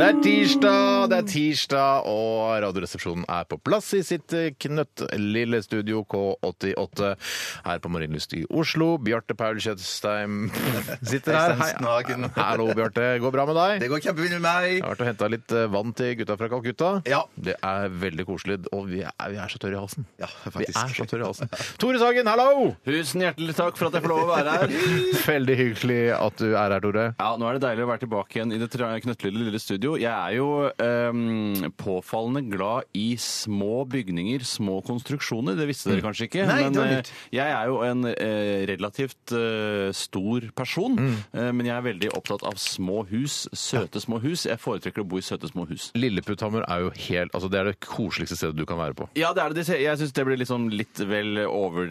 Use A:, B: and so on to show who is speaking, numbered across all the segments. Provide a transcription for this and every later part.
A: Det er tirsdag, det er tirsdag, og Radioresepsjonen er på plass i sitt eh, knøttlille studio K88 her på Marienlyst i Oslo. Bjarte Paul Kjøstheim sitter her. Hei.
B: Knagen.
A: Hallo, Bjarte. Går bra med deg?
B: Det går kjempefint med meg.
A: Jeg har vært og henta litt eh, vann til gutta fra Calcutta.
B: Ja.
A: Det er veldig koselig. Og vi er, vi er så tørre i halsen.
B: Ja,
A: vi
B: faktisk.
A: er så tørre i halsen. Tore Sagen, hallo!
C: Tusen hjertelig takk for at jeg får lov å være her.
A: Veldig hyggelig at du er her, Tore.
C: Ja, Nå er det deilig å være tilbake igjen i det tra- knøttlille lille studio. Jeg er jo ehm, påfallende glad i små bygninger, små konstruksjoner. Det visste dere kanskje ikke.
B: Mm. Nei, det var
C: eh,
B: nytt.
C: jeg er jo en eh, relativt eh, stor person,
B: Mm.
C: eh, men jeg er veldig opptatt av små hus. Søte små hus. Jeg foretrekker å bo i søte små hus.
A: Lilleputthammer er jo helt Altså, det er det koseligste stedet du kan være på.
C: Ja, det er det. Jeg syns det blir litt, sånn litt vel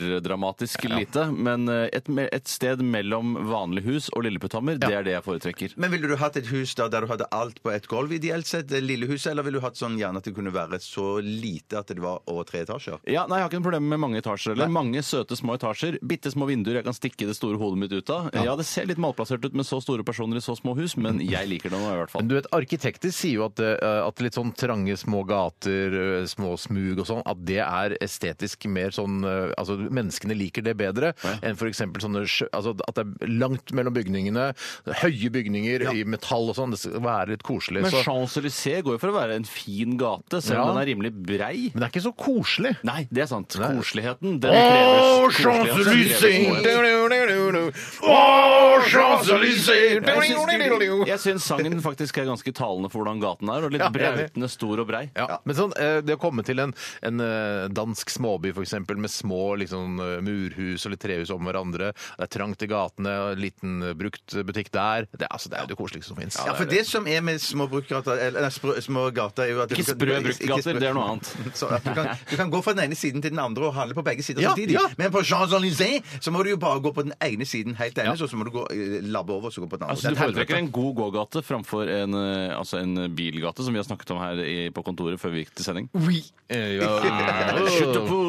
C: overdramatisk lite. Men eh, et, me- et sted mellom vanlig hus og Lilleputthammer, det er det jeg foretrekker.
B: Men ville du hatt et hus da, der du hadde alt på et gulv, ideelt sett? Det lille huset, eller ville du hatt sånn gjerne at det kunne være så lite at det var over tre etasjer?
C: Ja, nei, Jeg har ikke noe problem med mange etasjer. Eller mange søte små etasjer. Bitte små vinduer jeg kan stikke det store hodet mitt ut av. Ja. det ser litt malplassert ut med så store personer i så små hus, men jeg liker det nå i hvert
A: Men
C: fall.
A: du vet, Arkitekter sier jo at, eh, at litt sånn trange små gater, eh, små smug og sånn, at det er estetisk mer sånn eh, Altså menneskene liker det bedre enn f.eks. sånne sjø- altså, At det er langt mellom bygningene, høye bygninger i metall og sånn. Det skal være litt koselig.
C: Men
A: så,
C: Champs-Élysées går jo for å være en fin gate,
A: Ja.
C: selv om den er rimelig brei.
A: men det er ikke så koselig.
C: Nei, det er sant.
A: Nei.
C: Koseligheten, den kreves. altså. Koseligheten kreves.
A: Åh, Champs-Élysées!
C: Jeg syns sangen faktisk er ganske talende for hvordan gaten er, og litt
A: Ja, enig.
C: brautende stor og brei.
A: Ja. Men sånn, eh, det å komme til en, en eh, dansk småby for eksempel, med små liksom, eh, murhus og litt trehus om hverandre, det er trangt i gatene, og en liten eh, brukt butikk der det, er- altså, det er jo det koseligste som fins.
B: Ja, for det som er med små brukgater eller, nei, sprø, små gater er jo at du
C: Ikke
B: kan-
C: sprø
B: ikke- ikke
C: bruktgater,
B: sprø-
C: det er noe annet.
B: Så at du, kan, du kan gå fra den ene siden til den andre og handle på begge sider
A: Ja,
B: samtidig.
A: ja.
B: Men på Champs-Élysées så må du jo bare gå på den ene siden helt ene, så så må du gå, eh, labbe over og så gå på den andre.
C: Altså,
B: Det
C: du
B: er et
C: foretrekker
B: helvete.
C: en god gågate framfor en, eh, altså en bilgate, som vi har snakket om her i, på kontoret før vi gikk til sending.
A: Eh, ja.
C: Skyt opp, oh.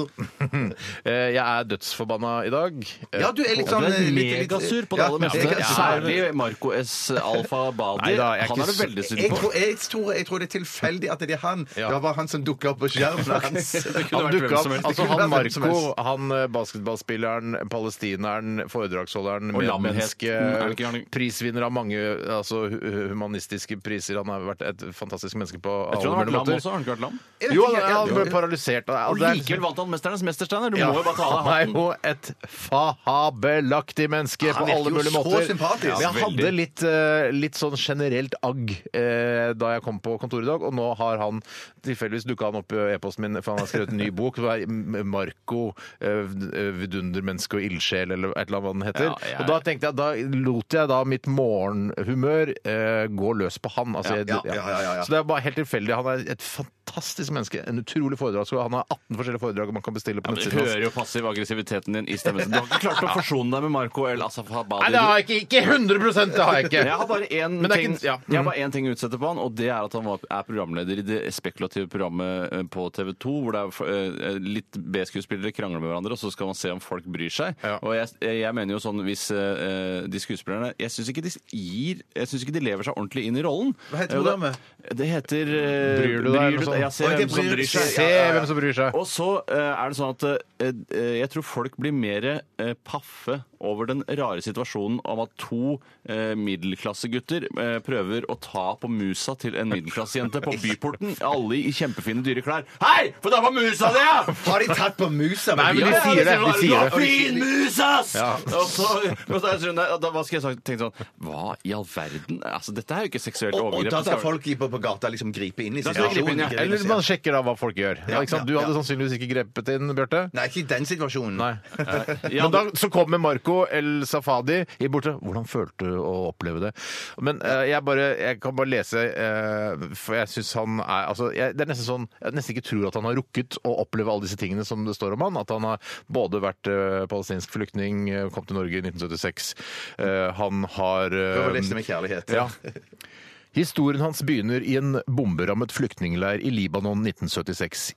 A: Eh, Jeg er dødsforbanna i dag. Eh,
B: Ja, du er litt sånn
C: Du
B: eh,
C: er
B: litt- litt-
C: megasur på det
B: Ja,
C: aller meste.
B: jeg-
C: Særlig Marco S. Alfa Badi.
A: Neida, jeg er
C: Han
A: ikke
C: er du
A: så-
C: veldig sur
B: Jeg
C: på.
B: tror, jeg, tror, jeg tror det er tilfeldig at det er han.
A: Ja.
B: Det var han som dukka opp på skjermen hans.
A: Han
C: vært
A: dukka
C: hvem
A: opp.
C: som helst.
A: Altså,
B: Det kunne
A: han
B: vært hvem som
A: Marco, han eh, basketballspilleren, palestineren, foredragsholderen,
C: Og lamhet.
A: medmenneske,
C: Mm, er det ikke han-
A: prisvinner av mange altså, hu- hu- humanistiske priser. Han har vært et fantastisk menneske på
C: Jeg tror han har vært
A: mulige
C: lam også. Har han ikke vært lam?
A: Jo, han, han ble paralysert.
C: Og likevel vant han Mesternes mestersteiner. Du må jo bare ta av deg
A: Han er
C: hatten.
A: jo et fabelaktig menneske på
B: Han virker
A: alle
B: jo
A: mulige
B: så
A: måter.
B: sympatisk.
A: Men jeg
B: Ja,
A: hadde litt, eh, litt sånn generelt agg eh, da jeg kom på kontoret i dag, og nå har han tilfeldigvis dukka han opp i e-posten min, for han har skrevet en ny bok. Det er M- Marco, eh, vidundermenneske og ildsjel, eller et eller annet hva den heter.
C: Ja, jeg-
A: Og da tenkte jeg, da lot jeg da mitt morgenhumør eh, gå løs på han. Altså, jeg,
B: ja, ja, ja, ja, ja.
A: Så det er bare helt tilfeldig. Han er et fantastisk menneske. En utrolig foredragsholder. Han har 18 forskjellige foredrag man kan bestille på
C: Du
A: nettsiden hans.
C: hører jo passiv aggressiviteten din i stemmen. Du har ikke klart å forsone deg med Marco El Asaf Badi.
A: Nei, det har jeg ikke! Ikke 100 det har jeg ikke!
C: Jeg har bare én
A: Men det er
C: ting,
A: ikke- ja. Mm.
C: jeg har bare én ting å utsette på han, og det er at han var, er programleder i det spekulative programmet eh, på TV 2, hvor det er eh, litt B-skuespillere krangler med hverandre, og så skal man se om folk bryr seg.
A: Ja.
C: Og jeg, jeg mener jo sånn hvis eh, de skuespillerne Jeg syns ikke de gir Jeg syns ikke de lever seg ordentlig inn i rollen.
B: Hva heter
C: Eh, og
B: programmet?
C: da- Det heter eh,
A: Bryr du deg, eller noe sånt?
C: Ja, se
B: Å, det
C: hvem som
B: bryr
C: bryr
B: seg.
C: seg.
A: Se hvem som bryr seg.
C: Og så eh, er det sånn at eh, eh, jeg tror folk blir mer eh, paffe over den rare situasjonen om at to eh, middelklassegutter eh, prøver å ta på musa til en middelklassejente på byporten. Alle i kjempefine, dyre klær. Hei! For da var musa di, ja!
B: Har de tatt på musa?
A: Nei, men de
C: Ja,
A: sier det.
C: var-
A: De sier
C: var
A: det.
C: Fin mus, ass!
A: Ja.
C: Og så, og så er det sånn, nei, da, hva skal jeg sagt- tenke sånn Hva i all verden? Altså, dette er jo ikke seksuelt
B: Og, og
C: overgrep.
B: da
C: Skal-
B: tar folk i på, på gata liksom gripe inn i
C: Da skal de gripe inn, ja.
B: Gripe
A: Eller man sjekker da hva folk gjør.
B: Ja,
A: ikke sant?
B: ja,
A: Du hadde
B: ja.
A: sannsynligvis ikke grepet inn, Bjarte.
B: Nei, ikke i den situasjonen.
A: Nei.
C: Ja,
A: Men da så kommer Marco Enrico El Safadi i borte. Hvordan følte du å oppleve det? Men eh, jeg, bare, jeg kan bare lese, eh, for jeg syns han er altså, jeg, Det er nesten sånn jeg nesten ikke tror at han har rukket å oppleve alle disse tingene som det står om han. At han har både vært eh, palestinsk flyktning, eh, kom til Norge i 1976, eh, han har eh,
B: Prøv å lese med kjærlighet.
A: ja. Historien hans begynner i en bomberammet flyktningleir i Libanon 1976.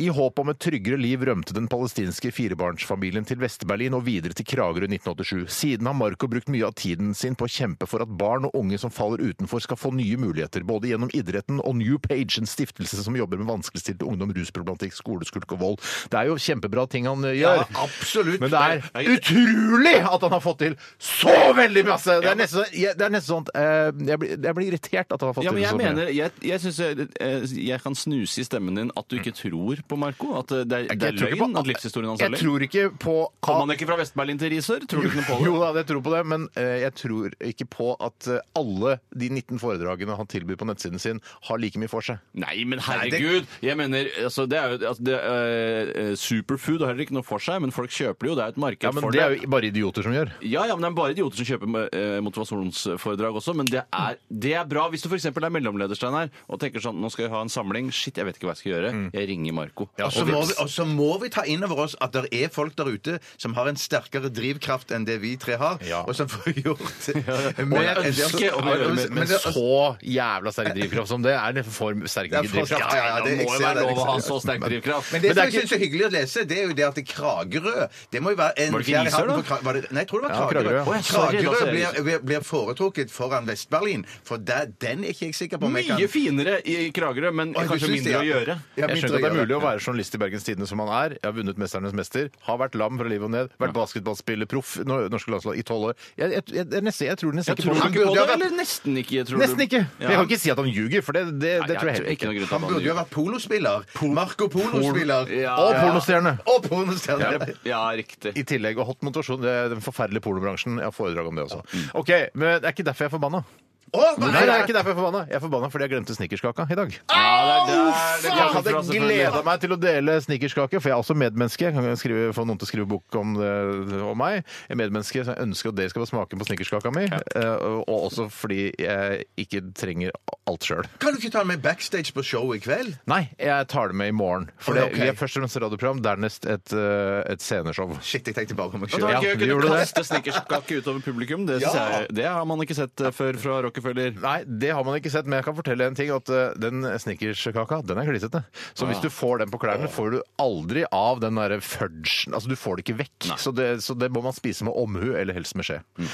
A: I håp om et tryggere liv rømte den palestinske firebarnsfamilien til Vest-Berlin og videre til Kragerø 1987. Siden har Marco brukt mye av tiden sin på å kjempe for at barn og unge som faller utenfor skal få nye muligheter, både gjennom idretten og New Page, en stiftelse som jobber med vanskeligstilte ungdom, rusproblematikk, skoleskulk og vold. Det er jo kjempebra ting han eh, gjør.
B: absolutt.
A: Men det er utrolig at han har fått til så veldig masse! Det er nesten, jeg, det er nesten sånn at eh, jeg, blir, jeg blir irritert at han har fått
C: Ja, men
A: til
C: jeg
A: så mye.
C: mener, jeg, jeg synes jeg, eh, jeg kan snuse i stemmen din at du ikke tror på Marco. At eh, det er, det er
A: tror ikke
C: løgn,
A: på-
C: at livshistorien hans er
A: Jeg
C: løgn.
A: tror ikke på
C: Kom han ikke fra Vest-Berlin til Risør? Tror du ikke noe på det?
A: Jo da, jeg tror på det, men eh, jeg tror ikke på at eh, alle de 19 foredragene han tilbyr på nettsiden sin, har like mye for seg.
C: Nei, men herregud! Jeg mener, altså, det er jo altså, det, eh, eh, Superfood har heller ikke noe for seg, men folk kjøper det jo. Det er et marked
A: Ja, men
C: for
A: Det
C: det.
A: er jo bare idioter som gjør.
C: Ja, ja, men Det er bare idioter som kjøper eh, motivasjonsforedrag også, men det er, det er bra. Hvis du f.eks. er mellomleder Stein, her, og tenker sånn Nå skal jeg ha en samling. Shit, jeg vet ikke hva jeg skal gjøre.
A: Mm.
C: Jeg ringer Marco.
B: Og så må, vi- og så må vi ta inn over oss at det er folk der ute som har en sterkere drivkraft enn det vi tre har,
A: Ja.
B: og som får gjort
C: Og jeg ønsker å gjøre mer,
A: Men så jævla sterk drivkraft som det er nesten for sterk
B: Det er for-
A: drivkraft.
B: ja, ja, ja,
C: det,
B: det- jeg
C: må jo
B: ser
C: være
B: det,
A: liksom-
C: lov å ha
B: jeg ser
C: så sterk drivkraft.
B: Men
A: det
B: det,
A: er
B: som jeg syns er hyggelig å lese, det er jo det at det Kragerø Det må jo være en
C: Var det ikke
B: fjær i
C: Risør,
B: hatten
C: da?
B: for Kra- var det, Nei, jeg tror det var
A: Ja,
B: Kragerø.
A: Kragerø.
C: Å, jeg sa det, da
B: Kragerø
C: ser jeg
B: blir, blir foretrukket foran Vest-Berlin, for der, den er ikke jeg sikker på om jeg kan
C: Mye finere i Kragerø, men
B: Oi, du syns
C: kanskje
B: det,
C: mindre å gjøre.
B: Ja,
A: Jeg
B: mindre
A: skjønner at det er
B: gjøre.
A: mulig å være journalist i Bergens Tidende som han er. Jeg har vunnet 'Mesternes mester', har vært lam fra livet og ned, vært basketballspiller, proff i nor- norske landslag i tolv år. Jeg, jeg, jeg, jeg, nesten- jeg tror nesten ikke
C: Tror du
A: på
B: han
C: ikke på
B: burde
C: det,
B: ha vært-
C: eller nesten ikke? Tror
A: Nesten
C: du?
A: ikke!
C: Ja.
A: Jeg kan ikke si at han ljuger, for det, det,
C: Nei,
A: det tror jeg heller
C: ikke.
A: ikke.
C: noe grunn til
B: Han
C: at
B: burde jo ha vært polospiller. Marco Polo-spiller.
C: Ja.
A: Og pornostjerne!
B: Og pornostjerne.
C: Ja, riktig.
A: I tillegg, og hot motivasjon, det er den forferdelige pornobransjen. Jeg har foredrag om det også. OK, men det er ikke derfor jeg er forbanna.
B: Å,
A: Mm.
B: hva
A: Nei,
B: er
A: det
B: det?
A: er ikke derfor jeg er forbanna. Jeg er forbanna fordi jeg glemte snickerskaka i dag.
C: Ja, det er der det
A: Jeg
C: kommer
A: hadde
C: fra, selvfølgelig.
A: gleda meg til å dele snickerskake, for jeg er også medmenneske. Jeg kan skrive, få noen til å skrive bok om, det, om meg. Jeg er medmenneske, så jeg ønsker at dere skal få smake på snickerskaka mi. eh, Og også fordi jeg ikke trenger alt sjøl.
B: Kan du ikke ta den med backstage på showet i kveld?
A: Nei, jeg tar det med i morgen. For det,
B: Ok.
A: vi er først og fremst et radioprogram, dernest et, eh, et sceneshow.
B: Shit, jeg tenkte bare på meg
C: Det
B: sjøl.
A: Ja,
C: var
A: vi
C: gøy å kunne
A: gjorde det.
C: kaste snickerskake utover publikum. Det,
B: Ja.
C: synes jeg, det har man ikke sett eh, før fra Rockefeller.
A: Nei, det har man ikke sett, men jeg kan fortelle en ting. At eh, den snickerskaka, den er klissete. Så hvis du får den på klærne, får du aldri av den derre fudgen. Altså, du får det ikke vekk. Så det, så det må man spise med omhu, eller helst med skje.
B: Mm.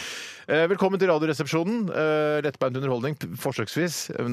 A: Eh, Velkommen til Radioresepsjonen. Eh, Lettbeint underholdning, p- forsøksvis, eh,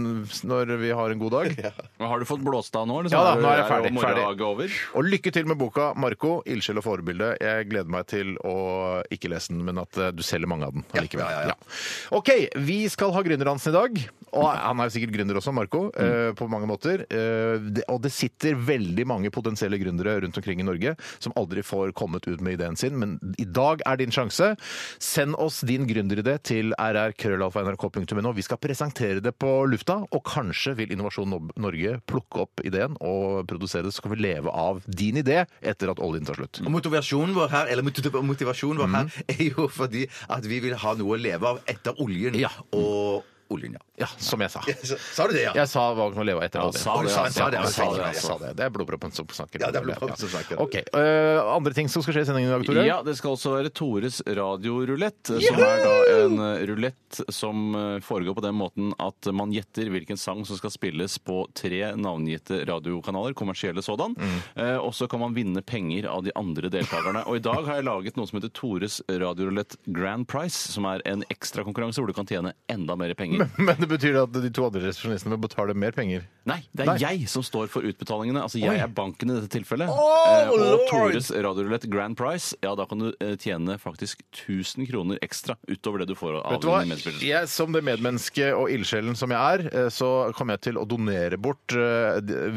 A: når vi har en god dag.
C: Men Har du fått blåst av nå? Liksom?
A: Ja da, nå er jeg
C: jo
A: ferdig,
C: morgendagen
A: ferdig.
C: Over?
A: Og lykke til med boka 'Marco ildsjel og forbilde'. Jeg gleder meg til å ikke lese den, men at eh, du selger mange av den allikevel.
B: ja, ja, ja.
A: OK, vi skal ha gründerdansen i dag. Og han er jo sikkert gründer også, Marco, eh, på mange måter. Eh, det- Og det sitter veldig mange potensielle gründere rundt omkring i Norge som aldri får kommet ut med ideen sin, men i dag er din sjanse. Send oss din gründeridé til rrkrøllalfa.nrk.no. Vi skal presentere det på lufta, og kanskje vil Innovasjon Nob- Norge plukke opp ideen og produsere det, så kan vi leve av din idé etter at oljen tar slutt.
B: Og motivasjonen vår her eller mot- motivasjonen vår her er jo fordi at vi vil ha noe å leve av etter oljen.
A: Ja.
B: Og oljen, ja.
A: Ja, som jeg sa.
B: Så- Sa du det, ja?
A: Jeg sa hva man kan leve av etter
C: Ja,
A: oljen.
C: sa det,
B: Sa- sa det,
A: Ja, sa
B: ja, sa
A: det,
B: det, ja.
A: sa det. Det er blodproppen som snakker.
B: Ja, det er blodproppen som snakker.
A: Ok, øh, Andre ting som skal skje i sendingen i dag, Tore?
C: Ja, det skal også være Tores radiorulett, som er da en eh, rulett som eh, foregår på den måten at man gjetter hvilken sang som skal spilles på tre navngitte radiokanaler, kommersielle sådan.
A: Mm.
C: Eh, Og så kan man vinne penger av de andre deltakerne. Og i dag har jeg laget noe som heter Tores radiorulett Grand Prize, som er en ekstra konkurranse hvor du kan tjene enda mer penger.
A: Men det betyr at de to andre resepsjonistene må betale mer penger?
C: Nei, det er
A: Nei.
C: jeg som står for utbetalingene. Altså, Jeg
A: Oi.
C: er banken i dette tilfellet.
A: Oh,
C: Eh, og
A: lord!
C: Tores radiorulett Grand Prize, ja, da kan du eh, tjene faktisk 1000 kroner ekstra utover det du får av
A: Vet du hva?
C: dine medspillere.
A: Jeg, som det medmenneske og ildsjelen som jeg er, eh, så kommer jeg til å donere bort eh, de-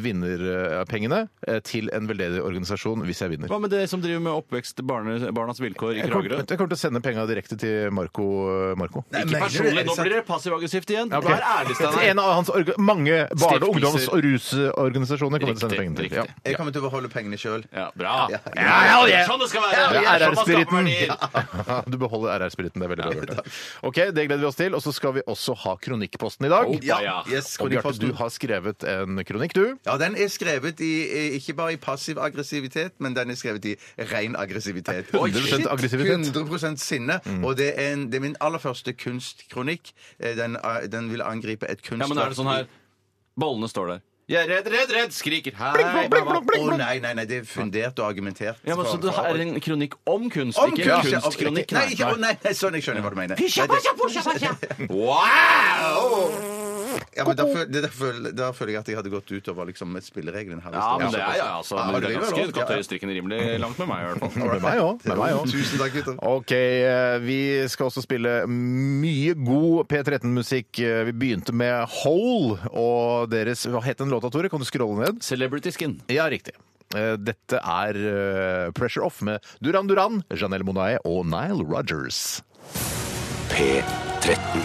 A: vinnerpengene eh, til en veldedig organisasjon hvis jeg vinner.
C: Hva med dere som driver med oppvekst, barne, barnas vilkår i
A: Jeg kommer,
C: Kragerø?
A: jeg kommer til å sende penga direkte til Marco. Marco.
B: Nei,
C: Ikke
B: mener du det?
C: personlig,
B: Er det
C: nå
B: sant?
C: blir det passiv-aggressivt igjen.
A: Ja, ok.
B: Vær ærlig, Steinar.
A: En av hans orga- mange barne-,
C: Stiftelser.
A: ungdoms- og rusorganisasjoner kommer til å sende penger
C: Riktig,
A: til.
C: riktig.
B: Jeg kommer til å beholde pengene sjøl.
C: Ja, bra.
B: Ja,
A: ja, ja.
C: Sånn det skal være!
A: Det er
C: Sånn man skaper
A: RR-spiriten.
C: verdier.
A: Ja. Du beholder RR-spiriten. Det er veldig bra. Bjarte. Ok, Det gleder vi oss til. Og så skal vi også ha kronikkposten i dag.
C: Oh,
B: Ja,
C: Ja.
B: yes,
A: Og Bjarte, du
B: Kronikkposten.
A: har skrevet en kronikk, du.
B: Ja, den er skrevet i, i- ikke bare i passiv aggressivitet, men den er skrevet i ren aggressivitet.
A: 100%
B: Shit,
A: aggressivitet.
B: 100 sinne. Og det er, en, det er min aller første kunstkronikk. Eh, Den, eh, den vil angripe et kunstverk.
C: Ja, men er det sånn her Bollene står der. Jeg er redd, redd, redd! Skriker hei!
B: Å nei, nei, nei, det er fundert og argumentert.
C: Ja, men Så
B: fra-
C: det
B: fra-
C: her er en kronikk om kunst,
B: Om
C: ikke en
B: kunst, ja, om-
C: kunstkronikk?
B: Nei, ikke, å, nei, nei, sånn, jeg skjønner hva du mener. Nei, det-
C: Wow!
B: Ja, men da, føl, det, da, føl, da føler jeg at jeg hadde gått ut over liksom, spillereglene her.
C: Ja, men det er ja, altså,
B: Ja,
C: det er
B: er
C: ganske
B: lov.
C: godt
B: Ja,
C: å strikken rimelig langt med meg, i hvert fall.
A: Med meg òg. Med meg
B: ja.
A: også.
B: Tusen takk, gutter.
A: Ok, eh, vi skal også spille mye god P13-musikk. Eh, Vi begynte med Hole og deres Hva het den låta, Tore? Kan du scrolle ned?
C: Celebrity skin.
A: Ja, riktig. Eh, Dette er eh, Pressure Off med Duran Duran, Janelle Monae og Nile Rogers.
D: P13.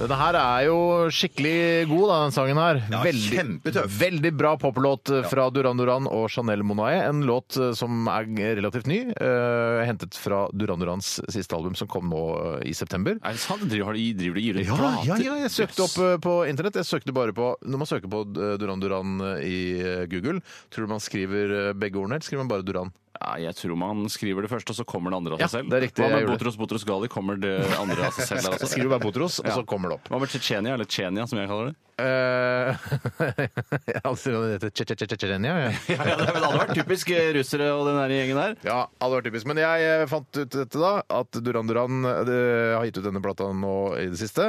A: Denne her er jo skikkelig god, da, den sangen her.
B: Ja, kjempetøff.
A: Veldig bra poplåt eh, fra Duran Duran og Chanel Monae. En låt eh, som er g- relativt ny, eh, hentet fra Duran Durans siste album som kom nå eh, i september.
C: Er det sant? Driver, har de, driver de gir ut
A: Ja,
C: plater?
A: ja, ja, jeg søkte opp eh, på internett. Jeg søkte bare på, Når man søker på eh, Duran Duran eh, i eh, Google, tror du man skriver eh, begge ordene, eller skriver man bare Duran?
C: Ja, jeg tror man skriver det først, og så kommer det andre av
A: eh. Ja,
C: seg selv.
A: det er riktig,
C: Hva
A: jeg
C: med
A: gjorde det.
C: Botros Botros Gali? Kommer det andre av seg selv der
A: Så
C: også?
A: skriver du bare Botros, og
C: Ja.
A: så kommer det opp.
C: Hva med Tsjetsjenia, eller Tsjenia, som jeg kaller det?
A: Eh, Altså, det heter Tsjetsjetsjetsjenia, ja.
C: Ja, det hadde vært typisk
A: eh,
C: russere og den der gjengen der.
A: Ja, hadde vært typisk. Men jeg eh, fant ut dette da, at Duran Duran eh, det har gitt ut denne plata nå i det siste,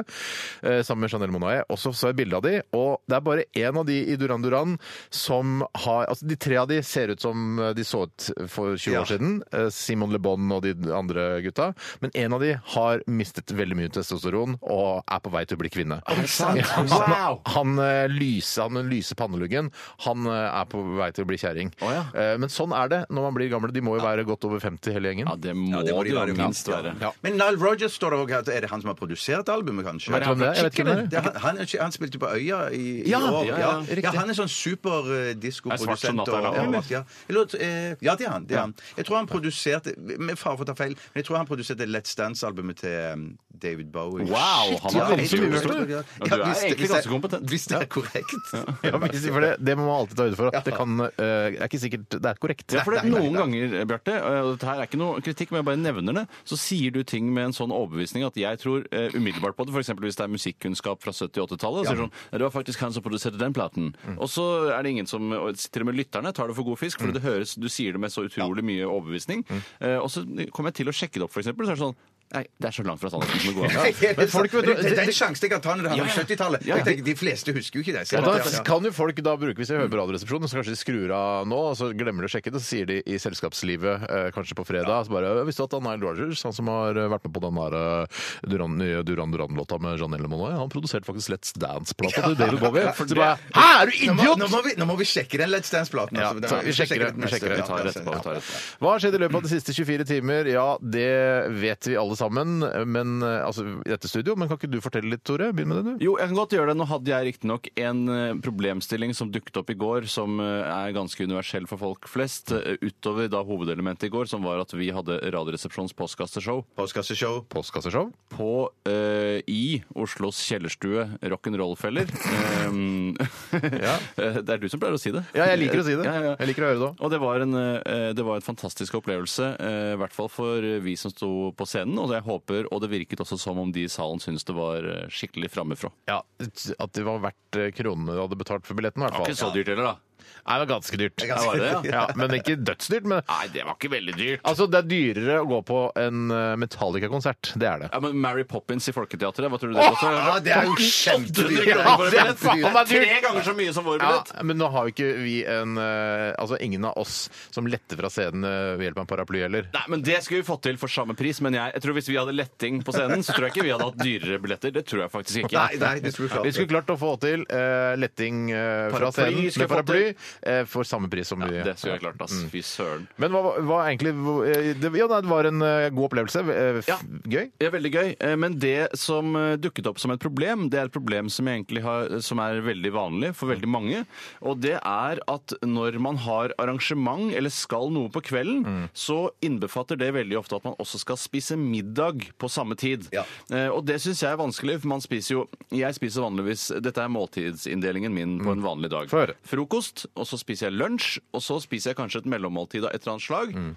A: eh, sammen med Chanel Monae. Og så så jeg et bilde av de, og det er bare én av de i Duran Duran som har Altså, de tre av de ser ut som eh, de så ut for 20
B: Ja.
A: år siden. eh, Simon Le Bon og de andre gutta. Men én av de har mistet veldig mye testosteron og er på vei til å bli kvinne. Ja, han, han, eh, lyse, han med den lyse panneluggen, han eh, er på vei til å bli kjerring.
C: Å, ja.
A: Eh, Men sånn er det når man blir gamle. De må jo være godt over 50 hele gjengen.
C: Ja, det må,
B: Ja, det må de
C: det jo
B: være, ja.
C: minst være.
A: Ja.
B: Men Nile Rogers står det også her. Er det han som har produsert albumet, kanskje?
A: Vet du hvem det er? Jeg vet ikke hvem det er.
B: Det er han, han, er- han spilte på Øya i, i
A: Ja,
B: år.
A: ja, ja, riktig.
B: han er sånn
C: Er svart som
B: superdiskoprodusent.
C: natta, da, eller?
B: ja, Jeg lurer- eh, ja, det er han. Det er han. Jeg tror han produserte Med fare for å ta feil, men jeg tror han produserte Let's Dance-albumet til um, David Bowie.
C: Wow,
A: har
C: han
B: Ja,
A: veldig
B: jeg tror
A: mye
B: det.
A: hørt, du.
B: Ja,
C: Ja, du er
B: hvis det-
C: egentlig
B: hvis det-
C: ganske kompetent.
B: Hvis det er korrekt.
A: Ja, hvis- for det, det må man alltid ta høyde for. At det, kan, eh, det er ikke sikkert det er korrekt.
C: Ja, for det, Noen ganger, eh, Bjarte, eh, og dette her er ikke noe kritikk, men jeg bare nevner det, så sier du ting med en sånn overbevisning at jeg tror eh, umiddelbart på det. F.eks. hvis det er musikkunnskap fra 70- og 80-tallet. så sier du sånn, «Ja, Det var faktisk han som produserte den platen. Og så er det ingen som og Til og med lytterne tar det for god fisk, for det høres, du sier det med så utrolig mye overbevisning. Eh, og så kommer jeg til å sjekke det opp, f.eks., så er det sånn Nei, det er så langt fra sannheten som det går an.
B: Men
A: folk vet du-
B: det, det er en sjanse jeg kan ta når det handler om
C: Ja, ja.
B: 70-tallet.
C: Ja, ja.
B: Jeg tenker, De fleste husker jo ikke det. så-
A: Og
B: Ja,
A: da
B: ja.
A: kan jo folk da bruke, Hvis de hører på Radioresepsjonen, så kanskje de skrur av nå, og så glemmer de å sjekke det, så sier de i selskapslivet eh, kanskje på fredag så bare «Jeg Visste du at han Nile Rogers, han som har eh, vært med på den der eh, Duran- nye Duran Duran-låta med Janelle Monoy, han produserte faktisk Let's Dance-plata til David Bowie? Så bare Hæ, er du
B: Nå må, nå,
A: idiot?!
B: må vi, nå må vi sjekke den Let's Dance-platen.
A: Ja,
B: altså. Den-
A: så vi sjekker det.
B: den
A: Vi
B: neste.
A: sjekker det.
C: Vi tar
B: Ja,
C: det etterpå. Vi tar det etterpå.
A: Hva har skjedd i løpet av de siste 24 timer? Ja, det vet vi alle sammen. Men, eh, altså, I dette studio. Men kan ikke du fortelle litt, Tore? Begynn med det, du.
C: Jo, jeg kan godt gjøre det. Nå hadde jeg riktignok en eh, problemstilling som dukket opp i går, som eh, er ganske universell for folk flest, eh, utover da hovedelementet i går, som var at vi hadde Radioresepsjons postkasseshow
B: Postkasseshow.
A: Postkasseshow?
C: på eh, i Oslos kjellerstue Rock'n'Roll-feller. Um, Eh, det er du som pleier å si det.
A: Ja, jeg liker å si det.
C: Ja, ja, ja.
A: Jeg liker å høre det òg.
C: Og det var, en, eh, det var en fantastisk opplevelse, eh, i hvert fall for vi som sto på scenen. Og jeg håper, og det virket også som om de i salen syntes det var eh, skikkelig framifrå.
A: Ja, at det var verdt eh, kronene du hadde betalt for billetten, i hvert
C: Det var
A: fall.
C: ikke så dyrt heller, da.
A: Nei, det var ganske dyrt.
C: Ja, var det, ja.
A: Ja, men ikke dødsdyrt. Men
C: Nei, det var ikke veldig dyrt.
A: altså, det er dyrere å gå på en eh, Metallica-konsert. Det er det.
C: Ja, men Mary Poppins i Folketeatret, hva tror du det koster?
B: Ja, det er jo kjempedyrt.
A: Ja, det er faen meg dyrt.
C: Tre ganger så mye som vår
A: Ja,
C: billett!
A: men nå har jo ikke vi en eh, Altså ingen av oss som letter fra scenen eh, ved hjelp av en paraply heller.
C: Nei, men Det skulle vi fått til for samme pris, men jeg, jeg tror hvis vi hadde letting på scenen, så tror jeg ikke vi hadde hatt dyrere billetter. Det tror jeg faktisk ikke.
B: Nei, nei, det skulle vi klart.
A: Vi skulle klart å få til eh, letting eh, fra
C: Paraply
A: scenen
C: skulle
A: med
C: vi fått
A: paraply.
C: til.
A: Norway eh, for samme pris som vi
C: Ja, det skulle jeg klart, ass. Fy søren.
A: Men hva, hva egentlig eh, det, Ja, nei, det var en eh, god opplevelse. eh, f-
C: Ja.
A: Gøy.
C: Ja, veldig gøy. Eh, Men det som eh, dukket opp som et problem, det er et problem som, jeg egentlig har, som er veldig vanlig for veldig mange. Og det er at når man har arrangement eller skal noe på kvelden,
A: Mm.
C: så innbefatter det veldig ofte at man også skal spise middag på samme tid. Eh, Og det syns jeg er vanskelig, for man spiser jo Jeg spiser vanligvis Dette er måltidsinndelingen min på en vanlig dag.
A: Mm. Få høre.
C: Frokost, og så spiser jeg lunsj, og så spiser jeg kanskje et mellommåltid av et eller annet slag.
A: Mm.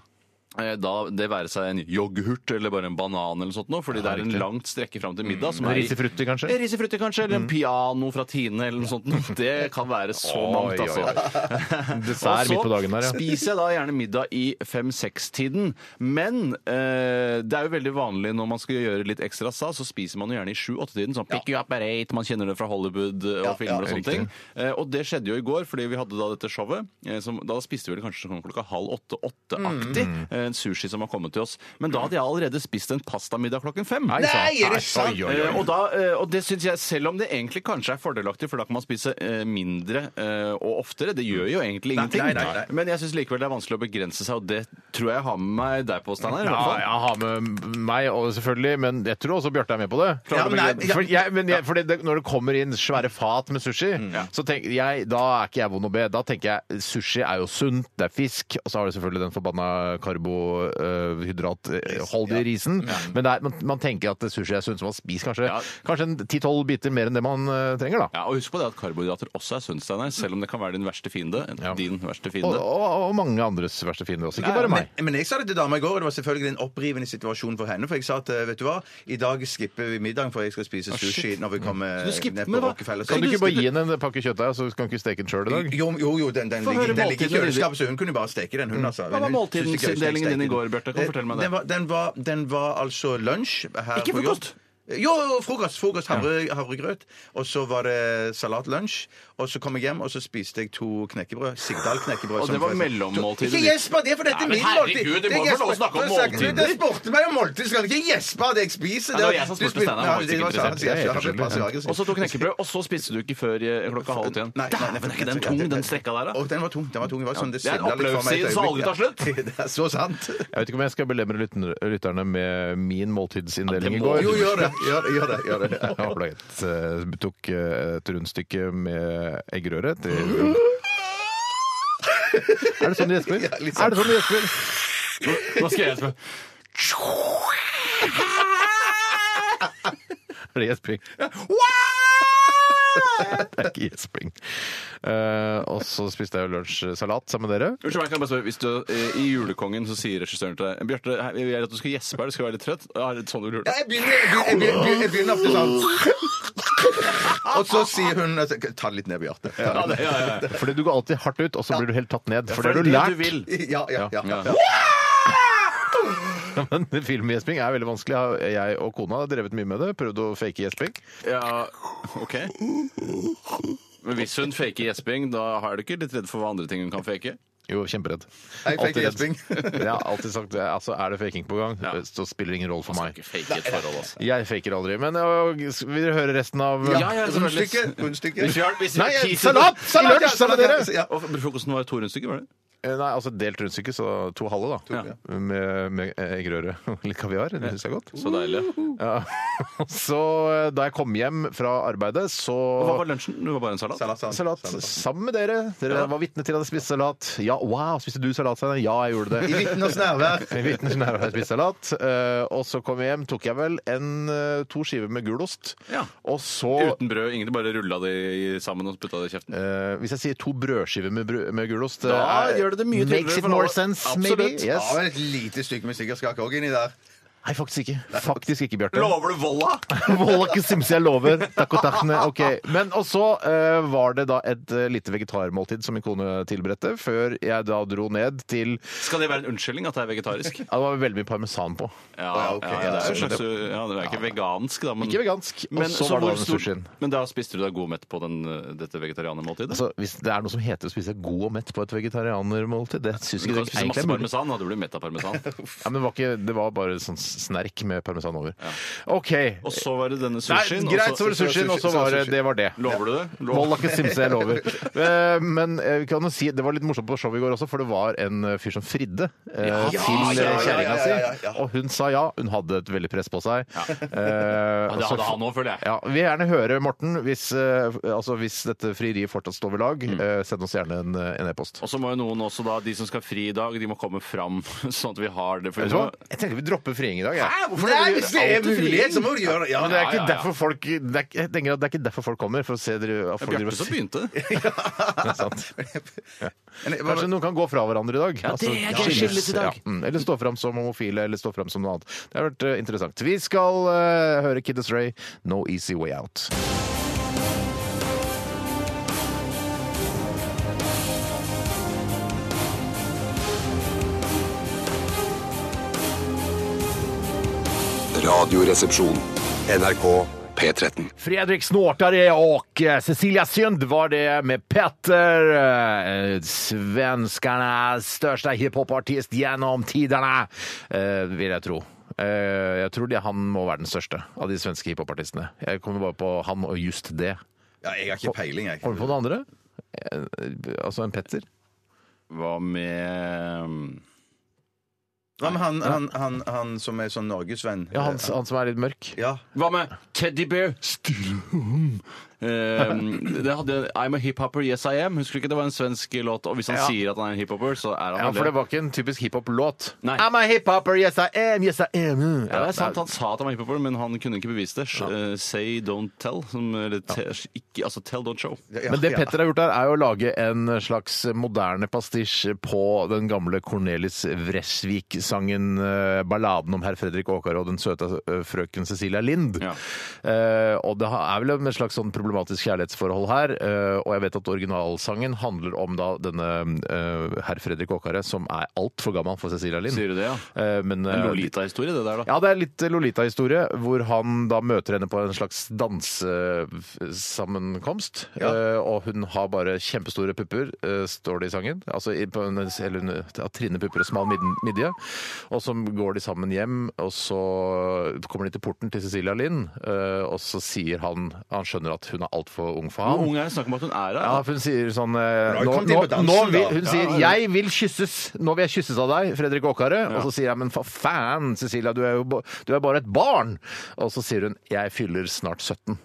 C: Eh, Da, det være seg en yoghurt eller bare en banan, eller sånt noe, fordi det er en
A: riktig.
C: langt strekke fram til middag. som er i-
A: Risifrutti, kanskje? Mm.
C: Eh, Risifrutti, kanskje, eller en piano fra Tine, eller noe sånt. noe. Det kan være så mangt,
A: Oi,
C: altså.
A: oi, Dessert midt på dagen der, ja.
C: spiser jeg da gjerne middag i fem-seks-tiden. Men eh, det er jo veldig vanlig når man skal gjøre litt ekstra stas, så spiser man jo gjerne i sju-åtte-tiden. Sånn pick you up at eight, man kjenner det fra Hollywood eh, og filmer og sånne ting. Eh, og det skjedde jo i går, fordi vi hadde da dette showet. eh, som, da spiste vi vel kanskje sånn klokka halv åtte-åtte-aktig.
A: Mm.
C: En sushi som har kommet til oss. Men da hadde jeg allerede spist en pastamiddag klokken fem.
A: Nei,
B: Nei, er det
A: sant? Oi, oi, oi.
C: Eh, Og, da, eh, og det syns jeg, selv om det egentlig kanskje er fordelaktig, for da kan man spise eh, mindre eh, og oftere. Det gjør jo egentlig
B: Mm. Nei,
C: ingenting.
B: nei, nei, nei.
C: Men jeg syns likevel det er vanskelig å begrense seg, og det tror jeg jeg har med meg deg på, Steinar. i
A: Ja,
C: hvert fall.
A: jeg har med meg og selvfølgelig, men jeg tror også Bjarte er med på det.
B: Ja, men nei, ja. Mm,
A: For jeg, men jeg, fordi det, når det kommer inn svære fat med sushi, så tenk, jeg, da er ikke jeg vond å be. Da tenker jeg sushi er jo sunt, det er fisk, og så har du selvfølgelig den forbanna øh, karbohydratholdige risen. Men det er, man, man tenker at sushi er sunt, så man spiser kanskje,
C: Ja.
A: kanskje en 10-12 biter mer enn det man eh, trenger, da.
C: Ja, og Husk på det at karbohydrater også er sunt, Steinar. Selv om det kan være din verste fiende.
A: Ja.
C: Din verste
A: Og,
C: fiende.
A: og, og mange andres verste fiender også. Ikke bare
B: Men,
A: meg.
B: men jeg sa det til dama i går, og det var selvfølgelig en opprivende situasjon for henne. For jeg sa at eh, vet du hva, i dag skipper vi middagen, for jeg skal spise sushi når vi kommer
C: Så du skipper-
B: ned på
C: men hva-
B: Rockefeller.
A: Kan du ikke
C: Skal
A: bare gi henne en pakke kjøttdeig, så kan du ikke steke den sjøl i dag?
B: Jo, jo, jo, den, den,
C: Få
B: ligger,
C: høre
B: den ligger i
C: måltidene dine.
B: kjøleskapet, så hun kunne bare steke den. Hun, altså.
C: Hva var
B: Men hun syntes det var gøy å
C: måltidsinndelingen
B: steke
C: din i
B: den.
C: går, Bjarte? Kan
B: Eh,
C: fortell meg det.
B: Den var, den var, den var altså lunsj her
C: Ikke
B: på jobb.
C: frokost?
B: Jo, frokost. frokost havre, Havregrøt. Og så var det salatlunsj. Og så kom jeg hjem, og så spiste jeg to knekkebrød. Sigdal-knekkebrød.
C: Og
B: som
C: det var
B: forresten-
C: mellommåltidet
B: Ikke
C: ditt.
B: gjesp av det, for dette er
C: Nei, men
B: min måltid!
C: herregud, det
B: er
C: må være lov å
B: gjesp-
C: snakke om
B: For jeg-
C: måltider.
B: Du spurte meg om måltid, skal du ikke gjespe av det jeg spiser?
C: Nei, det var
B: du
C: jeg som spurte
B: spurte-
C: Steinar, han var
B: Ja, det var
C: ikke interessert.
B: sant, så jeg-
A: Jeg er helt
B: jeg ble passiv aggressiv.
C: Og så to knekkebrød, og så spiste du ikke før eh, klokka halv åtte igjen.
B: Nei, nei, nei,
C: Dæven, er ikke den tung, den strekka der, da?
B: Å, den var tung. den var tung. Det var sånn, det
C: det er en
B: svimla litt for meg et
C: opplevelse i
B: øyeblikk,
C: salget
B: ja.
C: til
B: Det er så sant.
A: Jeg vet ikke om jeg skal belemre lytten- lytterne med min måltidsinndeling i
C: Ja, det
A: går.
C: må
B: Jo, gjør det. Gjør, gjør det, gjør det.
A: Jeg ble et, eh, tok eh, et rundstykke med eggerøre til Er det sånn du gjesper?
B: Ja, litt sånn.
A: Er det sånn du gjesper?
C: Nå skal jeg spørre.
A: Er det gjesping? Det er ikke gjesping. Eh, og så spiste jeg jo lunsjsalat sammen med dere.
C: Unnskyld meg, kan jeg bare spørre, hvis du, eh, I Julekongen så sier regissøren til deg Bjarte, hei, jeg vil at du skal gjespe her, du skal være litt trøtt. Ja, er det sånn du lurer?
B: Ja, Jeg begynner, jeg begynner, jeg begynner, jeg begynner ofte sånn. Og så sier hun at, Ta det litt ned, Bjarte.
C: Ja, det, ja, ja, ja.
A: Fordi du går alltid hardt ut, og så blir du helt tatt ned. For det har
C: For
A: du lært.
C: du vil.
B: Ja, ja, ja.
C: Ja.
A: Ja, Men filmgjesping er veldig vanskelig. Jeg og kona har drevet mye med det. Prøvd å fake gjesping.
C: Ja, ok. Men hvis hun faker gjesping, da er du ikke litt redd for hva andre ting hun kan fake?
A: Jo, kjemperedd.
B: Jeg fikk
A: Alltid redd.
B: gjesping.
A: Jeg har alltid sagt det. Altså, er det faking på gang,
C: Ja.
A: så spiller det ingen rolle for
C: Man
A: meg.
C: skal ikke fake et forhold, altså.
A: Jeg faker aldri. Men øh, vil dere høre resten av
C: Ja, ja, sånn selvfølgelig.
B: altså, Rundstykke. rundstykke.
C: Hvis vi har- hvis vi-
A: Nei,
C: teaser-
A: salat! Salat!
B: ja,
A: lunsj sammen med dere!
B: ja.
C: Og frokosten var to rundstykker, var det?
A: Eh, Nei, altså delt rundstykke, så to halve, da.
C: ja.
A: Med, med eggerøre og litt kaviar. Det syns jeg er godt.
C: Så deilig.
A: Ja. Så eh, da jeg kom hjem fra arbeidet, så
C: Og hva var lunsjen? Det var bare en salat?
B: Salat, salat,
A: Salat
B: salat.
A: sammen med dere. Dere var vitne til at jeg spiste salat. Ja, wow, spiste du salat, Steinar? Ja, jeg gjorde det.
B: I vitners nærvær.
A: I vitners nærvær spiste salat. eh, og så kom jeg hjem, tok jeg vel en, eh, to skiver med gulost.
C: Ja.
A: Og så
C: Uten brød, egentlig bare rulla det i- sammen og putta det i kjeften.
A: eh, Hvis jeg sier to brødskiver med, brø med gulost
C: Da
A: eh,
C: gjør det det mye
A: Makes
C: tydeligere
A: it
C: for
A: more
C: alle.
A: sense,
C: Absolutt.
A: maybe?
B: Ja,
A: Yes.
B: et lite stykke med sikkerhetskake òg inni der.
A: Nei, faktisk ikke. Faktisk ikke, Bjarte.
C: Lover du volla?
A: Wallach Simse, jeg lover. Takk og takkene. Ok. Men og så eh, var det da et eh, lite vegetarmåltid som min kone tilberedte, før jeg da dro ned til
C: Skal det være en unnskyldning at det er vegetarisk?
A: ja, Det var veldig mye parmesan på.
C: Ja,
B: ok,
C: ja, det er jo en
B: ja,
C: slags Ja, det er ikke vegansk, da, men
A: Ikke vegansk. Og
C: Men,
A: så
C: så
A: var det
C: hvor
A: da den
C: stor-
A: sushien.
C: men da spiste du deg god mett på den, eh, dette vegetarianermåltidet?
A: Altså, hvis det er noe som heter å spise god og mett på et vegetarianermåltid, det syns
C: du
A: jeg
C: kan
A: ikke
C: spise
A: egentlig
C: masse
A: er mulig.
C: parmesan, da du blir mett av parmesan.
A: Ja, men det, var ikke, det var bare sånn s- snerk med parmesan over. OK.
C: Og så var det
A: Nei,
C: denne sushien. og
A: greit, så var det sushien, og så var det det. var det.
C: Lover du det? Lover-
A: Vold har ikke simse, jeg lover. Eh, Men eh, vi kan jo si, det var litt morsomt på showet i går også, for det var en eh, fyr som fridde eh, til eh,
B: ja, ja,
A: kjerringa
B: ja, ja,
A: si. Og hun sa ja. Hun hadde et veldig press på seg. Eh,
C: Ja, det
A: så-
C: hadde han òg, føler jeg.
A: Ja, vi vil gjerne høre, Morten, hvis, eh, altså, hvis dette frieriet fortsatt står ved lag, eh, send oss gjerne en eh, en e-post.
C: Og så må jo noen også da, de som skal fri i dag, de må komme fram, sånn at vi har det. For
A: Vet du hva? Jeg tenker vi dropper friing i dag. jeg.
B: Hvorfor Nei, hvis det er mulighet, så må du gjøre det. Ja,
A: Men det er ikke
C: ja, ja.
A: derfor folk det er, ikke- jeg tenker at det er ikke derfor folk kommer, for å se dere, at
C: Det er
A: folk driver
C: Bjarte som
A: og-
C: begynte det.
A: Sant.
B: Men jeg-
A: Kanskje noen kan gå fra hverandre i dag. Altså, Ja,
E: det er gøy. Skilles i dag.
A: Ja. Mm. Eller stå fram som homofile, eller stå fram som noe annet. Det har vært eh, interessant. Vi skal eh, høre Kid Astray, 'No Easy Way Out'.
F: Radioresepsjon. NRK P13.
A: Fredrik Snortare och eh, Cecilia Synd var det med Petter, eh, svenskarnas största hiphopartist genom tiderna, eh, vill jag tro. Eh, Jeg tror det, han må være den største av de svenske hiphopartistene. Jeg kommer bare på han og just det.
B: Ja, jeg har ikke peiling, jeg.
A: Kommer du på noen andre? Eh, Altså en Petter?
C: Hva med um,
B: Ja, men han, han, han, han som er sånn norgesvenn
A: Ja, han, han som er litt mørk.
B: Ja.
C: Hva med Teddy Bear? Stille hund. Eh, det hadde I'm a hiphopper, yes I am. Husker du ikke det var en svensk låt? Og hvis han
A: Ja.
C: sier at han er en hiphopper, så er han
A: Ja,
C: vel
A: for det var ikke en typisk hiphop-låt.
C: Nei.
A: I'm a hiphopper, yes I am, yes I am. mm.
C: Ja, det er sant. Han sa at han var hiphopper, men han kunne ikke bevise det. Sh- eh, say don't tell. Som, eller, te, ikke, altså tell don't show.
B: Ja,
A: Men det
B: ja.
A: Petter har gjort der, er jo å lage en slags moderne pastisj på den gamle Cornelis Vresvik-sangen eh, 'Balladen om herr Fredrik Åkare og den søte eh, frøken Cecilia Lind'.
C: Ja.
A: Eh, og det er vel en slags sånn problematisk kjærlighetsforhold her. eh, og jeg vet at originalsangen handler om da denne eh, herr Fredrik Åkare, som er altfor gammel for Cecilia Lind.
C: Sier du det, ja?
A: Eh, men,
C: En
A: eh,
C: Lolita-historie, det der, da.
A: ja, det er litt Lolita-historie, hvor han da møter henne på en slags dansesammenkomst. Eh, og hun har bare kjempestore pupper, eh, står det i sangen. Altså i- på en, eller hun har trinne pupper og smal midden- midje. Og så går de sammen hjem, og så kommer de til porten til Cecilia Lind, eh, og så sier han Han skjønner at hun er altfor ung for ham.
C: Hvor ung er hun? Snakk om at hun er her.
A: Ja, for hun sier sånn eh,
B: Nå
A: nå,
B: kom de
A: nå,
B: på dansen,
A: nå vil,
B: da.
A: Hun sier 'jeg vil kysses'. Nå vil jeg kysses av deg, Fredrik Åkare. Og så sier jeg 'men for faen, Cecilia, du er jo ba- du er bare et barn'. Og så sier hun 'jeg fyller snart 17'.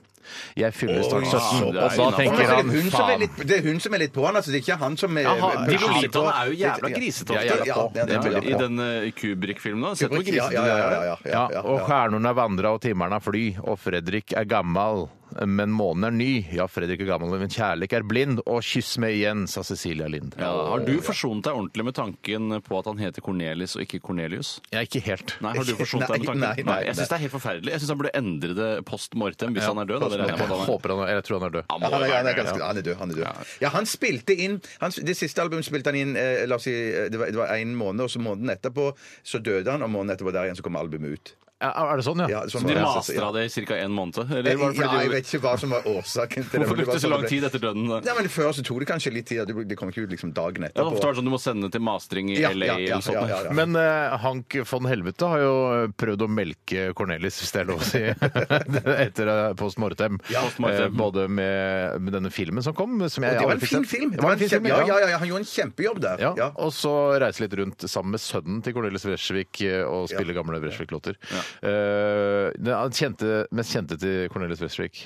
A: Jeg fyller snart 17,
C: det er
A: og da
C: innenfor.
A: tenker
B: altså. Men
A: han
B: det er hun som er
A: faen.
B: litt- Det er hun som er litt på han, altså. Det er ikke han som er
C: Jaha, de
B: pusher seg
C: Lolitaene
B: på.
C: er jo jævla grisete.
B: Ja,
C: ofte.
B: ja, ja, det er
C: Ja,
B: veldig
C: I
B: på.
C: den eh, Kubrick-filmen, da. Sett hvor
B: Ja,
C: grisete
B: ja,
C: de
B: ja,
C: er.
B: ja, ja,
A: Ja,
B: ja,
A: og
B: ja.
A: stjernene vandra og timerne fly, og Fredrik er gammal, men månen er ny. Ja, Fredrik er gammal, men kjærlighet er blind, og kyss meg igjen, sa Cecilia Lind.
C: Ja, har du forsonet deg ordentlig med tanken på at han heter Cornelis og ikke Cornelius?
A: Ja, ikke helt.
C: Nei, har du forsonet deg med
B: Nei, nei,
C: tanken?
B: nei,
C: jeg syns det er helt forferdelig. Jeg syns han burde endre det post mortem hvis han er død. Da,
A: Jeg
C: det regner jeg med at han er.
A: håper han, jeg tror han er død.
B: Ja,
C: Han må
B: han, er,
C: jo
B: han, er
C: være død.
B: ganske, han er død. Han er død. Ja, han spilte inn han, Det siste albumet spilte han inn eh, la oss si, eh, det var, det var en måned, og så måneden etterpå så døde han, og måneden etterpå der igjen så kom albumet ut.
A: Ja, er det sånn, ja?
B: Ja, sånn var
C: De
B: det, altså.
C: mastra det i ca. en måned? Eller var det
B: ja,
C: fordi
B: jeg
C: de-
B: vet ikke hva som var årsaken til det.
C: Hvorfor
B: men det
C: brukte
B: var
C: det så
B: sånn
C: lang
B: det ble-
C: tid etter døden? da?
B: Nei, men Før så tok det kanskje litt tid. Det ble- Det kom ikke ut liksom dagen
C: Ja, ofte
B: etterpå.
C: er det sånn du må sende til mastring i
B: Ja,
C: LA
B: ja, ja,
C: eller sånt.
B: ja, ja.
A: Men eh, Hank von Helvete har jo prøvd å melke Cornelis, hvis det er lov å si, etter eh, Post Mortem.
C: Post Mortem.
A: Eh, både med, med denne filmen som kom som jeg
B: Det var
A: aldri
B: en
A: fikk
B: fin
A: sett.
B: film!
A: Det var en fin
B: kjempe-
A: film,
B: ja,
A: ja.
B: ja, ja, Han gjorde en kjempejobb der.
A: Ja,
B: Ja.
A: Og så reise litt rundt sammen med sønnen til Cornelis Vresvik eh, og spille gamle Vresvik-låter. Eh, den han kjente, mest kjente til Cornelis Vresvik.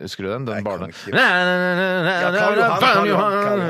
A: Husker du den? Den
B: Nei,
A: barne...
B: kan ikke. Karl Johan, Karl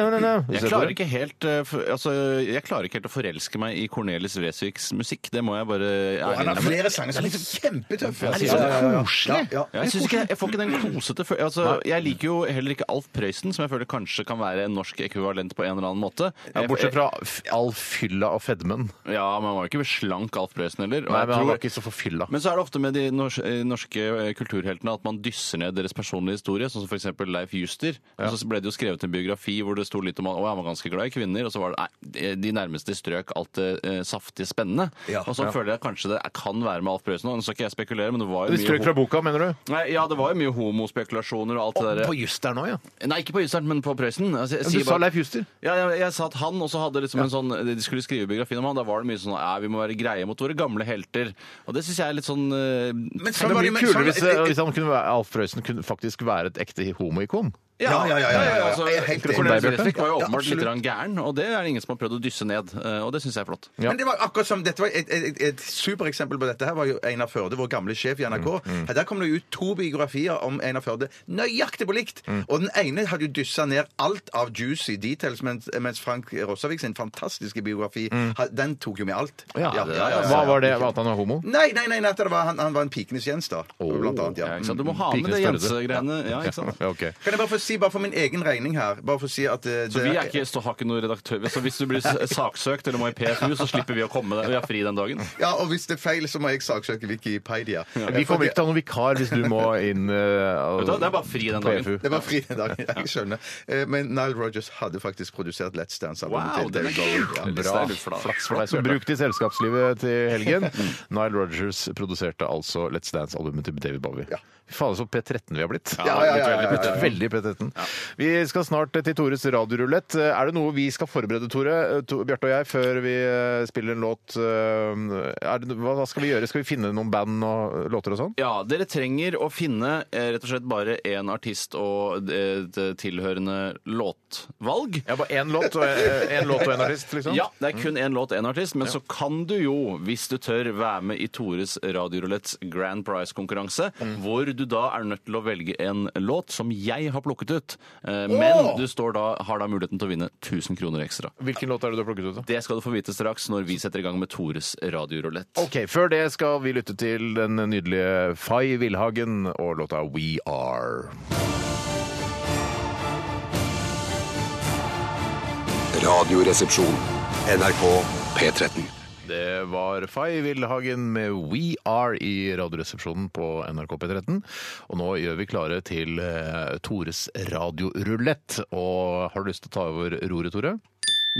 B: Johan,
C: Jeg klarer, ikke helt, eh, f- altså, jeg klarer ikke helt å forelske meg i Cornelis Vresviks musikk. Det må jeg bare
B: Og han har
C: ærlig innrømme.
B: flere sanger som er kjempetøffe.
A: det er
B: Ja,
A: sånn
B: ja, ja, ja.
A: koselig.
B: Ja,
C: Ja,
B: ja.
C: jeg, synes ikke, jeg får ikke den kosete følelsen. Altså, jeg liker jo heller ikke Alf Prøysen, som jeg føler kanskje kan være en norsk ekvivalent på en eller annen måte.
A: Ja,
C: Jeg-
A: bortsett fra f- all fylla og fedmen.
C: Ja, men han var jo ikke slank Alf Prøysen heller. og
A: Nei,
C: jeg
A: men han
C: tror-
A: var ikke så forfylla.
C: men så er det ofte med de eh, norske, norske kulturheltene at man dysser ned deres personlige historie, sånn som f.eks. Leif Juster. Og så ble det jo skrevet en biografi hvor det sto litt om at å, han var ganske glad i kvinner, og så var det nei, de nærmeste strøk alt det eh, saftige, spennende.
B: Ja.
C: og så
B: Ja.
C: føler jeg kanskje det kan være med Alf Prøysen nå. Nå skal ikke jeg spekulere, men det var jo
A: De
C: mye
A: strøk fra boka, mener du?
C: Nei, ja, det var jo mye homospekulasjoner og alt det der.
A: På just der nå, ja.
C: Nei, ikke på Ystern, men på Prøysen. Altså, jeg
A: Du
C: sier
A: sa
C: bare-
A: Leif Juster.
C: Ja, jeg, jeg sa at han også hadde liksom en sånn De skulle skrive biografien om han, da var det mye sånn Ja, vi må være greie mot våre gamle helter. Og det syns jeg er litt sånn eh,
B: Men
A: Det
B: sånn var
A: blir
B: det men
A: kulere
B: sånn-
A: hvis, eh, hvis han kunne være, Alf Prøysen kunne faktisk være et ekte homoikon.
B: Ja, ja, ja, ja, ja, ja.
C: altså,
B: Jeg er helt enig.
C: Cornelius
A: Deg, Bjarte?
C: Bresvik var jo
B: Ja,
C: åpenbart
B: absolutt.
C: litt grann gæren, og det er det ingen som har prøvd å dysse ned. eh, Og det syns jeg er flott.
A: Ja.
B: Men det var akkurat som, dette var et, et, et supereksempel på dette her var jo Einar Førde, vår gamle sjef i NRK. Her Der kom det jo ut to biografier om Einar Førde nøyaktig på likt! Og den ene hadde jo dyssa ned alt av juicy details, mens, mens Frank Rossavik sin fantastiske biografi, ha- den tok jo med alt. Ja, ja, ja, ja.
A: Hva var det? At han er homo?
B: Nei, nei, nei, nei det var, han, han var en pikenes Jens, da. blant annet, ja.
C: Ja, ikke sant? Du må ha med
A: Pikenes
C: det
A: Førde.
C: Jense-greiene. Ja, ikke sant?
A: Ja, ok.
B: Kan jeg bare få si, bare for min egen regning her bare for å si at eh,
C: Så
B: det-
C: vi er ikke, så har ikke noen redaktør Så hvis du blir s- saksøkt eller må i PFU, så slipper vi å komme der. Vi har fri den dagen.
B: Ja, og hvis det er feil, så må jeg saksøke Wikipedia.
A: Vi kommer ikke til å ha noen vikar hvis du må inn eh,
C: Vet du hva, Det er bare fri den
A: på E
C: dagen.
A: EFU.
B: Det var fri den dagen, jeg skjønner. Eh, Men Nile Rogers hadde faktisk produsert Let's Dance-albumet
C: Wow,
B: til
C: den er
B: David Bowie. Ja.
A: Bra.
C: Det er litt flaks.
A: Flaks for deg. Så bruk det i selskapslivet til helgen. Nile Rogers produserte altså Let's Dance-albumet til David Bowie.
B: Ja.
A: Fy faen, så P13 vi har blitt.
B: Ja, ja, ja, ja, ja, ja.
A: Veldig P13. Vi skal snart til Tores radiorulett. Er det noe vi skal forberede, Tore, to, Bjarte og jeg, før vi eh, spiller en låt? Eh, Er det, hva hva skal vi gjøre? Skal vi finne noen band og låter og sånn?
C: Ja, dere trenger å finne eh, rett og slett bare én artist og eh, et tilhørende låtvalg.
A: Ja, bare én låt og én låt og én artist, liksom?
C: Ja, det er kun én låt, én artist, men så kan du jo, hvis du tør, være med i Tores Radiorulettes Grand Prize-konkurranse, hvor du da er nødt til å velge en låt som jeg har plukket ut, eh, men du står da, har da muligheten til å vinne 1000 kroner ekstra.
A: Hvilken låt er det du har plukket ut? da?
C: Det skal du få vite straks når vi setter i gang med Tores radiorulett.
A: Ok, Før det skal vi lytte til den nydelige Fay Villhagen og låta We Are.
F: Radioresepsjon. NRK P13.
A: Det var Fay Villhagen med We Are i Radioresepsjonen på NRK P13. Og nå gjør vi klare til eh, Tores radiorulett. Og har du lyst til å ta over roret, Tore?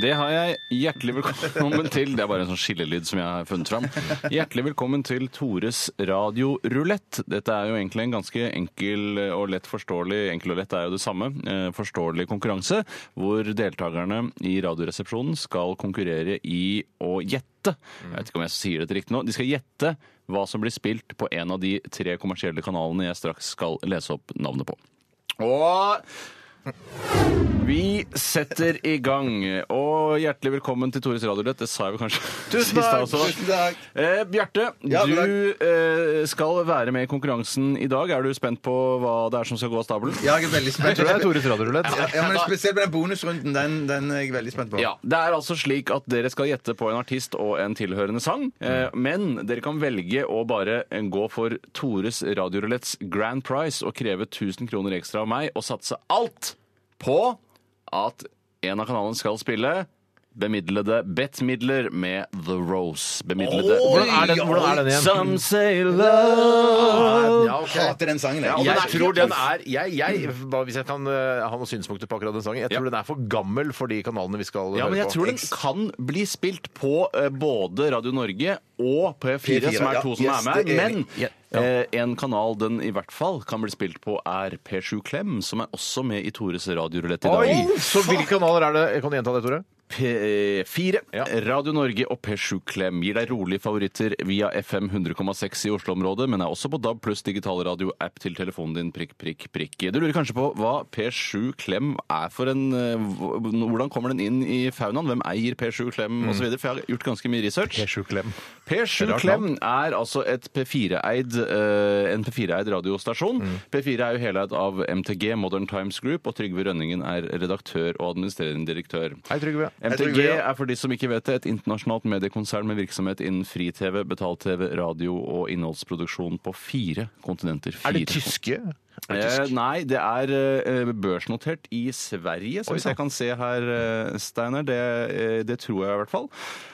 C: Det har jeg. Hjertelig velkommen til Det er bare en sånn skillelyd som jeg har funnet fram. Hjertelig velkommen til Tores radiorulett. Dette er jo egentlig en ganske enkel og lett forståelig Enkel og lett er jo det samme. eh, Forståelig konkurranse hvor deltakerne i Radioresepsjonen skal konkurrere i å gjette. Jeg vet ikke om jeg sier dette riktig nå. De skal gjette hva som blir spilt på en av de tre kommersielle kanalene jeg straks skal lese opp navnet på. Og vi setter i gang. Og hjertelig velkommen til Tores Radiorulett. Det sa jeg vel kanskje sist
B: takk,
C: også.
B: tusen takk.
C: Eh, Bjarte,
B: Ja, god
C: du eh, skal være med i konkurransen i dag. Er du spent på hva det er som skal gå av stabelen?
B: Jeg er veldig spent.
A: Tror det er Tores radiorulett.
B: Ja, ja, men Spesielt med den bonusrunden. Den, den er jeg veldig spent på.
C: Ja, Det er altså slik at dere skal gjette på en artist og en tilhørende sang. Eh, men dere kan velge å bare eh, gå for Tores Radioruletts Grand Prize og kreve 1000 kroner ekstra av meg og satse alt på at en av kanalene skal spille bemidlede Bett-midler med The Rose. Bemidlede
A: Hvordan er den, hvordan er den igjen?
C: Some say love
A: Ja,
B: Jeg hater den sangen, jeg.
A: Jeg tror den er jeg, jeg, bare Hvis jeg kan eh, ha noen synspunkter på akkurat den sangen Jeg tror den er for gammel for de kanalene vi skal
C: Ja, men
A: høre
C: jeg
A: på.
C: tror den kan bli spilt på eh, både Radio Norge og P4,
B: P4,
C: som er to
B: ja.
C: som
B: Yes,
C: er med.
B: det er
C: Men
A: Ja.
C: eh, en kanal den i hvert fall kan bli spilt på, er P7 Klem, som er også med i Tores radiorulett i dag.
A: Oi! Så hvilke kanaler er det? Kan du gjenta det, Tore?
C: P4,
A: Ja.
C: eh, Radio Norge og P7 Klem gir deg rolige favoritter via FM 100,6 i Oslo-området, men er også på DAB pluss digitalradio-app til telefonen din prikk, prikk, prikk. Du lurer kanskje på hva P7 Klem er for en eh, hv- Hvordan kommer den inn i faunaen? Hvem eier P7 Klem
A: Mm.
C: osv.? For jeg har gjort ganske mye research.
A: P7-klem.
C: P7
A: Rart
C: Klem er altså et P4-eid, eh, en P4-eid radiostasjon.
A: Mm.
C: P4 er jo heleid av MTG, Modern Times Group, og Trygve Rønningen er redaktør og administrerende direktør.
A: Hei, Trygve.
C: MTG
B: Trygve, ja.
C: er for de som ikke vet det, et internasjonalt mediekonsern med virksomhet innen fri-TV, betalt-TV, radio og innholdsproduksjon på fire kontinenter.
A: Er de
C: Fire.
A: tyske?
C: Eh, nei, det er eh, børsnotert i Sverige, så hvis jeg kan se her, eh, Steinar. Det, eh, det tror jeg i hvert fall.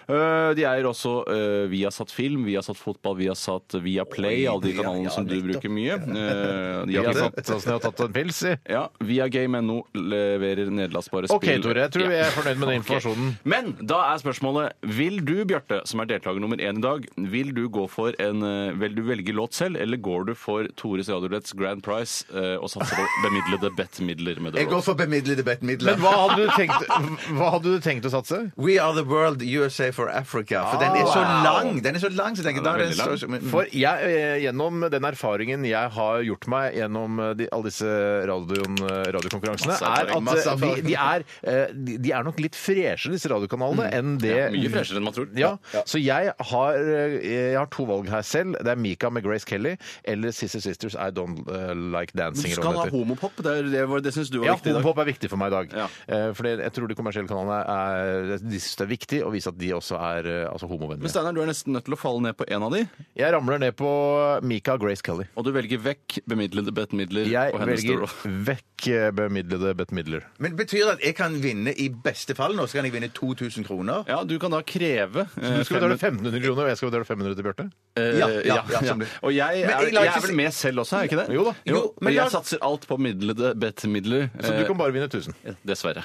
C: Eh, de eier også eh, Viasat Film, Viasat Fotball, Viasat Viaplay, alle de
B: Via-
C: kanalene
B: ja,
C: som du
B: nettopp.
C: bruker mye. Eh, de
A: Jeg
C: har
A: har
C: Viasat-
A: tatt, sånn, jeg har tatt en pils i.
C: ja, Viagame.no leverer nedlastbare spill.
A: OK, Tore. Jeg tror vi
C: Ja.
A: er fornøyd med den informasjonen.
C: Men da er spørsmålet Vil du, Bjarte, som er deltaker nummer én i dag, vil du gå for en eh, Vil du velge låt selv, eller går du for Tores Radiolets Grand Prize eh, og satser på bemidlede bettmidler med det?
B: Jeg går for bemidlede bettmidler.
A: Men hva hadde du tenkt, hva hadde du tenkt å satse?
B: We are the world, USA for Africa. For den er så lang! Den er så lang, så jeg tenker
C: Ja,
B: da
C: den er
B: er det
C: veldig
B: så- men-
A: For jeg, eh, gjennom den erfaringen jeg har gjort meg gjennom eh, de, alle disse radioen, eh, radiokonkurransene,
C: Masse erfaring,
A: er at
B: masse
A: eh, de,
B: erfaring.
A: de, er, eh, de- de er nok litt freshere, disse radiokanalene, enn det
C: Mye freshere enn man tror.
A: Ja, så jeg har, eh, jeg har to valg her selv. Det er Mika med Grace Kelly eller Sister Sisters I Don't eh, Like Dancing.
C: Du
A: eller hva
C: skal
A: den
C: ha
A: heter.
C: homopop. Det, er- det, var- det syns du var
A: Ja,
C: viktig i dag.
A: homopop er viktig for meg i dag.
C: Ja.
A: Eh, Fordi jeg tror de kommersielle kanalene er, de synes det er viktig å vise at de også er eh, altså,
C: Men
A: homovennlige.
C: Steinar, du er nesten nødt til å falle ned på en av de,
A: Jeg ramler ned på Mika Grace Kelly.
C: og du velger vekk bemidlede bettmidler
A: Jeg
C: og hennes
A: velger
C: store-
A: vekk eh, bemidlede bettmidler.
B: Men betyr det at jeg kan vinne i beste fall nå? Så kan jeg vinne 2000 kroner?
C: Ja, du kan da kreve eh,
A: Du skal betale 1500 kroner, og jeg skal betale 500 til Bjarte.
C: Eh,
B: Ja, ja, ja, sånn blir det.
C: Og jeg er,
B: Men jeg
C: jeg,
B: lar ikke
C: er vel
B: si-
C: med selv også, er jeg ikke det?
A: Jo da.
C: Jo,
B: Jo, men
C: men jeg
B: la-
C: satser alt på eh, midlede bettmidler.
A: Så du kan bare vinne 1000.
C: Dessverre.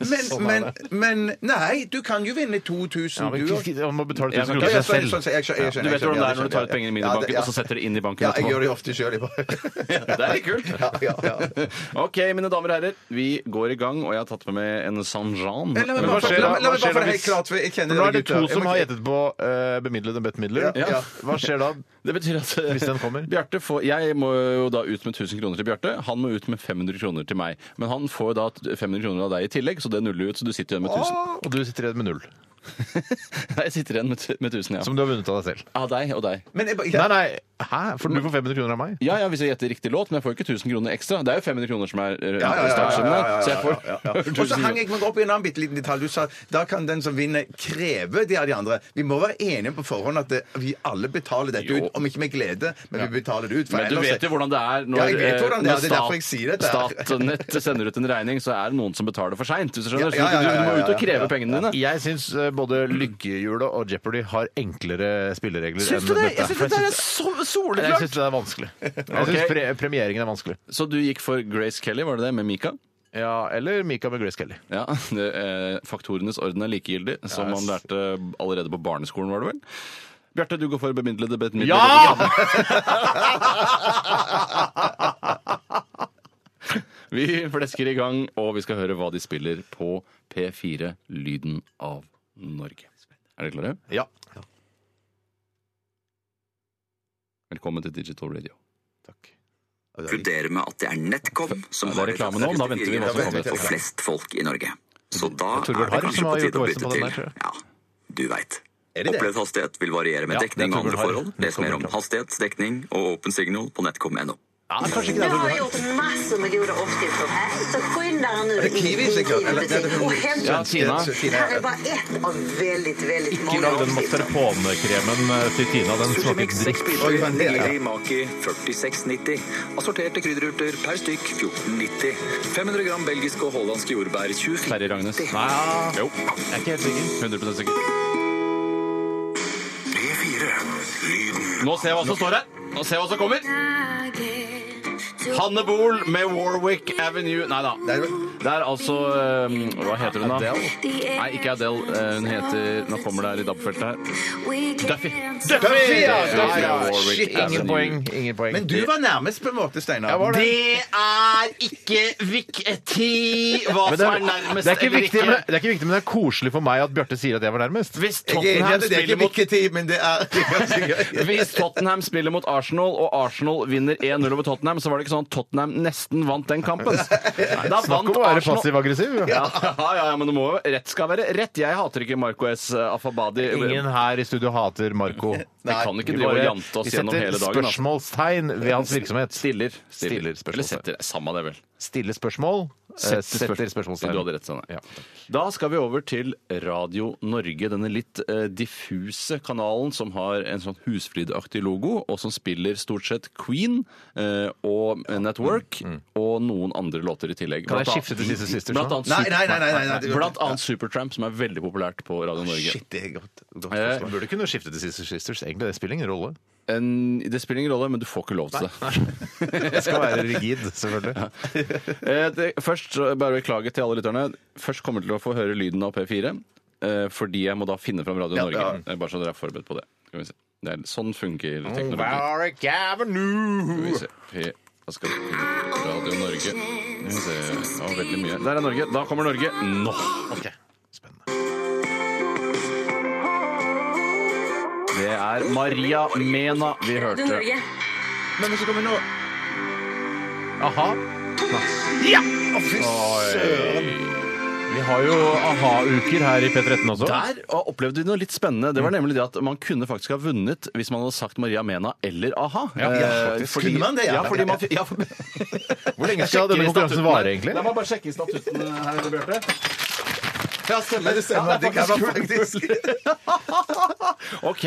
B: Men, men, men Nei, du kan jo vinne 2000,
A: Ja, men
B: du òg.
A: ikke- Man må betale
C: Jeg
A: 1000 kroner
C: bruker det
A: til seg selv.
B: sånn, jeg skjønner, jeg
C: Du
B: skjønner,
C: vet
B: jeg
C: hvordan det
B: skjønner,
C: er når du tar ut
B: ja,
C: pengene i
B: ja,
C: minibanken,
B: det- ja.
C: og så setter det inn i banken
B: Ja, jeg
C: etterpå.
B: gjør det ofte sjøl.
C: Det er litt kult.
B: Ja, ja, ja.
C: OK, mine damer og herrer, vi går i gang, og jeg har tatt med meg en San Jean.
B: Men la meg bare
C: Men hva
B: få
C: skjer
B: la
C: da?
B: meg- la meg
A: Hva skjer
B: bare få det
A: da
B: helt
A: hvis-
B: klart, for jeg
A: For
B: kjenner
A: Nå
B: dere
A: er det to
B: gutter.
A: som
B: Jeg må
A: har
B: ikke-
A: gjettet på eh, bemidlede bettmidler.
B: Ja, ja.
A: Hva skjer da?
C: Det betyr at
A: Hvis den kommer.
C: Bjarte får, jeg må jo da ut med 1000 kroner til Bjarte. Han må ut med 500 kroner til meg. Men han får da 500 kroner av deg i tillegg, så det nuller ut. Så du sitter igjen med 1000.
A: Og du sitter igjen med null.
C: Nei, jeg sitter igjen med, tu- med 1000, ja.
A: Som du har vunnet av deg selv.
C: Av deg og deg.
B: Men jeg bare-
A: Nei, nei. Hæ? For du får 500 kroner av meg?
C: Ja, ja, hvis jeg gjetter riktig låt, men jeg får ikke 1000 kroner ekstra. Det er jo 500 kroner som er eh,
B: Ja, ja, ja, ja,
C: startsummen
B: ja,
C: her.
B: ja,
C: Så jeg får
B: ja, ja, ja. Og så
C: 1000
B: hang
C: kroner.
B: jeg meg opp i en annen bitte liten detalj. Du sa da kan den som vinner, kreve det av de andre. Vi må være enige på forhånd at det, vi alle betaler dette
C: Jo.
B: ut. Om ikke med glede, men vi betaler det ut.
C: Men du vet jo hvordan det er når,
B: Ja, jeg vet
C: eh,
B: hvordan det er.
C: når
B: Det er derfor jeg sier dette her.
C: Statnett sender ut en regning, så er det noen som betaler for seint. Hvis du skjønner.
B: Ja, ja, ja,
C: Så du-
B: ja,
C: du må
B: ja,
C: ut og
B: ja,
C: kreve
B: ja.
C: pengene dine.
A: Jeg syns eh, både Lykkehjulet og Jeopardy har enklere spilleregler enn
C: Syns du det?
A: dette.
C: Jeg syns dette er så
A: Jeg
C: soleklart!
A: syns det er vanskelig. Jeg syns
C: Ok.
A: pre premieringen er vanskelig.
C: Så du gikk for Grace Kelly, var det det, med Mika?
A: Ja, eller Mika med Grace Kelly.
C: Ja, det, eh, Faktorenes orden er likegyldig, som man lærte allerede på barneskolen, var det vel? Bjarte, du går for bemidlede bettmidler. Vi flesker i gang, og vi skal høre hva de spiller på P4 Lyden av Norge. Er dere klare?
A: Ja.
C: Velkommen til Digital Radio.
G: konkluderer med at det er NetCom som
C: Det er
G: har
C: reklame nå, men da venter vi hva som kommer
G: for
C: etterpå.
G: flest folk i Norge. Så
A: Det
G: da
A: er Torbjørn
G: er
A: Harr
G: det
A: som
G: kanskje
A: har
G: på
A: gjort
G: tide å
A: voicen
G: bytte
A: på den
G: til.
A: der, tror jeg.
G: Ja, du veit.
B: det det?
G: Opplevd hastighet vil variere
A: Ja, det
G: med
A: er
G: dekning og andre
A: Torbjørn Harr.
G: forhold. Les mer om
A: Torbjørn.
G: hastighet, dekning og åpen signal på netcom.no.
H: Du har gjort massor med goda uppskrifter här. Så skynda er nu
B: det kiwi, sikkert? Eller-
H: butik
B: Eller-
H: och hämta
C: Ja, Tina.
H: Det här är bara ett av väldigt, väldigt
A: Ikke
H: många
A: lag den
H: uppskrifter.
A: mascarpone-kremen eh, til Tina. Den smaker dritt.
B: Oi, men det er-
G: Nigiri Maki 4690. Assorterte krydderurter per stykk 1490. 500 gram belgiske og hollandske jordbær 24
C: Terje Ragnes.
G: Nei,
C: Jo, jeg er ikke helt sikker. 100 sikker.
F: P4. Lyden
C: Nå ser jeg hva som står her. Nå ser jeg hva som kommer. Hanne Bol med Warwick Avenue. Nei da.
B: Nei,
C: Det er altså um, Hva heter hun, da? Nei, ikke Adele. Eh, Hun heter Nå kommer det her i DAB-feltet her. Duffy.
B: Duffy, ja,
C: Ja,
B: Duffy, ja.
C: ja, Warwick
B: Shit,
C: Avenue.
A: Ingen poeng. Ingen poeng.
B: Men du var nærmest på en måte, Steinar.
A: Jeg var det.
C: er ikke viktig hva
A: Men det, er, det, er ikke viktig, men, det er ikke viktig, men det er koselig for meg at Bjarte sier at jeg var nærmest.
C: Hvis
B: Jeg er enig i at det er
C: Tottenham spiller
B: ikke
C: mot
B: viktig, men det er det er ganske gøy.
C: Hvis Tottenham spiller mot Arsenal, og Arsenal vinner 1-0 over Tottenham, så var det ikke sånn at Tottenham nesten vant den kampen. Da
A: Snakk om å være passiv-aggressiv.
C: Ja, ja, ja, men det må jo Rett skal være rett. Jeg hater ikke Marco S. eh, Afabadi.
A: Ingen her i studio hater Marco.
C: Vi
B: Nei,
C: kan ikke
A: Vi
C: drive og
A: bare-
C: jante
A: vi
C: oss gjennom
A: setter
C: hele dagen. altså.
A: spørsmålstegn ved hans virksomhet.
C: Stiller.
A: Stiller spørsmål.
C: Eller setter. Samme det, vel.
A: Stille spørsmål. eh,
C: Setter
A: Setter
C: spørsmål.
A: spørsmålstegn.
C: Du hadde rett, Sanne.
A: Ja.
C: Da skal vi over til Radio Norge, denne litt eh, diffuse kanalen som har en sånn husflidaktig logo, og som spiller stort sett Queen eh, og Network og noen andre låter i
A: Mm,
C: tillegg.
A: Kan jeg
C: Blant annet-
A: skifte til siste siste?
C: Blant annet,
B: Nei,
C: Super-
B: nei, nei, nei, nei, nei, det går ikke.
C: Blant annet Supertramp, som er veldig populært på
A: Ah,
C: Radio Norge.
B: Shit, det er godt. godt
C: Eh,
B: forslag.
A: Burde kunne skifte til Sister Sisters. Egentlig, det spiller ingen rolle.
C: En, det spiller ingen rolle, men du får ikke lov til det.
A: Jeg skal være rigid, selvfølgelig.
C: Eh, det, først, så bare beklage til alle lytterne. Først kommer dere til å få høre lyden av P4. Eh, fordi jeg må da finne fram Radio Norge.
B: ja.
C: Eh, Bare så dere er forberedt på det. Skal vi se. Det er, sånn funker teknologi.
A: Warwick
C: Skal
A: Avenue.
C: vi se. P- Da skal vi finne Radio Norge. Skal vi se. Det var veldig mye. Der er Norge. Da kommer Norge nå.
A: Ok, spennende.
C: Det er Maria Mena vi
H: Du,
C: hørte.
H: Norge.
B: Men så kommer nå
A: Aha. Ja! Å, fy søren! Vi har jo aha-uker her i P13 også.
C: Der opplevde vi noe litt spennende. Det var nemlig det at man kunne faktisk ha vunnet hvis man hadde sagt Maria Mena eller a-ha.
A: Ja,
B: ja, faktisk. Kunne man det, ja?
C: Ja, fordi man, ja, for-
A: Hvor lenge skal denne konkurransen vare, egentlig?
C: La meg bare sjekke i statutten her, Bjarte. Ja, stemmer.
B: Det stemmer.
C: Ja, det er
B: kan
C: faktisk
B: man faktisk.
C: OK.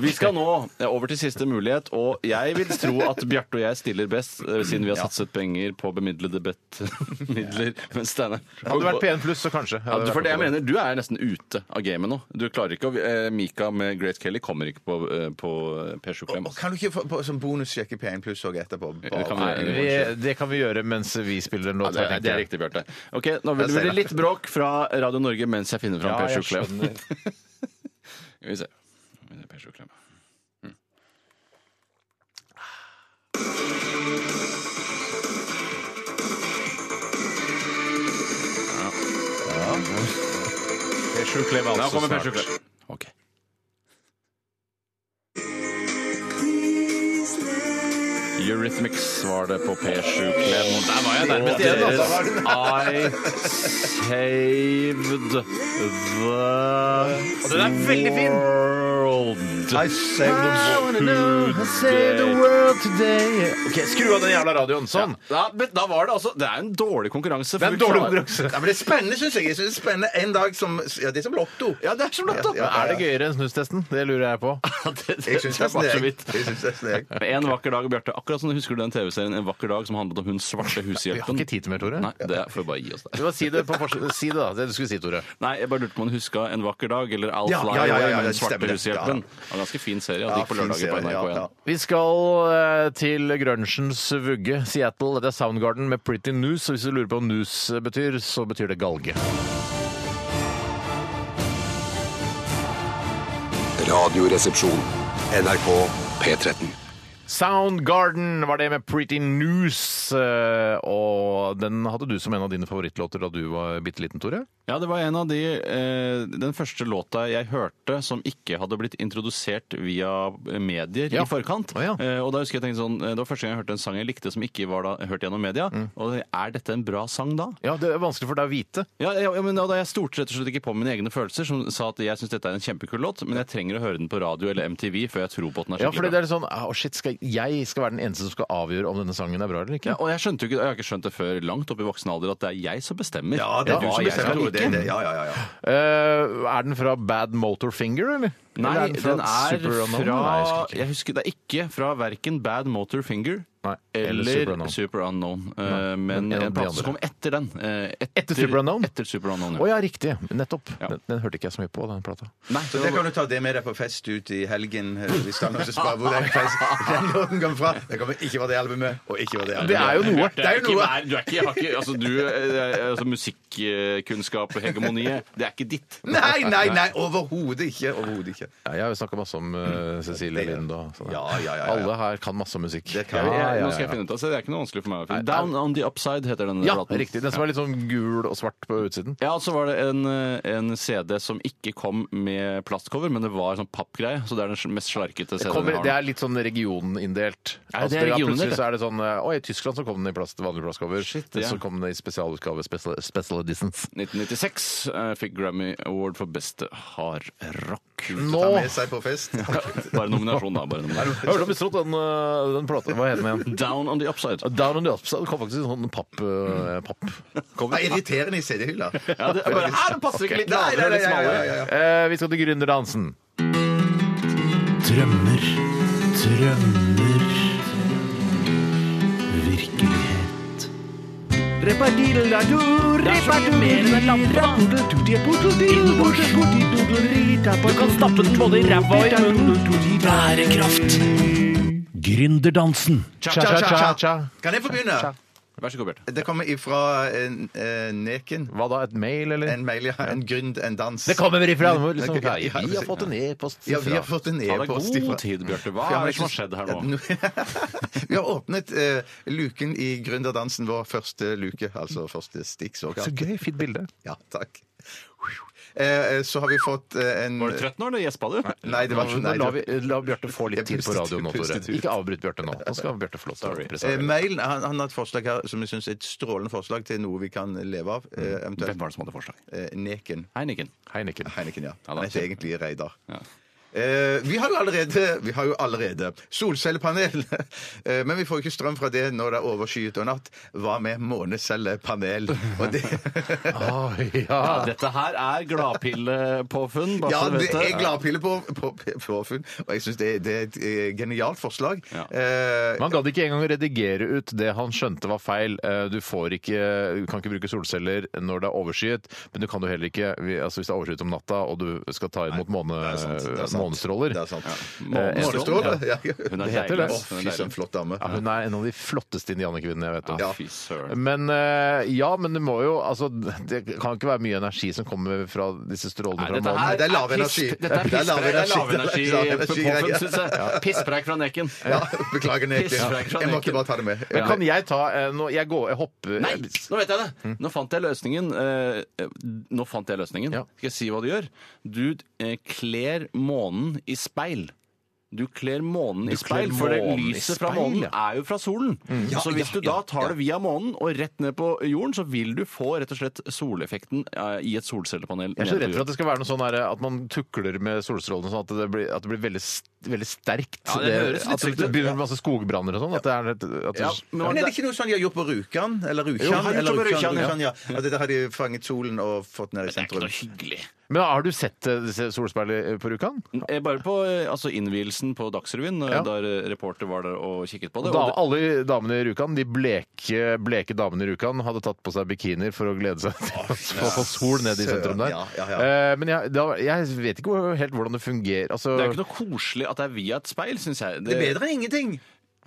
C: Vi skal nå over til siste mulighet, og jeg vil tro at Bjarte og jeg stiller best, eh, siden vi har satset penger på bemidlede bettmidler. Men Steinar
A: Hadde det vært P1 pluss, så kanskje.
C: ja, du, for det jeg mener, du er nesten ute av gamet nå. Du klarer ikke å eh, Mika med Grace Kelly kommer ikke på, eh, på P7 Klem.
B: Og kan du ikke få, på, som bonus sjekke P1 pluss òg etterpå?
C: Ja, det kan vi
A: Nei,
C: gjøre.
A: vi, det kan vi gjøre mens vi spiller en
C: Ja,
A: låt.
C: det, er,
A: her,
C: det
A: tenker
C: er
A: jeg.
C: riktig, Bjarte. Ok, Nå vil det
B: ser
C: bli
B: det.
C: litt bråk fra Radio Norge mens jeg finner fram
A: Ja, jeg
C: P7 Klem.
A: skjønner.
C: Skal vi se. Skal vi se, Per Sjuklem. Mm. Ja. Nå kommer Per Sjuklem. Ok. Eurythmics var det på P7 Klem. Og der var jeg nærmest
A: igjen, altså.
C: I saved the
A: Den er veldig fin!
B: I saved the world.
A: Ok, Skru av den jævla radioen. Sånn.
C: Da, men da var det altså Det er en dårlig konkurranse.
A: Det er en dårlig konkurranse.
B: Ja, men det er spennende, syns jeg. jeg synes det er spennende En dag som Ja, det er som Lotto.
C: Ja, det er så lett, da.
B: Ja, ja,
A: Er det gøyere enn snustesten? Det lurer jeg på.
C: det, det,
B: Jeg syns
C: det
B: nesten
C: var
B: det.
C: så
B: jeg.
C: vidt.
B: Jeg synes nesten det. jeg.
C: En vakker dag, Bjarte. Akkurat som du husker du den TV-serien En vakker dag, som handlet om hun svarte
A: Vi har
C: hushjelpen.
A: ikke tid til mer, Tore.
C: Nei, det får vi bare gi oss
A: Du
C: der.
A: må si det, på forsi- si det da, det du skulle si, Tore.
C: Nei, jeg bare lurte på om hun huska En vakker dag eller I'll
B: Ja,
C: fly
B: ja, ja, ja,
C: away
B: ja,
C: med
B: det
C: den svarte
B: stemmer det.
C: hushjelpen.
B: Ja, ja.
C: Det var en ganske fin serie. og
B: Ja,
C: Det gikk på
B: fin
C: lørdager på
B: serie, ja, ja.
C: NRK1.
A: Vi skal eh, til grunchens vugge, Seattle. Dette er Soundgarden med Pretty News. Og hvis du lurer på hva news betyr, så betyr det galge.
D: Radioresepsjon. NRK P13.
A: Soundgarden var det med Pretty News. eh, Og den hadde du som en av dine favorittlåter da du var bitte liten, Tore.
C: Ja, det var en av de eh, Den første låta jeg hørte som ikke hadde blitt introdusert via medier
A: Ja.
C: i forkant.
A: Å, ja.
C: eh, og da husker jeg tenkte sånn eh, Det var første gang jeg hørte en sang jeg likte som ikke var da, hørt gjennom media.
B: Mm.
C: Og er dette en bra sang da?
A: Ja, det er vanskelig for deg å vite.
C: Ja, ja, ja, men da Jeg stolte rett og slett ikke på mine egne følelser, som sa at jeg syns dette er en kjempekul låt, men jeg trenger å høre den på radio eller MTV før jeg tror på at den er
A: Ja, fordi
C: skikkelig
A: det
C: bra.
A: er litt sånn Å, shit, skal jeg skal være den eneste som skal avgjøre om denne sangen er bra eller
C: Ja,
A: ikke?
C: og jeg skjønte jo ikke, jeg har ikke skjønt det før langt opp i voksen alder, at det er jeg som bestemmer.
B: Ja, det er du
C: hva
B: som
C: jeg
B: bestemmer.
C: skal
B: Tore, Det,
C: like.
B: det, ja, ja, ja, ja.
A: Eh, er den fra Bad Motor Finger, eller?
C: Nei,
A: eller
C: den, er
A: Super
C: fra
A: Unknown? Nei, jeg husker ikke.
C: jeg husker, Det er ikke fra verken Bad Motor Finger
A: Nei, eller
C: eller
A: Super
C: Super
A: Unknown.
C: Unknown. Eh, men
A: men en av
C: en
A: de
C: plate som kom
A: andre.
C: etter den. eh,
A: Etter Super Unknown?
C: Etter Super Unknown,
A: Å ja, riktig. Nettopp.
C: Ja.
A: Den, den hørte ikke jeg så mye på, den plata.
C: Nei,
B: Så det kan du ta det med deg på fest ut i helgen eh, hvis det er noen som spør hvor den, fest, den låten kommer fra. Det kommer ikke fra det albumet, og ikke fra det albumet.
A: Det er jo noe.
B: Det er jo noe.
C: Nei, du er ikke, har ikke altså, du, eh, altså, Musikkunnskap og hegemoniet, det er ikke ditt.
B: Nei, nei, nei, overhodet ikke. Overhodet ikke.
A: Ja, jeg har jo snakka masse om eh, Cecilie
B: Det-
A: Lind og sånn.
B: Ja, ja, ja, ja.
A: Alle her kan masse om musikk.
B: Det
C: Ja,
B: kan vi.
A: ja, ja,
C: Nå skal jeg
A: ja.
C: finne ut av, så det er ikke noe vanskelig for meg å
A: Nei,
C: finne.
A: nei.
C: Down on the Upside heter denne
A: Ja,
C: platen.
A: riktig. Den som er litt sånn gul og svart på utsiden.
C: Ja, og så var det en, eh, en CD som ikke kom med plastcover, men det var sånn pappgreie, så det er den mest slarkete CD-en jeg
A: Kommer,
C: har.
A: det er litt sånn regioninndelt.
C: Er det
A: ja,
C: regioner,
A: plutselig
C: det?
A: så er det sånn eh, Oi, i Tyskland så kom den i plast, vanlig plastcover.
C: Shit,
A: Men
C: ja.
A: Så kom den i spesialutgave, special, special editions.
C: 1996 eh, fikk Grammy Award for beste hardrock.
A: Nå!
B: Ta med seg på fest.
C: Bare nominasjon, da. bare nominasjon.
A: Hørte du bestrått den, eh, den plata? Hva heter den igjen?
C: Down on the upside.
A: Down on the Upside. Det kom faktisk en sånn papp... eh, papp.
B: Det er irriterende i CD-hylla.
C: Ja, det, bare, her passer vi ikke litt
B: Nei, nei,
C: lavere,
B: nei,
C: litt
B: nei,
C: smalere.
B: nei, nei, nei.
A: Eh, vi skal til gründerdansen.
I: Drømmer, drømmer Virkelighet Du kan stappe den både i ræva og i munnen Bærekraft Gründerdansen
A: Cha-cha-cha.
B: Kan jeg få begynne?
C: Vær så god, Bjarte.
B: Det kommer ifra en, eh, Neken.
A: Hva da, et mail, eller?
B: En mail, ja. En gründ, en dans.
A: Det kommer ifra! det må Liksom,
B: Ja, ja,
A: vi har fått en e-post
B: Ja, vi har
A: fra
B: fått en
C: Ta deg
B: e-post
C: god tid, Bjarte. Hva
B: Ja, men
C: er det som har
B: jeg
C: skjedd her nå?
B: synes- vi har åpnet eh, luken i gründerdansen, vår første luke, altså første stikk såkalt.
A: Så gøy, fint bilde.
B: Ja, takk. Eh, eh, så har vi fått eh, en
C: Var du trøtt nå, eller gjespa du?
B: Nei, det var sånn-
A: Nå
B: nei,
A: la, vi,
B: det-
A: la Bjarte få litt
B: Jeg
A: tid på
B: pustet
A: radioen nå,
B: ut,
A: Tore.
B: pustet ut.
A: Ikke avbryt Bjarte nå. Nå skal Bjarte få lov til å
C: Sorry.
B: Eh,
A: presentere.
B: mailen, han, han har et forslag her som jeg syns er et strålende forslag til noe vi kan leve av. Eh, eventuelt
C: Mm. Hvem var det som hadde forslag?
B: eh, Neken.
C: Hei, Nikken.
A: Hei, Nikken.
B: Heineken, ja.
C: Ja,
B: Han
C: da.
B: heter egentlig Reidar.
C: Ja.
B: Eh, vi har jo allerede, vi har jo allerede solcellepanel, Eh, men vi får ikke strøm fra det når det er overskyet og natt. Hva med månecellepanel? Og det,
A: Ah,
C: Ja,
A: ja.
C: dette her er gladpillepåfunn. bare
B: ja,
C: så du
B: det
C: vet
B: er gladpille på, på, på funn, og jeg syns det, det er et eh, genialt forslag.
C: Ja.
B: Eh,
A: Man gadd ikke engang redigere ut det han skjønte var feil. Eh, Du, får ikke, du kan ikke bruke solceller når det er overskyet, men du kan jo heller ikke vi- altså hvis det er overskyet om natta og du skal ta imot måne,
B: det er sant, det er sant.
A: månestråler.
B: det er sant.
C: Månestråle.
B: Månestråle? Ja.
C: Eh, Hun er
A: Det heter
C: deilig.
A: det.
B: Å,
C: ass. Hun er
B: fy søren,
C: deilig.
B: flott dame.
A: Ja, hun er en av de flotteste indianerkvinnene jeg vet om.
C: Ja,
B: Ja.
C: fy søren.
A: Men eh, ja, men det må jo altså, Det kan ikke være mye energi som kommer fra disse strålene
C: Nei,
A: fra
C: dette
A: månen.
C: her
B: Nei, det er lav
C: piss-
B: energi.
C: Dette er
B: Det er lav
C: pisspreik- det er
B: energi. Det er lav
C: lavenergi
B: energi,
C: på
B: ja.
C: påfunn, syns jeg. Pisspreik fra Neken.
B: Ja, beklager, Neken.
C: Pisspreik fra
B: Jeg måtte
C: Neken.
B: bare ta det med.
A: Men kan jeg ta eh, nå, Jeg går, jeg hopper
C: Nei, nå vet jeg det!
B: Mm.
C: Nå fant jeg løsningen. eh, eh, Nå fant jeg løsningen.
A: Ja.
C: Skal jeg si hva du gjør? Du eh, kler månen i speil. Du kler månen i
A: Du kler
C: speil, for det
A: månen i
C: lyset fra
A: speil,
C: månen
A: ja.
C: er jo fra solen.
B: Mm.
C: så hvis du da tar det via månen og rett ned på jorden, så vil du få rett og slett soleffekten eh, i et solcellepanel.
A: Jeg er så redd for at det skal være noe sånn her, at man tukler med solstrålene sånn at det blir, at det blir veldig, st- veldig sterkt.
C: Ja, det høres litt
A: at det
C: stygt ut.
A: begynner med masse skogbranner og sånn. At det er, litt- at det,
C: Ja, men
B: Men
C: man-
B: er det ikke noe sånn de har gjort på Rjukan? Eller
A: Jo, de har
B: Rjukan?
A: gjort
B: Eller
A: det på
B: Rjukan,
A: Rjukan, ja.
B: Rjukan, ja. At der har de fanget solen og fått den ned i
C: Det er ikke
B: sentrum.
C: noe hyggelig.
A: men har du sett eh, disse solspeilene på Rjukan?
C: Eh, Bare på eh, altså innvielsen på Dagsrevyen, eh,
A: Ja.
C: der eh, reporter var der og kikket på det.
A: Da,
C: og det
A: alle damene i Rjukan, de bleke, bleke damene i Rjukan, hadde tatt på seg bikinier for å glede seg til å få- få sol ned i
B: søren,
A: sentrum der.
B: ja, ja, ja.
A: Eh, Men jeg, da, jeg vet ikke hvor- helt hvordan det fungerer. Altså,
C: det er jo ikke noe koselig at det er via et speil, syns jeg.
B: Det er bedre enn ingenting!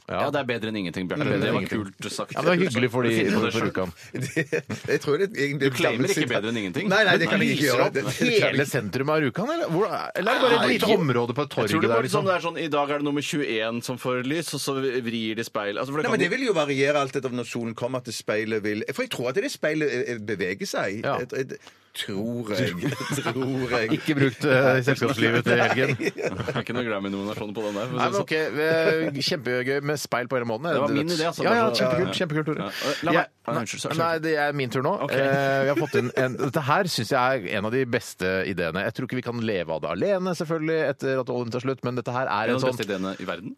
C: Ja. det er bedre enn ingenting,
A: Mm,
C: Bjarte. Det var kult sagt.
A: ja, men det er hyggelig for de
C: Du finner
A: for,
C: det sånn-
A: for
C: selv.
A: Rjukan.
B: Det- Jeg tror det egentlig
C: Du claimer ikke bedre enn ingenting.
B: Nei, nei, det kan jeg ikke
A: Lyser
B: gjøre.
A: opp
B: Det, det kan
A: hele
B: jeg
A: sentrum av Rjukan, eller? Hvor, eller er det bare et
B: Nei,
A: lite
B: ikke-
A: område på
C: Jeg tror
A: torget
C: det
A: der?
C: var litt
A: Liksom?
C: sånn det er sånn I dag er det nummer 21 som får lys, og så vrir de speil. Altså,
B: Nei,
C: for det
B: men Det
C: kan...
B: vil jo variere alt etter når solen kommer, at det speilet vil For jeg tror at det speilet eh, beveger seg.
A: Ja.
B: Jeg- jeg- Tror jeg. Tror jeg.
A: Ikke brukt eh, selskapslivet til helgen.
C: det er ikke noe Grammy-nominasjon på den der. for å
A: Nei, men
C: si det sånn.
A: ok, eh, Kjempegøy med speil på hele måneden.
C: Det var min idé, altså.
A: Ja, ja,
C: Bare så-
A: kjempekult,
C: ja, ja.
A: kjempekult, Tore.
C: Ja, la meg-
A: Jeg-
C: Nei, unnskyld, sorry.
A: Nei, det er min tur nå.
C: Ok.
A: Eh, Vi har fått inn en, dette her syns jeg er en av de beste ideene. Jeg tror ikke vi kan leve av det alene, selvfølgelig, etter at oljen tar slutt, men dette her er
C: En
A: en
C: av de beste
A: sånn
C: ideene i verden.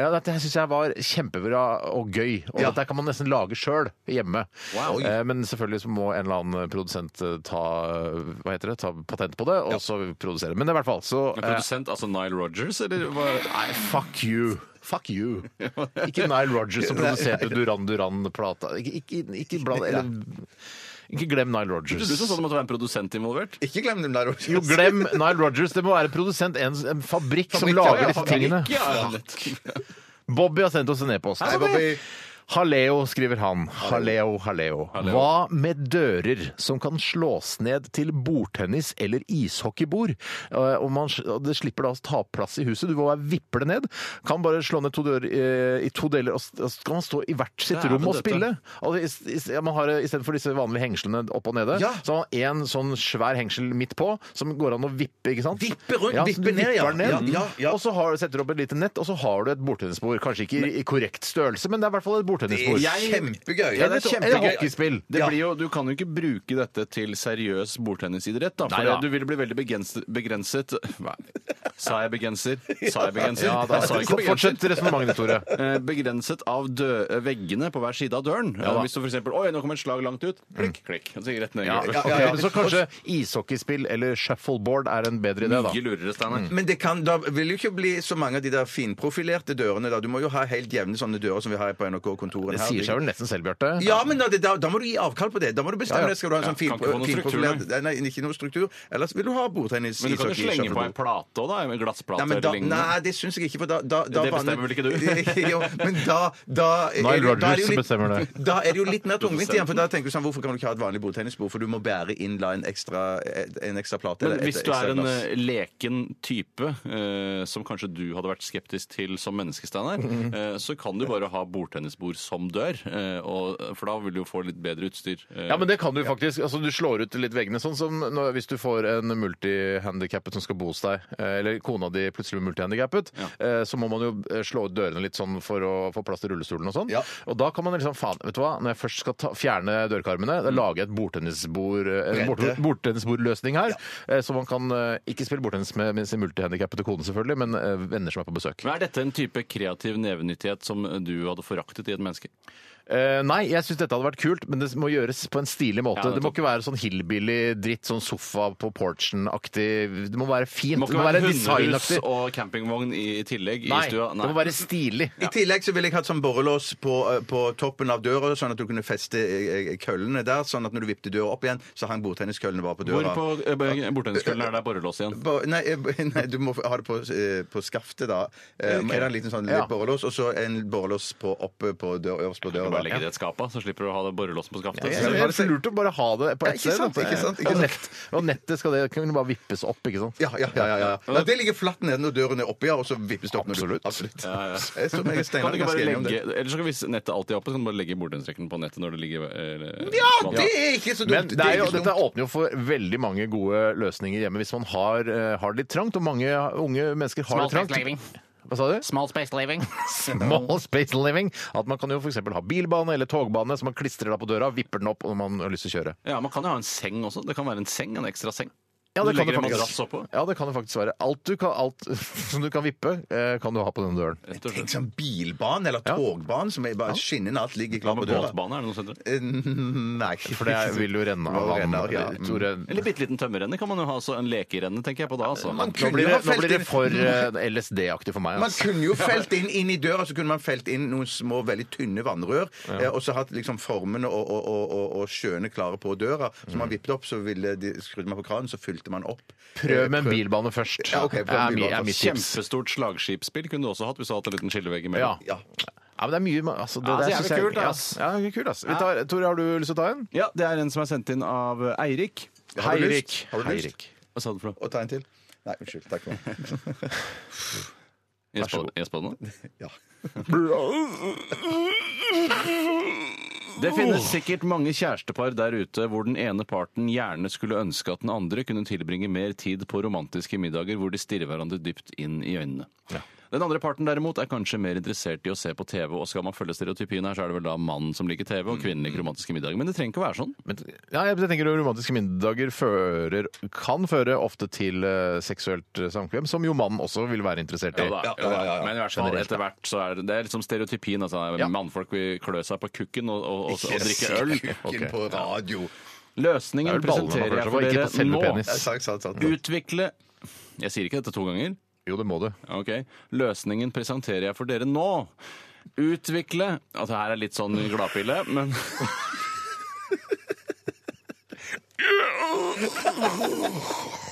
A: ja, Dette her syns jeg var kjempebra og gøy. Og dette her kan man nesten lage sjøl hjemme.
C: Wow.
A: Eh, Men selvfølgelig så må en eller annen produsent eh, ta, hva heter det, ta patent på det, og så produsere. Men i hvert fall så
C: Men
A: eh,
C: Produsent, altså Nile Rogers, eller hva?
A: Nei, fuck you. Fuck you. Ikke Nile Rogers som produserte Duran Duran-plata. Ikke, ikke, ikke, bla- eller, ikke glem Nile
C: Du sa
A: Rogers.
C: det måtte være en produsent involvert.
B: Ikke glem dem der
A: Jo, glem Nile Rogers. Det må være produsent, en, en fabrikk som
B: sånn. Fabrikk, ja,
A: lager
B: ja,
A: disse tingene.
C: Ja, ja, lett.
A: Bobby har sendt oss en e-post.
B: Bobby.
A: Haleo, skriver han. Haleo, haleo. Hva med dører som kan slås ned til bordtennis eller ishockeybord? Eh, Og man, s- og det slipper da å ta plass i huset. Du må bare vippe det ned. Kan bare slå ned to dører eh, i to deler, og s- og så kan man stå i hvert sitt
C: Det er
A: rom
C: vel
A: og
C: dette.
A: spille. Altså, i, i, ja, man har, eh, I stedet for disse vanlige hengslene opp og nede,
B: Ja.
A: så har man en sånn svær hengsel midt på, som går an å vippe, ikke sant?
B: Vippe rundt,
A: så du
B: vippe
A: vipper
B: ned, ja.
A: den ned.
B: Ja, ja, ja.
A: Og så har, setter du opp et lite nett, og så har du et bordtennisbord. Kanskje ikke i, i korrekt størrelse, men det er i hvert fall et bordtennisbord.
B: Det er kjempegøy.
A: Eller et- Eller hockeyspill.
C: Det
B: Ja.
C: blir jo, du kan jo ikke bruke dette til seriøs bordtennisidrett. da,
A: Nei
C: For
A: da.
C: du vil bli veldig begrenset, begrenset Hva? Sa jeg begrenser? Sa jeg begrenser?
A: Ja, da,
C: jeg sa ikke begrenset.
A: fortsett resonnementet, Tore.
C: Eh, Begrenset av dø eh, veggene på hver side av døren.
A: Ja da.
C: Eh, Hvis du for eksempel, Oi, nå kom et slag langt ut. Klikk, klikk. Så gikk rett ned. i
A: Ja,
C: gulvet.
A: ok, Så kanskje ishockeyspill eller shuffleboard er en bedre idé, da.
C: Mye lurere, Steinar.
B: Men det kan, da vil jo ikke bli så mange av de der finprofilerte dørene. Da. Du må jo ha helt jevne sånne dører som vi har her på NRK-kontorene.
A: Det sier seg vel nesten selv, Bjarte.
B: Ja, men da, da, da må du gi avkall på det. Da må du bestemme
A: Ja, ja.
B: det. Skal du ha en sånn
C: Ja, kan ikke få noe
B: finprofilert Nei, ikke noe struktur. Ellers vil du ha bordtennis.
C: Men du kan jo
B: ishockey,
C: slenge på
B: shuffleboard.
C: en plate òg, da. En glassplate
B: Nei, men da,
C: eller lignende.
B: nei, det syns jeg ikke, for da, da, da
C: Det bestemmer
B: vanner-
C: vel ikke du?
B: jo, men da, da
A: Nile
B: er det- da er det jo
A: Rodgers
B: litt-
A: som bestemmer det.
B: Da er det jo litt mer tungvint
C: bestemmer.
B: igjen, for da tenker du sånn Hvorfor kan du ikke ha et vanlig bordtennisbord? For du må bære inn la en ekstra, en ekstra plate.
C: Men
B: eller et
C: hvis du er
B: ekstra
C: en
B: glass.
C: eh, leken type, eh, som kanskje du hadde vært skeptisk til som menneske, Steinar, eh, så kan du bare ha bordtennisbord som dør, eh, og, for da vil du jo få litt bedre utstyr. eh.
A: Ja, men det kan du faktisk. Altså, du slår ut litt veggene, sånn som når, hvis du får en multihandikappet som skal bo hos deg, eh, eller kona di plutselig blir multihandikappet, eh, så må man jo eh, slå ut dørene litt sånn for å få plass til rullestolen og sånn.
B: Ja.
A: Og da kan man liksom, faen, vet du hva, når jeg først skal ta, fjerne dørkarmene, da lager jeg et bordtennisbord, eh, en bord,
B: Bredde.
A: bordtennisbordløsning her, eh, så man kan eh, ikke spille bordtennis med, med sin multihandikappete kone selvfølgelig, men eh, venner som er på besøk.
C: Men Er dette en type kreativ nevenyttighet som du hadde foraktet i et menneske?
A: Eh, nei, jeg syns dette hadde vært kult, men det må gjøres på en stilig måte.
C: Ja,
A: det, må ikke være sånn hillbilly-dritt, sånn sofa på porchen-aktig. Det må være fint.
C: Det må ikke
A: være
C: være hundehus
A: designaktig.
C: og campingvogn i, i tillegg
A: Nei,
C: i stua.
A: det må være stilig.
B: I tillegg så ville jeg hatt sånn borrelås på, eh, på toppen av døra, sånn at du kunne feste eh, eh, køllene der. Sånn at når du vippte døra opp igjen, så hang bordtenniskøllene bare på
C: Hvor
B: døra.
C: på eh, bordtenniskvelden er det borrelås igjen?
B: Bo- Nei, eh, b- nei, du må ha det på, eh, på skaftet, da. Eh, Er det en liten sånn
A: Ja.
B: borrelås, og så en borrelås på, oppe på døra, øverst på døra.
C: Bare
B: da.
C: legge det i et skap, da, så slipper du å ha det borrelåsen på skaftet.
A: Det
B: jeg-
A: er
B: jeg-
A: helt lurt å bare ha det på
B: Ja,
A: ett
B: ikke
A: sted.
B: sant,
A: da.
B: ikke sant, ikke
A: og,
B: sant.
A: nett, og nettet skal det kunne bare vippes opp, ikke sant.
B: Ja, ja, ja. ja, ja. Nei, det ligger flatt nede når døren er oppi, ja, og så vippes det opp. når du-
A: Absolutt.
B: Absolutt.
C: Ja, ja.
B: Jeg tror meg og Steinar er
C: Kan du ikke
B: ganske
C: bare
B: enige om
C: legge,
B: det.
C: eller så kan Hvis nettet alltid er oppe, så kan du bare legge bordtennisrekken på nettet når det ligger eh,
B: Ja,
C: vanlig.
B: det er ikke så dumt!
A: Men det er jo,
B: ikke så
A: dette
B: dumt.
A: åpner jo for veldig mange gode løsninger hjemme hvis man har, eh, har det litt trangt. Og mange unge mennesker har det trangt. Hva sa du?
E: Small space living.
A: small space living. At man kan jo f.eks. ha bilbane eller togbane som man klistrer da på døra, vipper den opp når man har lyst til å kjøre.
C: Ja, Man kan jo ha en seng også. Det kan være en seng, en ekstra seng.
A: Ja,
C: Du
A: det kan
C: legger
A: det
C: en
A: faktisk-
C: madrass oppå.
A: Ja, det kan det faktisk være. Alt, du kan, alt som du kan vippe, eh, kan du ha på denne døren.
C: Rett og
B: Tenk
C: slett.
B: sånn bilbane eller
A: Ja.
B: togbane som er bare skinnende alt ligger
C: Hva
B: klart på
C: med
B: døra.
C: båtbane? Er det noe sånt?
B: Eh, Nei.
A: For det er- vil jo renne av
B: Det
A: vann.
B: renner, ja.
A: eh, Tore,
C: Eller bitte liten tømmerrenne kan man jo ha. Så en lekerenne, tenker jeg på da. Altså.
B: Man
A: nå
B: kunne
A: blir
B: jo ha
A: det, nå
B: felt
A: blir det
B: inn-
A: for eh, LSD-aktig for meg.
B: Man
A: Altså.
B: kunne jo felt inn inn i døra så kunne man felt inn noen små, veldig tynne vannrør, eh, og så hatt liksom formene og, og, og, og, og sjøene klare på døra. Så
C: Mm.
B: man vippet opp, så ville de, skrudde man på kranen, så fylte man opp.
A: Prøv med en bilbane først.
B: Ja, ok, prøv med
A: er, mi-
B: bilbane
A: er
B: først.
A: mitt tips.
C: Kjempestort slagskipsspill kunne du også hatt hvis du hadde hatt en liten skillevegg
A: Ja.
C: imellom.
A: ja, men det er mye altså, det,
C: Ja,
A: der
C: det er
A: synes
C: jo
A: jeg-
C: kult, ass.
A: Ja, det er kult, ass. Vi tar, Tore, har du lyst til å ta en?
C: Ja. det er en som er sendt inn av Eirik.
B: Har du
A: Eirik.
B: lyst? Har du lyst?
A: Eirik.
C: Hva sa du for noe?
B: Og ta en til. Nei, unnskyld. Takk for meg.
C: Gjespa gjespa du nå?
B: Ja.
C: Det finnes sikkert mange kjærestepar der ute hvor den ene parten gjerne skulle ønske at den andre kunne tilbringe mer tid på romantiske middager hvor de stirrer hverandre dypt inn i øynene. Den andre parten derimot er kanskje mer interessert i å se på TV, og skal man følge stereotypien her, så er det vel da mannen som liker TV og kvinnen liker romantiske middager. Men det trenger ikke å være sånn.
A: Men, ja, jeg tenker at Romantiske middager fører, kan føre ofte til eh, seksuelt eh, samkvem, som jo mannen også vil være interessert i.
C: Ja, ja, ja, ja. Men i hvert fall etter hvert så er det, det er liksom stereotypien. Altså, Mannfolk vil klø seg på kukken og, og, og, og drikke øl.
B: Kukken på radio.
A: Det er
C: Løsningen
A: vel ballene man klør seg
C: presenterer jeg
A: på,
C: for
A: ikke på
C: dere
A: selve
C: nå.
A: penis.
B: Ja, sant, sant, sant.
C: Utvikle Jeg sier ikke dette to ganger.
A: Jo, det må du.
C: Ok, Løsningen presenterer jeg for dere nå. Utvikle Altså, her er litt sånn gladpille, men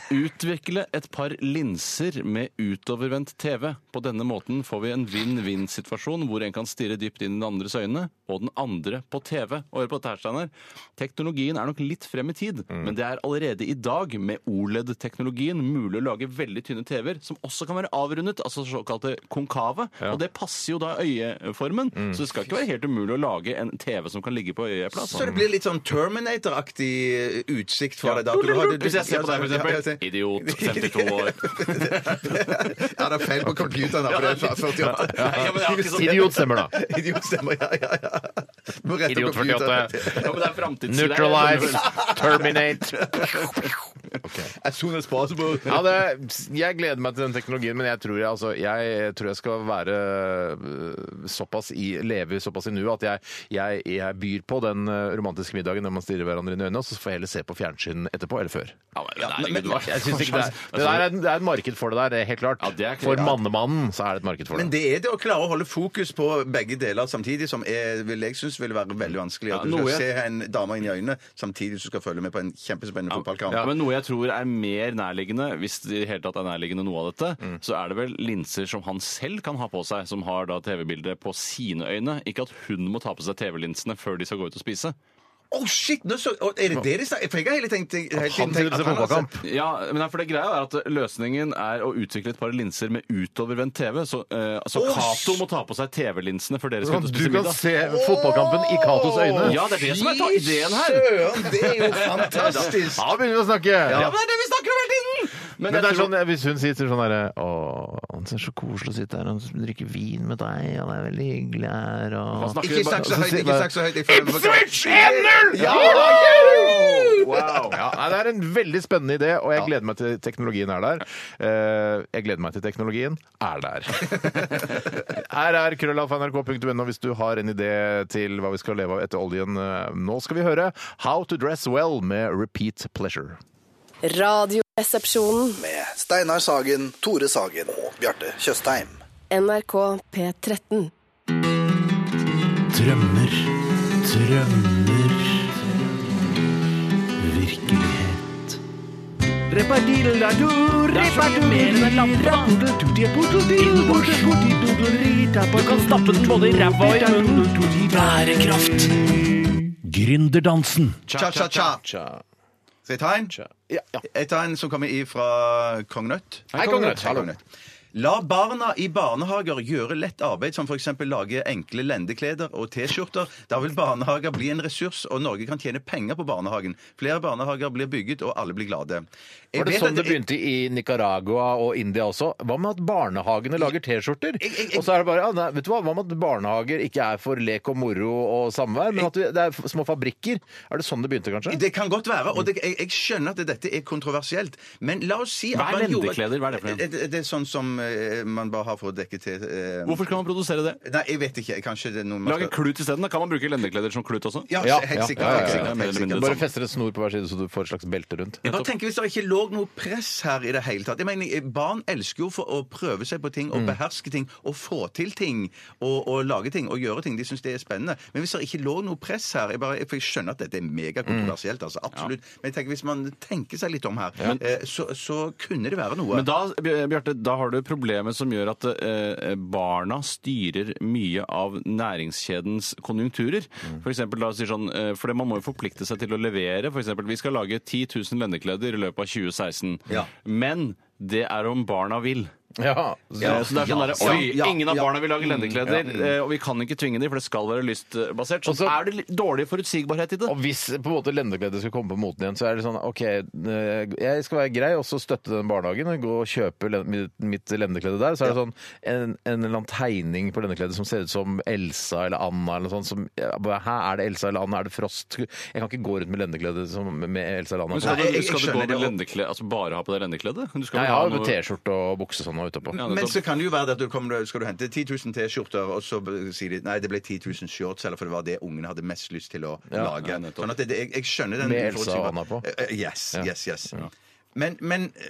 C: Utvikle et par linser med utovervendt TV. På denne måten får vi en vinn-vinn-situasjon hvor en kan stirre dypt inn i den andres øyne, og den andre på TV. Og hør på dette, her, Steinar. Teknologien er nok litt frem i tid, men det er allerede i dag, med OLED-teknologien, mulig å lage veldig tynne TV-er som også kan være avrundet, altså såkalte konkave. Og det passer jo da øyeformen, så det skal ikke være helt umulig å lage en TV som kan ligge på øyeplass.
B: Så det blir litt sånn Terminator-aktig eh, utsikt for deg. da. Du har- du-
C: Hvis jeg ser på deg,
B: Ja, ja,
C: for
B: ja,
C: eksempel. Idiot, 52 år.
B: Ja, det er feil på computeren da, for det er fra 48.
C: ja, men det er ikke sånn-
A: Idiot stemmer, da.
B: Idiot stemmer, ja, ja, ja. Må rette
A: Idiot
B: computeren.
A: 48.
C: Ja, men det er framtidssida.
A: Neutralize, terminate.
B: As soon as possible.
A: Ja, det, jeg gleder meg til den teknologien, men jeg tror jeg, altså, jeg, tror jeg skal være øh, såpass i, leve såpass i nuet at jeg, jeg, jeg byr på den øh, romantiske middagen når man stirrer hverandre inn i øynene, og så får jeg heller se på fjernsyn etterpå eller før.
C: Ja, men, nei,
B: men-
C: Gud, hva-
A: Jeg synes ikke det, er, det, der er, det er et marked for det der, det er helt klart.
C: Ja, det er ikke-
A: for mannemannen så er det et marked for
B: Men
A: det.
B: det er det å klare å holde fokus på begge deler samtidig, som er, vil jeg synes vil være veldig vanskelig. At
C: Ja,
B: du skal
C: noe-
B: se en dame inn i øynene samtidig som du skal følge med på en kjempespennende fotballkamp.
C: Ja, men Noe jeg tror er mer nærliggende, hvis det i det hele tatt er nærliggende noe av dette, så er det vel linser som han selv kan ha på seg, som har da TV-bildet på sine øyne. Ikke at hun må ta på seg TV-linsene før de skal gå ut og spise.
B: Å, shit! Nå så, å, er det det de snakker For jeg har hele tenkt hele
A: Han
B: tiden
A: sier det
B: tenkt at
A: er
B: han altså-
A: fotballkamp.
C: Ja, men for det greia er at Løsningen er å utvikle et par linser med utovervendt TV. Så, eh, så
B: Åh,
C: Cato må ta på seg TV-linsene før dere skal ut og
A: Du
C: spise
A: kan
C: middag.
A: se fotballkampen i Katos øyne.
C: Ja, det er det som er ta-
B: Fy
C: ideen her.
B: Søren, det er jo fantastisk!
A: Ja, begynner vi å snakke!
C: Ja, men det er det vi snakker om hele tiden!
A: Men,
C: jeg
A: det er
C: tror-
A: sånn, Hvis hun sitter sånn herre Å, han ser så koselig å sitte her, han drikker vin med deg, han er veldig hyggelig her og
C: Hva snakker
B: Ikke snakk så høyt, ikke snakk så høyt. It's
A: Switch 1-0!
B: Ja!
C: Wow.
A: Ja, nei, det er en veldig spennende idé, og jeg gleder meg til teknologien er der. Eh, jeg gleder meg til teknologien er der. Her er krøllalfa.nrk.no hvis du har en idé til hva vi skal leve av etter oljen. Eh, Nå skal vi høre How to Dress Well med Repeat Pleasure.
J: Radioresepsjonen.
K: med Steinar Sagen, Tore Sagen og Bjarte Tjøstheim.
J: NRK P13.
I: Drømmer, drømmer Virkelighet Det er så mye mer enn en lampe Du kan stappe den både i ræva og i munnen Bærekraft Gründerdansen
B: Cha-cha-cha.
A: Cha.
B: Skal jeg ta en?
A: Ja, ja.
B: Jeg tar en som kommer ifra Kong Nøtt.
A: Hei, Kong Nøtt.
B: Hei, Kong Nøtt. La barna i barnehager gjøre lett arbeid, som f.eks. lage enkle lendekleder og T-skjorter. Da vil barnehager bli en ressurs, og Norge kan tjene penger på barnehagen. Flere barnehager blir bygget, og alle blir glade. Jeg
A: Var det
B: vet
A: sånn
B: at
A: det begynte i Nicaragua og India også? Hva med at barnehagene lager T-skjorter? Og så er det bare ja, nei, vet du hva, hva med at barnehager ikke er for lek og moro og samvær, men at vi- det er f- små fabrikker? Er det sånn det begynte, kanskje?
B: Det kan godt være, og det, jeg, jeg skjønner at dette er kontroversielt, men la oss si at
C: Hva er
B: man gjorde-
C: lendekleder? Hva er det for en?
B: Det, det er sånn som eh, man bare har for å dekke til eh,
C: Hvorfor skal man produsere det?
B: Nei, jeg vet ikke. Kanskje det er noe man
C: Lage klut isteden? da? Kan man bruke lendekleder som klut også?
B: Ja,
A: Ja, ja,
B: helt sikkert.
A: ja, ja,
B: helt
A: ja.
B: sikkert, helt sikkert.
A: Du bare fester en snor på hver side, så du får et slags belte rundt.
B: Jeg bare tenker Hvis det ikke lå noe press her i det hele tatt Jeg mener, Barn elsker jo for å prøve seg på ting og beherske ting og få til ting og, og lage ting og gjøre ting. De syns det er spennende. Men hvis det ikke lå noe press her jeg bare, For jeg skjønner at dette er megakontroversielt, altså, absolutt. Men jeg tenker hvis man tenker seg litt om her, eh, så, så kunne det være noe.
C: Men da, eh, Bjarte, da har du problemet som gjør at eh, barna styrer mye av næringskjedens konjunkturer.
B: Mm.
C: For eksempel, la oss si sånn, eh, for det man må jo forplikte seg til å levere. For eksempel, vi skal lage 10 000 lendekleder i løpet av 2016.
B: Ja.
C: Men det er om barna vil.
A: Ja,
C: Eh, så det er sånn der,
B: ja,
C: Oi,
B: ja,
C: ingen av
B: ja. Mm.
C: barna vil lage lendekleder, eh, og vi kan ikke tvinge dem, for det skal være lystbasert. Så
A: Og så-
C: er det litt dårlig forutsigbarhet i det.
A: Og hvis på en måte lendekledet skulle komme på moten igjen, så er det sånn OK, eh, jeg skal være grei og så støtte den barnehagen og gå og kjøpe len- mitt- mitt lendeklede der. Så er det sånn en, en eller annen tegning på lendekledet som ser ut som Elsa eller Anna eller noe sånt. Som, ja, bare, Hæ, er det Elsa eller Anna? Er det Frost? Jeg kan ikke gå rundt med lendeklede som med Elsa eller
C: Men
A: Anna.
C: skal,
B: Nei, jeg- jeg
C: du, skal du gå
B: skjønner
C: med
B: det også.
C: lendekle, altså bare ha på deg lendekleddet? Du skal
A: Nei,
C: vel
A: jeg
C: ha
A: har jo
C: noe-
A: T-skjorte og bukse sånn og utapå.
C: Ja,
B: Men
C: nettopp.
B: så kan det jo være det at du kommer, skal du hente 10 000 T-skjorter, og så b- sier de nei, det ble 10 000 shorts, eller for det var det ungene hadde mest lyst til å lage.
C: ja, nettopp.
B: sånn at det, det- jeg, jeg skjønner den Eh,
A: Med Elsa og
B: uforutsigbar-
A: Anna på.
B: Eh, eh, Yes, yes, yes.
A: Ja.
B: Men, men eh,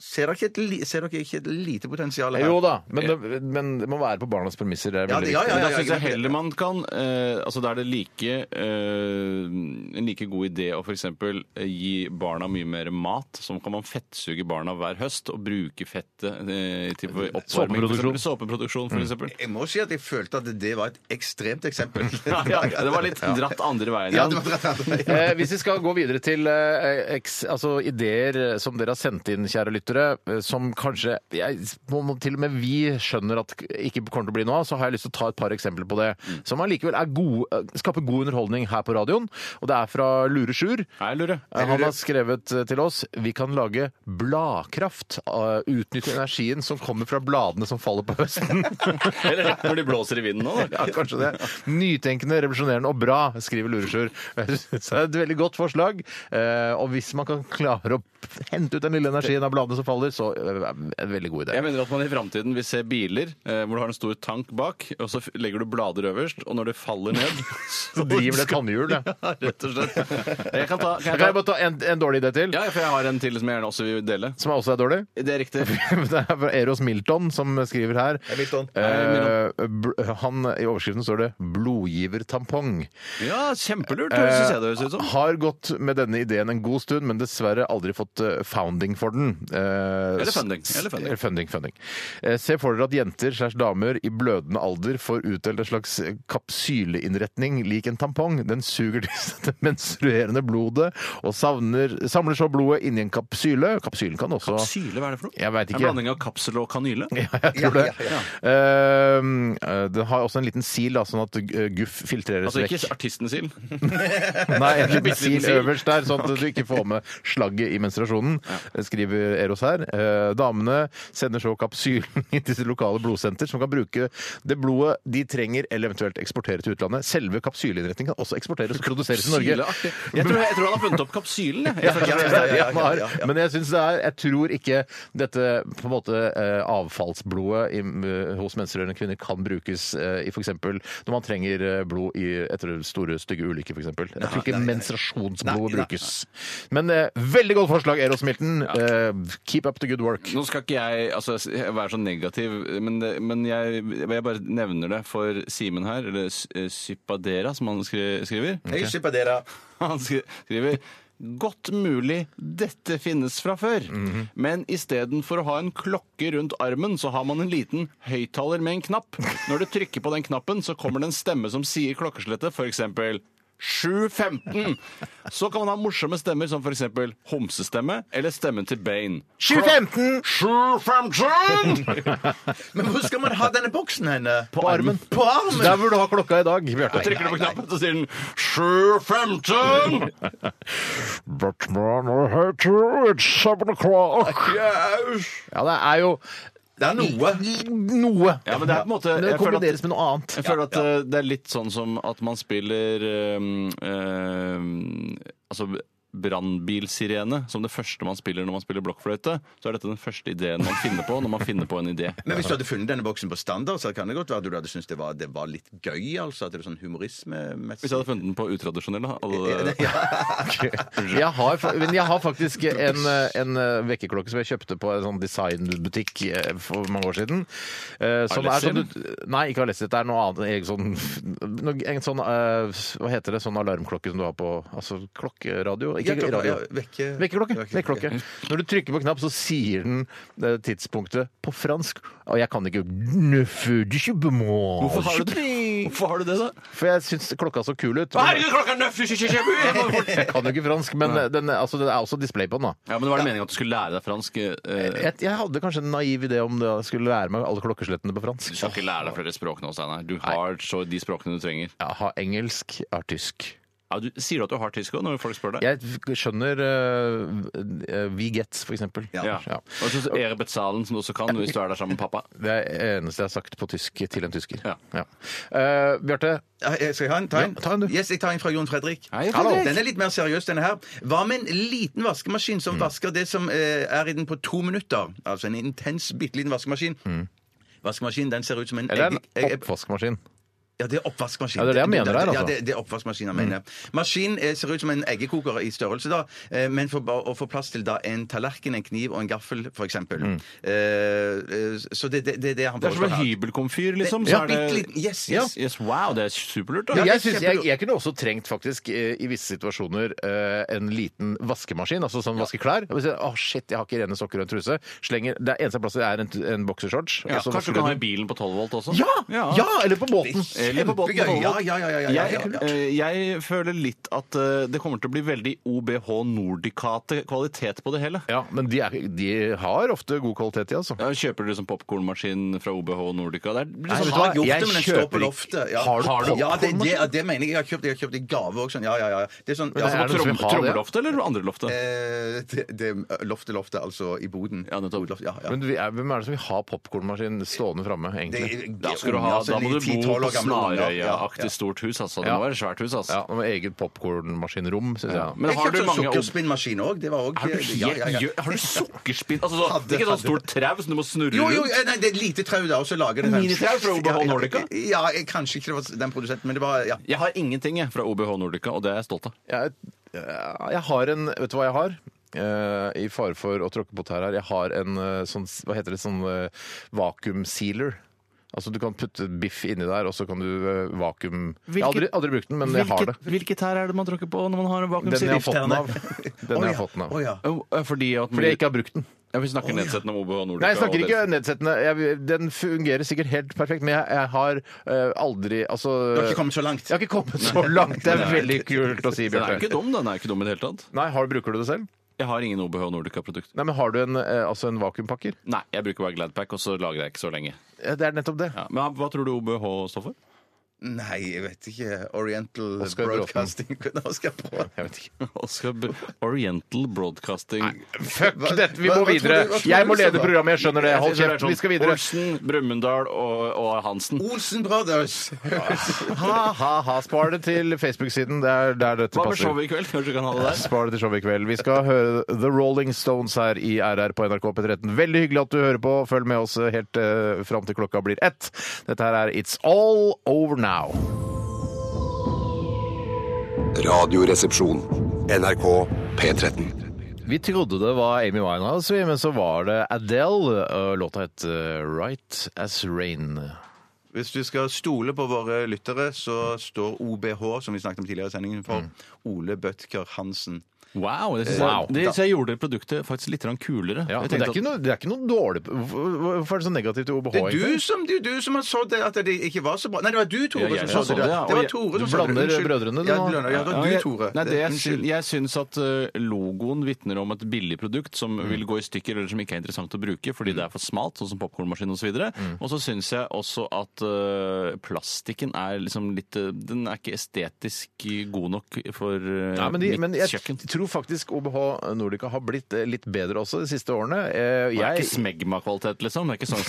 B: Ser dere ikke et, li- ser dere ikke et lite potensial her?
A: Jo da, men det, men det må være på barnas premisser. Det er
B: Ja,
A: veldig
B: ja, ja,
A: viktig.
C: Men da syns jeg
B: greit.
C: heller man kan eh, Altså, da er det like eh, en like god idé å f.eks. gi barna mye mer mat. Så kan man fettsuge barna hver høst og bruke fettet eh, til for oppvarming. for
A: Såpeproduksjon. Mm.
C: eksempel. Såpeproduksjon, f.eks.
B: Jeg må si at jeg følte at det var et ekstremt eksempel.
C: Ja, ja, det var litt dratt andre veien.
B: Ja,
C: igjen.
B: det var rett og slett.
A: Eh, hvis vi skal gå videre til eh, eks, altså ideer eh, som dere har sendt inn, kjære lyttere, eh, som kanskje jeg, må, må, Til og med vi skjønner at ikke kommer til å bli noe av, så har jeg lyst til å ta et par eksempler på det.
C: Mm.
A: Som allikevel er god, eh, skaper god underholdning her på radioen. Og det er fra Lure Sjur.
C: Hei, Lure.
A: Eh, Han har skrevet eh, til oss Vi kan lage bladkraft. eh, Utnytte energien som kommer fra bladene som faller på høsten.
C: Eller når de blåser i vinden nå, da.
A: Ja, kanskje det. Nytenkende, revolusjonerende og bra, skriver Luresjur. Jeg synes det er et veldig godt forslag. eh, Og hvis man kan klare å hente ut den lille energien av bladene som faller, så er det en veldig god
C: Jeg
A: idé.
C: mener at man i framtiden vil se biler eh, hvor du har en stor tank bak, og så f- legger du blader øverst, og når det faller ned
A: Så driver det tannhjul, det.
C: Ja, rett og slett. Jeg kan ta, kan
A: Jeg
C: jeg
A: kan
C: ta
A: jeg bare ta en, en dårlig idé til,
C: Ja, for jeg har en til som jeg gjerne også vil dele.
A: som også er dårlig.
C: Det er riktig.
A: Det er fra Eros Milton som skriver her.
B: Milton.
A: Eh, bl- han, I overskriften står det 'blodgivertampong'.
C: Ja, kjempelurt, høres synes jeg det høres ut som.
A: Eh, Har gått med denne ideen en god stund, men dessverre aldri fått eh, founding for den. Eh,
C: Eller funding,
A: s-
C: eller funding.
A: funding, funding. Eh, Se for dere at jenter slash damer i blødende alder får utdelt en slags kapsyleinnretning lik en tampong. Den suger til seg det menstruerende blodet og savner, samler så blodet inni en kapsyle. Kapsylen kan også
C: Syle, hva er det for noe?
A: Jeg vet
C: En
A: ikke.
C: blanding av kapsel og kanyle?
A: Jeg tror det. Ehm, eh, den har også en liten sil, da, sånn at eh, guff filtreres
C: Altså ikke
A: vekk.
C: artisten sin.
A: Nei, en liten
C: Bitte liten
A: sil
C: sil.
A: øverst der, sånn at du ikke får med slagget i menstruasjonen, skriver Eros her. Eh, Damene sender så kapsylen inn til sitt lokale blodsenter, som kan bruke det blodet de trenger, eller eventuelt eksportere til utlandet. Selve kapsyleinnretningen kan også eksporteres og produseres i Norge.
C: Kapsyleartig. Jeg tror, jeg tror han har funnet opp kapsylen, jeg. jeg. føler-
A: Ja,
B: ja, ja, ja,
A: han har.
B: ja, ja.
A: Men jeg synes det er Jeg tror ikke dette på en måte eh, avfallsblodet i, eh, hos menstruerende kvinner kan brukes eh, i f.eks. når man trenger eh, blod i, etter store, stygge ulykker, f.eks. Jeg tror ikke menstruasjonsblodet brukes. Men eh, veldig godt forslag, Eros Milton. Eh, keep up the good work.
C: Nå skal ikke jeg altså, være så negativ, men, det- men jeg, jeg bare nevner det for Simen her, eller Sy- Sypadera, som han skri- skriver.
B: Hei, Sypadera.
C: Han skri- skriver Godt mulig dette finnes fra før, men istedenfor å ha en klokke rundt armen, så har man en liten høyttaler med en knapp. Når du trykker på den knappen, så kommer det en stemme som sier klokkeslettet, f.eks. 7.15! Så kan man ha morsomme stemmer som f.eks. homsestemme eller stemmen til Bane.
A: 7.15
B: Men hvor skal man ha denne boksen henne?
A: på armen.
B: På armen!
A: Der hvor du har klokka i dag,
C: Så
A: Bjarte.
C: trykker du på knappen, så sier den 7.15!
A: But man, I hate you. It's seven o'clock. Ja, det er jo
B: Det er noe.
A: noe.
C: Ja, men det er på en måte
A: Men det
C: jeg føler at-
A: kombineres med noe annet.
C: Jeg føler at eh, det er litt sånn som at man spiller ehm, ehm, Altså brannbilsirene som det første man spiller når man spiller blokkfløyte. Så er dette den første ideen man finner på når man finner på en idé.
B: Men hvis du hadde funnet denne boksen på standard, så kan det godt være at du hadde syntes det var, det var litt gøy, altså. At det var sånn
C: Hvis
B: humorismemessig.
C: jeg hadde funnet den på utradisjonell, da. Alle,
A: Jeg har, fa- men jeg har faktisk en, eh, en eh, vekkerklokke som jeg kjøpte på en sånn designbutikk eh, for mange år siden. eh, Som er sånn, du- nei, ikke Alessi. Det er noe annet. En sånn, noe- en sånn eh, Hva heter det? Sånn alarmklokke som du har på altså, klokkeradio? Ikke
B: Ja, klokka,
A: radio.
B: ja, vekke-
A: Vekkerklokke.
B: vekkerklokke.
A: vekkerklokke. Når du trykker på knapp, så sier den eh, tidspunktet på fransk. Og jeg kan ikke Hvorfor
C: hvorfor, har du det? hvorfor har du det, da?
A: For jeg syns klokka så kul ut.
C: klokka er nøff!
A: Jeg kan jo ikke fransk, men den, altså, det er også display på den. da
C: Ja, men Var det meningen at du skulle lære deg fransk? eh,
A: jeg, jeg hadde kanskje en naiv idé om det, jeg skulle lære meg alle klokkeslettene på fransk.
C: Du skal ikke lære deg flere språk nå, Steinar. Du har så de språkene du trenger.
A: Jeg har engelsk, jeg har tysk.
C: Ja, du, sier du at du har tysk òg, når folk spør deg?
A: Jeg f- skjønner uh, We Gets, for eksempel.
C: Ja.
A: Ja.
C: Og så Ere Betzalen, som du også kan hvis du er der sammen med pappa.
A: Det er det eneste jeg har sagt på tysk til en tysker.
C: Ja.
A: Eh, Bjarte,
B: Ja, jeg skal jeg ha en? Ta en?
A: Ja, ta en, du.
B: Yes, jeg tar en fra Jon Fredrik.
C: Hei, Fredrik.
B: Den er litt mer seriøs, denne her. Hva med en liten vaskemaskin som vasker det som eh, er i den på to minutter? Altså en intens, bitte liten vaskemaskin. Vaskemaskinen den ser ut som en
A: eller en
B: egg- egg-
A: oppvaskmaskin.
B: Ja, det er oppvaskmaskinen.
A: Ja, det er det jeg mener her, altså.
B: Ja, det, det er oppvaskmaskinen, jeg mener. Maskinen eh, ser ut som en eggekoker i størrelse, da, eh, men for ba- å få plass til da en tallerken, en kniv og en gaffel, for eksempel.
A: Mm.
B: Eh, eh, Så det, det, det er det han
C: Det er som
B: foreslår
C: en
B: her.
C: hybelkomfyr, liksom.
B: Det-
C: så
B: ja,
C: er det-
B: bitte litt. Yes, yes.
C: Ja. yes. Wow, det er
A: Men
C: superlurt. da.
B: Ja,
A: jeg,
B: det er
A: synes, jeg,
B: kjempelurt.
A: jeg kunne også trengt faktisk eh, i visse situasjoner eh, en liten vaskemaskin, altså sånn vaske klær. Å, shit, jeg har ikke rene sokker og en truse. Slenger, det eneste plassen er en, en boksershorts.
C: Ja,
A: og så
C: kanskje
A: vasker
C: du kan ha i
A: den.
C: bilen på 12 volt også?
A: ja, ja! Eller på båten.
C: Eller på båten på
B: Kjempegøy. Ja,
C: Volvo.
B: ja, ja, ja, ja, ja,
C: Jeg,
B: ja.
C: eh, jeg føler litt at eh, det kommer til å bli veldig OBH Nordicate kvalitet på det hele.
A: Ja, men de, er, de har ofte god kvalitet, de, altså.
C: Ja, Kjøper du liksom popkornmaskin fra OBH Nordica? Det er litt
A: Nei, vet
C: sånn-
B: Jeg har
A: hva?
B: gjort
A: Jeg
B: det, men den står
A: kjøper
B: på
A: ikke.
B: loftet. Ja.
A: Har du
B: ja, det, det,
A: popcornmaskin?
B: ja, det mener jeg. Jeg har kjøpt, jeg har kjøpt i gave også. Sånn. Ja, ja, ja. Det er sånn, ja,
A: det er
B: altså,
A: det noen som vil
C: Trom-
A: ha det, ja?
C: Trommeloftet eller andre loftet?
B: eh, det, det er loftet, loftet, altså i boden.
C: Ja, nettopp.
B: Hovedloft, Ja, ja.
A: Men vi er, hvem er det som vil ha popkornmaskin stående framme, egentlig?
C: Da, skal du ha,
B: altså,
C: da må du bo på Snarøya-aktig
B: ja.
C: stort hus, altså. Det
A: Ja.
C: må være svært hus, altså.
A: Ja, med eget popkornmaskinrom, syns jeg.
C: Men
B: Jeg
C: har du
B: kjøpte en
C: mange
B: sukkerspinnmaskin òg. Det var òg
C: Har du, helt,
B: ja, ja, ja.
C: gjø- har du sukkerspinn altså, så,
B: Hadde-
C: Ikke sånn
B: hadde.
C: stort trau som du må snurre
B: Jo, jo,
C: rundt?
B: eh, nei, det er et lite trau der, og så lager det
C: Minitrau fra OBH Nordica?
B: Ja, ja, ja, kanskje ikke det var den produsenten, men det var ja.
C: Jeg har ingenting jeg, fra OBH Nordica, og det er jeg stolt av.
A: Jeg, eh, jeg har en Vet du hva jeg har? Eh, I fare for å tråkke på tær her. Jeg har en eh, sånn Hva heter det? Sånn eh, vakuumsealer. Altså Du kan putte biff inni der, og så kan du eh, vakuum Jeg har aldri,
C: Hvilket-
A: aldri brukt den, men jeg har det.
C: hvilket tær er det man tråkker på når man har en
A: Den jeg har fått den
C: vakuumsirkel?
A: av. Den jeg har fått den av.
B: Å, ja.
C: Fordi at
A: Fordi jeg ikke har brukt den.
C: ja, Vi snakker nedsettende om OBH Nordica.
A: Nei, jeg snakker
C: og
A: ikke
C: deres-
A: nedsettende. Jeg, den fungerer sikkert helt perfekt, men jeg, jeg har eh, aldri Altså
B: Du har ikke kommet så langt?
A: Jeg har ikke kommet så langt. Det er
C: Nei.
A: veldig kult å si,
C: Den er jo ikke
A: Bjarte.
C: dum, den er jo ikke dum i det hele tatt.
A: Nei, har, bruker du det selv?
C: Jeg har ingen OBH Nordica-produkt.
A: Nei, men Har du en, eh, altså en vakuumpakker?
C: Nei, jeg bruker bare Gladpack, og så lagrer jeg ikke så lenge.
A: Ja, Det er nettopp det.
C: Ja, men hva tror du OBH står for?
B: Nei, jeg vet ikke. Oriental
A: Oscar Bråten.
B: Broadcasting Oscar Bråten.
A: Jeg vet ikke.
C: Oscar B Oriental Broadcasting.
A: Fuck
B: Hva-
A: dette, vi
B: hva-
A: må
B: hva tror
A: videre!
B: du- hva tror
A: Jeg
B: du
A: må
B: det
A: lede
B: står for?
A: programmet, jeg skjønner det. Hold kjeft, vi skal videre.
C: sånn Olsen, Brumunddal og, og Hansen.
B: Olsen Brothers!
A: Ha-ha-ha, spar det til Facebook-siden. Det er der dette
C: Hva med
A: passer.
C: showet i kveld? Kanskje du kan ha det der?
A: Spar det til showet i kveld. Vi skal høre The Rolling Stones her i RR på NRK P13. Veldig hyggelig at du hører på. Følg med oss helt uh, fram til klokka blir ett. Dette her er It's All Over Now.
D: Radioresepsjon. NRK P13.
A: Vi trodde det var Amy Winehouse, vi, men så var det Adele. og Låta het eh, Right As Rain.
B: Hvis du skal stole på våre lyttere, så står OBH, som vi snakket om tidligere i sendingen, for Ole Bødker Hansen.
C: Wow! Det synes
A: Wow.
C: Jeg, det, synes jeg gjorde produktet faktisk litt grann kulere.
A: Ja,
C: jeg
A: men det, er
C: tenkte
A: ikke noe, det er ikke noe dårlig Hvorfor hvorfor er det så negativt til OBH?
B: Det er
A: egentlig?
B: du som, det er du som har så det at det ikke var så bra. Nei, det var du, Tore,
C: Ja, jeg
B: som
C: sa
B: så
C: det,
B: det.
C: ja, og
B: Det var
C: jeg-
B: Tore
A: du
B: som sa det.
A: blander
B: Unnskyld.
A: brødrene, du
B: Ja,
A: nå.
B: jeg blander. Ja, det
C: at-
B: var
C: Ja,
B: du,
C: jeg-
B: Tore.
C: Nei, det jeg,
B: Unnskyld.
C: syn- jeg syns at eh, logoen vitner om et billig produkt som
A: Mm.
C: vil gå i stykker eller som ikke er interessant å bruke fordi det er for smalt, sånn som popkornmaskin osv. videre.
A: Mm.
C: Og så syns jeg også at eh, plastikken er liksom litt eh, Den er ikke estetisk god nok for eh,
A: Nei, men, de,
C: mitt
A: men jeg
C: kjøkken.
A: tror faktisk OBH Nordica har blitt eh, litt bedre også de siste årene. Eh,
C: Det er ikke
A: Jeg,
C: smegma-kvalitet, liksom. Det er ikke sånn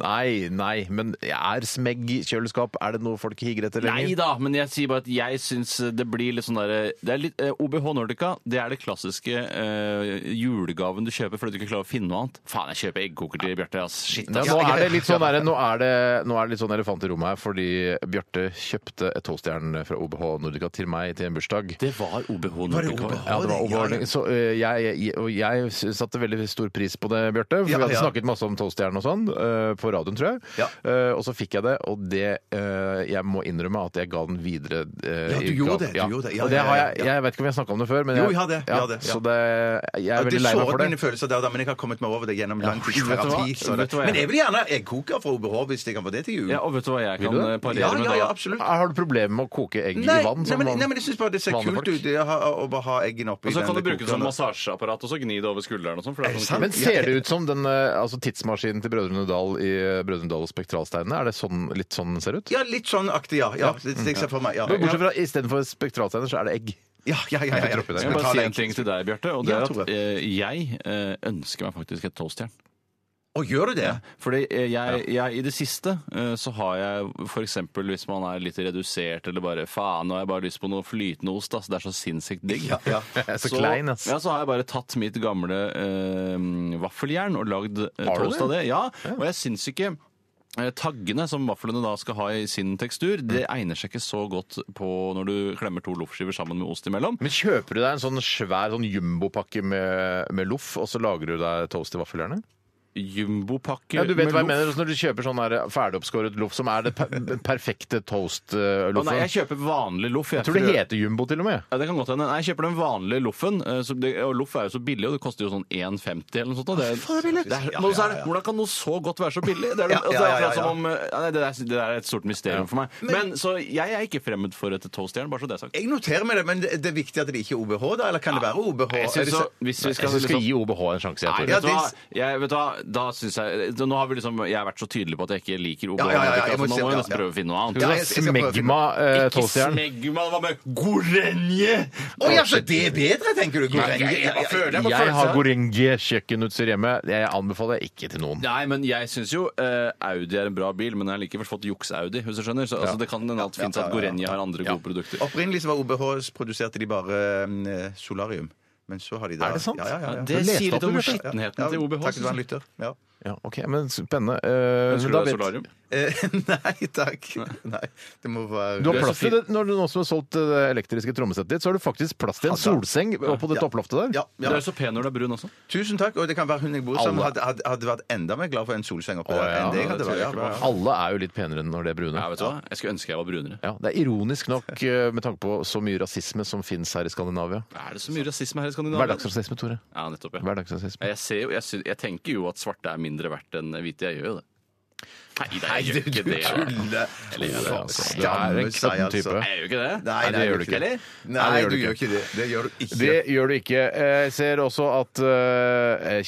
A: nei, nei, men er smegg i kjøleskap? Er det noe folk higer etter
C: Nei
A: lenger?
C: da, men jeg sier bare at jeg syns det blir litt sånn derre Det er litt eh, OBH Nordica. Det er det klassiske eh, julegaven du kjøper fordi du ikke klarer å finne noe annet. Faen, jeg kjøper eggkoker til Bjarte, ass. Shit,
A: Ja,
C: ass.
A: nå, er det litt sånn, der, nå, er det, nå er det litt sånn elefant i rommet her, fordi Bjarte kjøpte et toastjern fra OBH Nordica til meg til en bursdag.
C: Det var OBH
B: Var det
C: Nordica.
B: OBH?
A: Ja, det var
B: Ja, ja.
A: overordning. Så ø, jeg, jeg, og jeg satte veldig stor pris på det, Bjarte. For
B: Ja,
A: vi hadde
B: ja.
A: snakket masse om toastjern og sånn ø, på radioen, tror jeg.
B: Ja.
A: Ø, og så fikk jeg det, og det ø, Jeg må innrømme at jeg ga den videre. ø,
B: Ja, du
A: i gave.
B: gjorde det, du gjorde det. Ja,
A: og det
B: ja,
A: har
B: ja,
A: jeg,
B: ja.
A: jeg vet ikke om vi har snakka om det før, men
B: Jo,
A: jeg,
B: vi har det, vi har det, ja.
A: så det, jeg er
B: Ja,
A: veldig lei meg for
B: såret mine
A: det.
B: følelser der, da, men jeg har kommet meg over det gjennom lang tids
C: vet du hva?
B: terapi. så
C: Vet
B: det-
C: du hva jeg-
B: Men jeg vil gjerne eggkoker fra OBH hvis jeg kan få det til jul.
C: Ja, og vet du hva jeg
A: Vil
C: kan
A: du det?
C: eh,
B: Ja,
C: parere med
B: ja,
C: da?
B: ja, absolutt.
A: Ah, Har du problemer med å koke egg
B: Nei,
A: i vann? Sånn-
B: nei,
A: som
B: men,
A: vann-
B: nei, men jeg syns bare det ser
A: vanlige
B: kult
A: folk?
B: ut det, å ha- å bare ha eggene oppi
C: Og så kan du
B: den
C: bruke det som
B: kokeren.
C: massasjeapparat og så gni det over skulderen og sånn. for det er sånn-
B: sant?
A: Men ser det ut som den ø, altså, tidsmaskinen til Brødrene Dal i ø, Brødrene Dal og Spektralsteinene? Er det sånn, litt sånn den ser ut?
B: Ja, litt sånn aktig, ja. ja det, det ser jeg for meg. Ja,
A: Men Bortsett fra istedenfor spektralsteiner, så er det egg.
B: ja, ja, ja, ja,
A: Jeg
B: ja.
A: tror på det.
C: Jeg skal bare
B: Betale
C: si en
B: egg.
C: ting til deg, Bjarte. Og det
B: Ja,
C: er at
B: Tore.
C: eh, jeg eh, ønsker meg faktisk et toastjern.
B: Å, gjør du det?
C: Fordi eh, jeg, jeg, i det siste eh, så har jeg for eksempel hvis man er litt redusert eller bare faen, nå har jeg bare lyst på noe flytende ost, altså det er så sinnssykt digg.
B: Ja, ja.
A: Jeg er så, klein, ass.
C: ja, så har jeg bare tatt mitt gamle eh, vaffeljern og lagd eh,
A: Har du
C: toast av det. Ja, og jeg syns ikke eh, taggene som vaflene da skal ha i sin tekstur,
A: Mm.
C: det egner seg ikke så godt på når du klemmer to loffskiver sammen med ost imellom.
A: Men kjøper du deg en sånn svær sånn jumbopakke med, med loff, og så lager du deg toast i vaffeljernet?
C: Jumbopakke
A: Ja, du vet
C: med
A: hva jeg
C: loff.
A: mener. Når du kjøper sånn her ferdigoppskåret loff som er det per perfekte
C: Å nei,
A: toast-loffen.
C: jeg kjøper vanlig loff.
A: Jeg tror det heter jumbo til og med.
C: Ja, det kan godt hende. Nei, Jeg kjøper den vanlige loffen. eh, så det- Og loff er jo så billig, og det koster jo sånn 1,50 eller noe sånt. da. Det er, det er, men så er det, hvordan kan noe så godt være så billig? Det er,
B: Ja,
C: altså, det
B: ja,
C: er
B: ja,
C: akkurat
B: ja, ja.
C: som om, eh, nei, det, der, det der er et stort mysterium for meg. Men så jeg er ikke fremmed for et toastjern, bare så det er sagt.
B: Jeg noterer meg det, men det, det er viktig at det ikke er OBH, da? Eller kan det være OBH?
C: Jeg
B: Er
C: synes
B: det
C: så,
B: så-
C: hvis vi
A: Jeg
C: skal
A: syns vi
C: liksom-
A: skal gi OBH en sjanse.
C: Nei,
A: Jeg,
C: vet
A: tror.
C: du
B: Ja,
C: hva?
B: det-
C: Jeg, vet du hva? Da synes jeg Nå har vi liksom Jeg har vært så tydelig på at jeg ikke liker OBH.
B: Ja, ja, ja, jeg
C: så
B: må
C: nå
B: se-
C: må
B: ja,
C: vi nesten
B: ja.
C: prøve å finne noe
B: Ja,
C: annet.
A: Skal vi
B: jeg- jeg
A: ta
B: skal prøve å finne-
A: Smegma eh,
C: Ikke
A: toastjern.
C: smegma, det var med gorenje!
B: Å ja, så det er bedre, tenker du? Gorenje?
A: Jeg har Gorenje-kjøkkenutstyr hjemme. Jeg anbefaler jeg ikke til noen.
C: Nei, men jeg syns jo eh, Audi er en bra bil, men jeg har likevel fått juks-Audi, hvis du skjønner. Så altså, det kan hende at det fins at Gorenje har andre gode produkter.
B: Opprinnelig så var OBH, så produserte de bare mm, solarium. Men så har de da
A: Er det sant?
B: Ja, ja, ja, ja.
C: Det
A: leste
C: sier
A: opp
C: litt om
A: det, Bjarte.
C: skittenheten til OBH.
B: Takk, du var en
C: synes jeg.
B: lytter. Ja.
A: Ja, ok, men Spennende. Eh, men
C: Ønsker du
A: da
C: deg
A: vet-
C: solarium?
B: Eh, nei takk. Nei, det må være
A: Du har
C: er så
A: plass til
C: fin.
A: det, når du nå som har solgt eh, det elektriske trommesettet ditt, så har du faktisk plass til en solseng oppå det
B: Ja.
A: topploftet der.
B: ja,
C: Du
B: ja.
C: er jo så pen når du er brun også.
B: Tusen takk. Og det kan være hun jeg bor sammen med, hadde, hadde, hadde vært enda mer glad for en solseng oppi
A: Å,
B: der
A: ja,
B: enn det jeg
C: det
B: hadde
C: tror
B: vært.
C: jeg
B: Ja,
C: ikke
B: ja,
C: på.
B: ja.
A: Alle er jo litt penere enn når de er brune.
C: Ja, vet du hva? Jeg skulle ønske jeg var brunere.
A: Ja, Det er ironisk nok eh, med tanke på så mye rasisme som fins her i Skandinavia.
C: Er det så mye rasisme her i Skandinavia?
A: Hverdagsrasisme, Tore.
C: Ja, nettopp, ja.
A: Hverdagsrasisme.
C: Jeg, ser jo, jeg, sy- jeg tenker jo at svarte er mindre verdt enn hvite. Jeg gjør jo det. Nei, det
B: Nei,
C: gjør
B: du
C: ikke det. altså.
B: tuller!
C: Eller gjør det, altså.
A: Du er en knapp type.
C: Jeg gjør jo ikke det.
B: Nei,
A: Nei, det gjør du
B: ikke.
C: Eller?
B: Nei,
A: Nei, det gjør
B: du
A: du
B: gjør ikke det. Det gjør du ikke.
A: Det gjør du ikke. Eh, Jeg ser også at eh,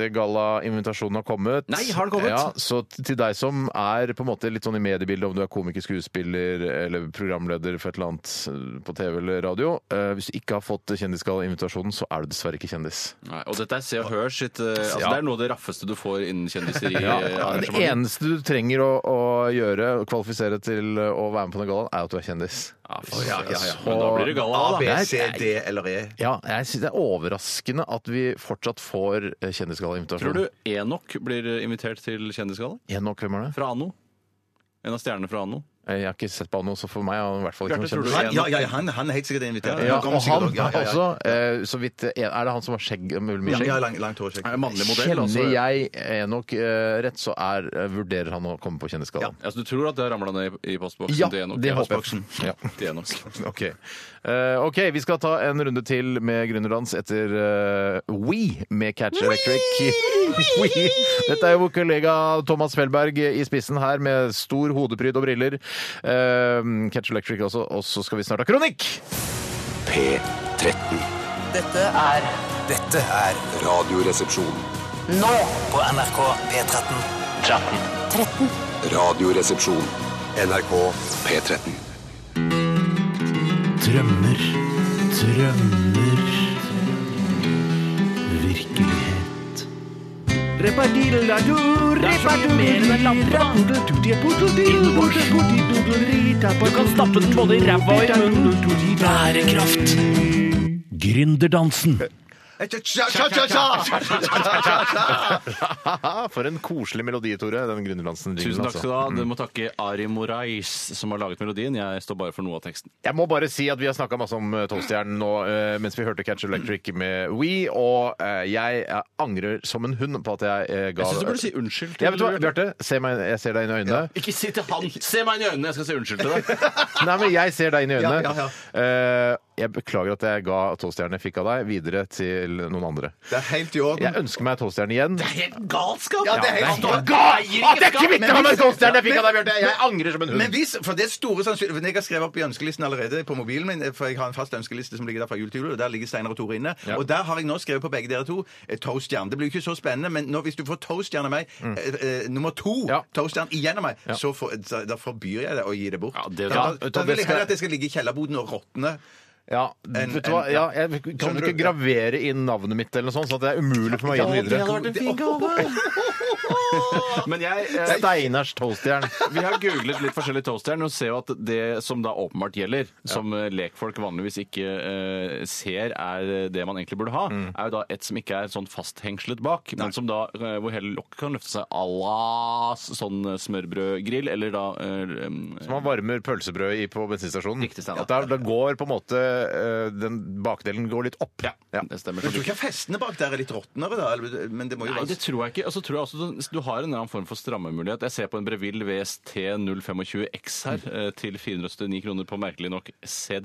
A: Kjendisgalla-invitasjonen har kommet.
C: Nei, har den kommet?
A: Ja, Så t- til deg som er på en måte litt sånn i mediebildet, om du er komiker, skuespiller eller programleder for et eller annet eh, på TV eller radio eh, Hvis du ikke har fått Kjendisgalla-invitasjonen, så er du dessverre ikke kjendis.
C: Nei, og dette er Se og Hør sitt eh, altså,
A: Ja.
C: Det er noe av det raffeste du får innen kjendiseri.
A: Det
C: arrangementer.
A: eneste du trenger å, å gjøre, å kvalifisere til å være med på den gallaen, er at du er kjendis.
C: Ja, fy søren.
B: ja, ja.
C: Men da blir det galla,
B: A, B,
C: da.
B: C, D eller E.
A: Ja, jeg synes Det er overraskende at vi fortsatt får eh, Kjendisgalla-invitasjon.
C: Tror du Enok blir invitert til Kjendisgalla?
A: Enok, hvem er det? Eh,
C: Fra Anno? En av stjernene fra Anno?
A: Jeg har ikke sett på han nå, så for meg er han i hvert fall ikke
C: Bjarte,
A: noen
C: tror du
A: kjendis.
B: Han, ja, ja, han, han er helt sikkert invitert.
A: Ja,
B: kommer
A: og han
B: sikkert også. Ja, ja, ja.
A: også, eh, så vidt eh, Er det han som har skjegg? med mye
B: Ja,
A: skjegg?
B: ja, lang, langt hår. sikkert.
C: mannlig
A: Kjenner jeg Enok eh, rett, så er, eh, vurderer han å komme på Kjendisgallaen.
C: Altså, du tror at det har ramla ned i postboksen
A: Ja,
C: til Enok?
A: det håper jeg.
C: Postboksen
A: Ja.
C: til Enok.
A: Ok. Eh, ok, vi skal ta en runde til med Gründerdans etter eh, We med Catch Electric. We. Dette er jo vår kollega Thomas Felberg i spissen her med stor hodepryd og briller. Eh, Catch Electric også, og så skal vi snart ha kronikk!
D: P13.
E: Dette er Dette er
D: Radioresepsjon.
E: nå på NRK P13.
D: Radioresepsjon. NRK P13.
I: Drømmer, drømmer Virkelighet Repadiladu, Du kan stappe den både i ræva og i munnen. Bærekraft. Gründerdansen.
A: For en koselig melodi, Tore. Den Gründerddansen.
C: Tusen takk skal du ha.
A: Mm.
C: Du må takke Ari Morais, som har laget melodien. Jeg står bare for noe av teksten.
A: Jeg må bare si at vi har snakka masse om eh, Toastjernen nå eh, mens vi hørte Catch Electric med We, og eh, jeg eh, angrer som en hund på at jeg eh, ga
C: Jeg syns du burde si unnskyld. til
A: Ja, vet du hva,
C: Bjarte.
A: Bjarte, se meg, jeg ser deg inn i øynene.
C: Ikke si til han! Se meg inn i øynene, jeg skal si unnskyld til deg.
A: Nei, men jeg ser deg inn i øynene.
B: Ja, ja,
A: Eh, jeg beklager at jeg ga toastjernet jeg fikk av deg, videre til noen andre.
B: Det er helt i orden.
A: Jeg ønsker meg toastjernet igjen.
C: Helt galskap!
B: Ja, det er helt
C: stolt.
A: At jeg kvitter meg med toastjernet jeg fikk av deg, Bjarte! Jeg
B: Men-
A: angrer som en
B: Men
A: hund.
B: hvis, for det er store sannsynlig, for Jeg har skrevet opp i ønskelisten allerede på mobilen min, for jeg har en fast ønskeliste som ligger der fra jul til jul, og der ligger Steinar og Tore inne.
A: Ja.
B: Og der har jeg nå skrevet på begge dere to eh, toastjern. Det blir jo ikke så spennende, men nå, hvis du får toastjern av meg, eh, eh, nummer to
A: Mm. Ja.
B: toastjern igjen av meg, så for, da, da forbyr jeg det å gi det bort.
C: Ja, det-
B: da,
C: ja,
B: da,
A: vet du hva,
B: vil
A: det
B: jeg
A: skal-
B: heller at det skal ligge i kjellerboden og råtne.
A: Ja,
B: En-
A: vet du hva?
B: en-
A: Ja, jeg, kan
B: Skjønner
A: du ikke
B: du?
A: gravere inn navnet mitt eller noe sånt, sånn at det er umulig for meg å gi den videre?
C: vært en fin gave! Men jeg eh,
A: Steinars toastjern.
C: Vi har googlet litt forskjellige toastjern og ser jo at det som da åpenbart gjelder, som eh, lekfolk vanligvis ikke eh, ser er det man egentlig burde ha,
B: Mm.
C: er jo da et som ikke er sånn fasthengslet bak, men som da eh, hvor hele lokket kan løfte seg à la s- sånn eh, smørbrødgrill, eller da eh, em,
A: Som man varmer pølsebrød i på bensinstasjonen.
C: Riktig, Steinar.
A: At da, da går på en måte eh, den bakdelen går litt opp.
C: ja, det stemmer.
B: Men du tror ikke festene bak der er litt råtnere, da? Eller- Men det må jo
C: Nei,
B: være
C: det tror jeg ikke. Og så tror jeg også du, du har en eller annen form for strammemulighet. Jeg ser på en Breville VST 025X her, eh, til 479 kroner på merkelig nok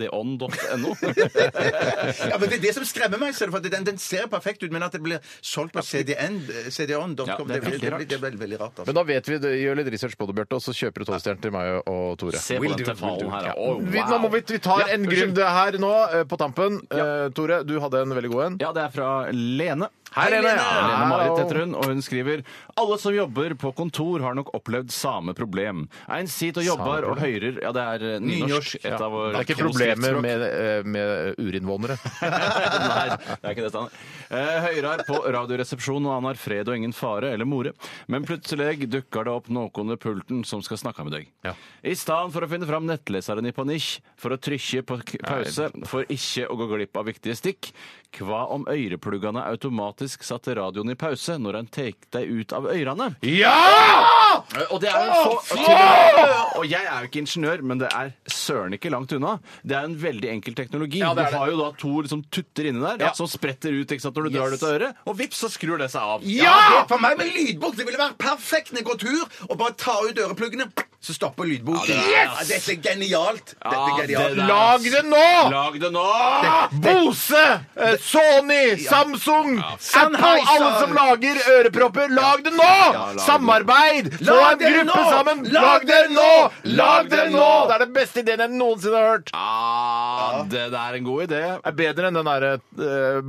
C: cdon.no.
B: Ja, men Det er det som skremmer meg. ser du, for at den, den ser perfekt ut, men at det blir solgt på CDN, cdon.com
C: Ja,
B: det,
C: det er
B: blir- det,
C: veldig
B: blir- det er veldig, veldig rart. altså.
A: Men da vet vi, det. gjør litt research på det, Bjarte, og så kjøper du toastjern til meg og Tore.
C: Se på
A: Will
C: den
A: do,
C: tefalen
A: will do.
C: her, da.
A: Ja.
C: Å,
A: vi,
C: wow.
A: nå må vi, vi tar
C: Ja,
A: en
C: unnskyld.
A: grunn her nå, eh, på tampen. Eh, Tore, du hadde en veldig god en.
C: Ja, det er fra Lene.
A: Hei, Lene.
C: Lene Marit
A: Hallo.
C: heter hun, og hun skriver Alle som jobber på kontor har nok opplevd samme problem. Ein sit og jobber og høyrer Ja, det er eh, nynorsk. Et av våre
A: Det er ikke
C: to
A: problemer
C: skriftspråk.
A: med, eh, med urinnvånere.
C: Nei, det er ikke det, Steinar. Eh, Høyrar på Radioresepsjonen og annar fred og ingen fare eller more. Men plutselig dukker det opp noen ved pulten som skal snakke med deg.
A: Ja.
C: I stedet for å finne fram nettleseren i panikk for å trykke på k- pause for ikke å gå glipp av viktige stikk, hva om øyrepluggene automatisk satte radioen i pause når en tek deg ut av øyrene?
A: Ja!
C: Og det er jo så til- Og jeg er jo ikke ingeniør, men det er søren ikke langt unna. Det er en veldig enkel teknologi.
A: Ja, det er
C: du har jo da to liksom, tutter inni der
A: Ja.
C: som spretter ut ikke sant, når du drar det ut av øret, og vips, så skrur det seg av.
B: Ja! For meg med lydbok det ville vært perfekt når jeg går tur og bare tar ut ørepluggene, så stopper lydboken. Ja, dette er genialt! Dette er
C: Ja,
B: genialt.
C: det der.
A: Lag det nå!
C: Lag det nå!
A: Bose, eh, Sony, Samsung, Apple,
B: Sennheiser.
A: alle som lager ørepropper, lag det nå! Samarbeid! Få
B: Lag
A: en
B: det
A: gruppe
B: nå!
A: sammen!
B: Lag
A: Lag det
B: det
A: nå!
B: nå!
A: Lag det
B: Lag det
A: nå!
B: nå!
A: Det er den beste ideen jeg noensinne har hørt.
C: Ah, det der er en god idé.
A: Det er bedre enn den derre eh,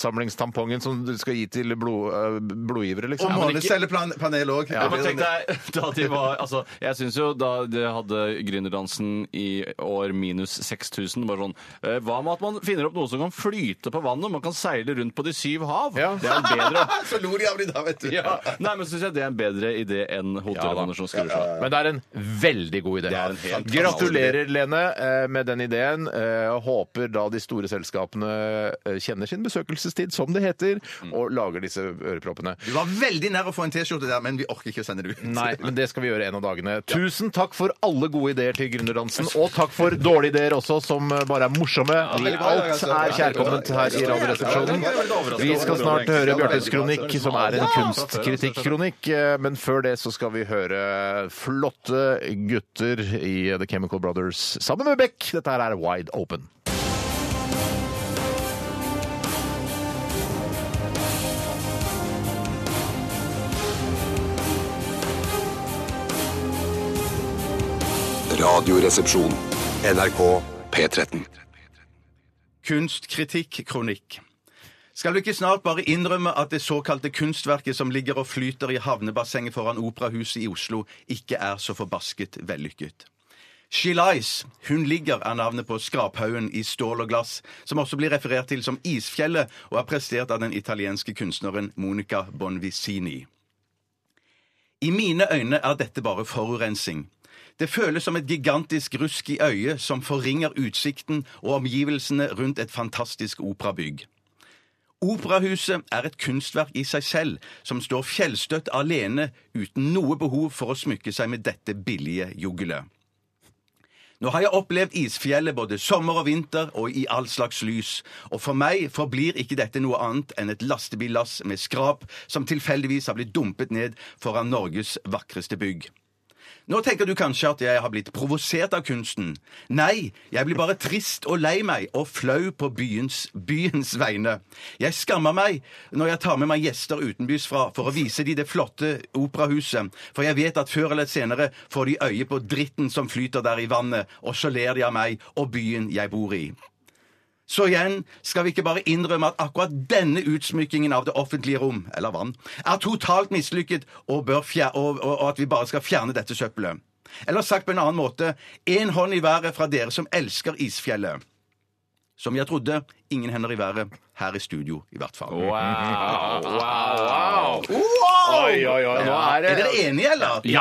A: blodoppsamlingstampongen som du skal gi til blod, eh, blodgivere,
B: Og
A: liksom.
B: månecellepanel òg.
C: Ja, men tenk deg, da de var, altså, jeg syns jo da de hadde Gründerdansen i år minus 6000 bare sånn, eh, Hva med at man finner opp noe som kan flyte på vannet? Man kan seile rundt på de syv hav.
A: Ja.
C: Det er jo bedre.
B: Så lo de av de da, vet du.
C: Ja. Nei, men syns jeg det er en bedre idé enn hodetelefoner som skrur seg av.
A: Men det er en veldig god idé.
C: Det er en helt
A: Gratulerer, Lene, eh, med den ideen. Eh, og Håper da de store selskapene eh, kjenner sin besøkelsestid, som det heter,
C: Mm.
A: og lager disse øreproppene.
B: Du var veldig nær å få en T-skjorte der, men vi orker ikke å sende det ut.
A: Nei, men det skal vi gjøre en av dagene. Tusen takk for alle gode ideer til Gründerdansen, og takk for dårlige ideer også, som bare er morsomme.
B: veldig bra,
A: Alt
B: altså.
A: er kjærkomment her i Radioresepsjonen. Vi skal snart høre Bjartes kronikk, som er en kunstkritikkronikk, eh, men før det så skal vi høre flotte gutter i The Chemical Brothers sammen med Beck. Dette her er Wide Open.
D: Radioresepsjon. NRK P13.
B: Kunstkritikk, kronikk. Skal du ikke snart bare innrømme at det såkalte kunstverket som ligger og flyter i havnebassenget foran Operahuset i Oslo, ikke er så forbasket vellykket? She Lies, Hun ligger, er navnet på skraphaugen i stål og glass, som også blir referert til som Isfjellet, og er prestert av den italienske kunstneren Monica Bonvicini. I mine øyne er dette bare forurensning. Det føles som et gigantisk rusk i øyet som forringer utsikten og omgivelsene rundt et fantastisk operabygg. Operahuset er et kunstverk i seg selv, som står fjellstøtt alene uten noe behov for å smykke seg med dette billige juggelet. Nå har jeg opplevd isfjellet både sommer og vinter og i all slags lys, og for meg forblir ikke dette noe annet enn et lastebillass med skrap som tilfeldigvis har blitt dumpet ned foran Norges vakreste bygg. Nå tenker du kanskje at jeg har blitt provosert av kunsten. Nei, jeg blir bare trist og lei meg og flau på byens, byens vegne. Jeg skammer meg når jeg tar med meg gjester utenbys fra for å vise de det flotte operahuset, for jeg vet at før eller senere får de øye på dritten som flyter der i vannet, og så ler de av meg og byen jeg bor i. Så igjen skal vi ikke bare innrømme at akkurat denne utsmykkingen av det offentlige rom, eller vann, er totalt mislykket, og, bør fjer og, og, og at vi bare skal fjerne dette søppelet. Eller sagt på en annen måte, én hånd i været fra dere som elsker isfjellet. Som jeg trodde, ingen hender i været. her i studio, i hvert fall.
A: Wow, wow, wow.
B: Oi,
A: oi, oi, nå er det-
B: dere enige, eller?
A: Ja, jeg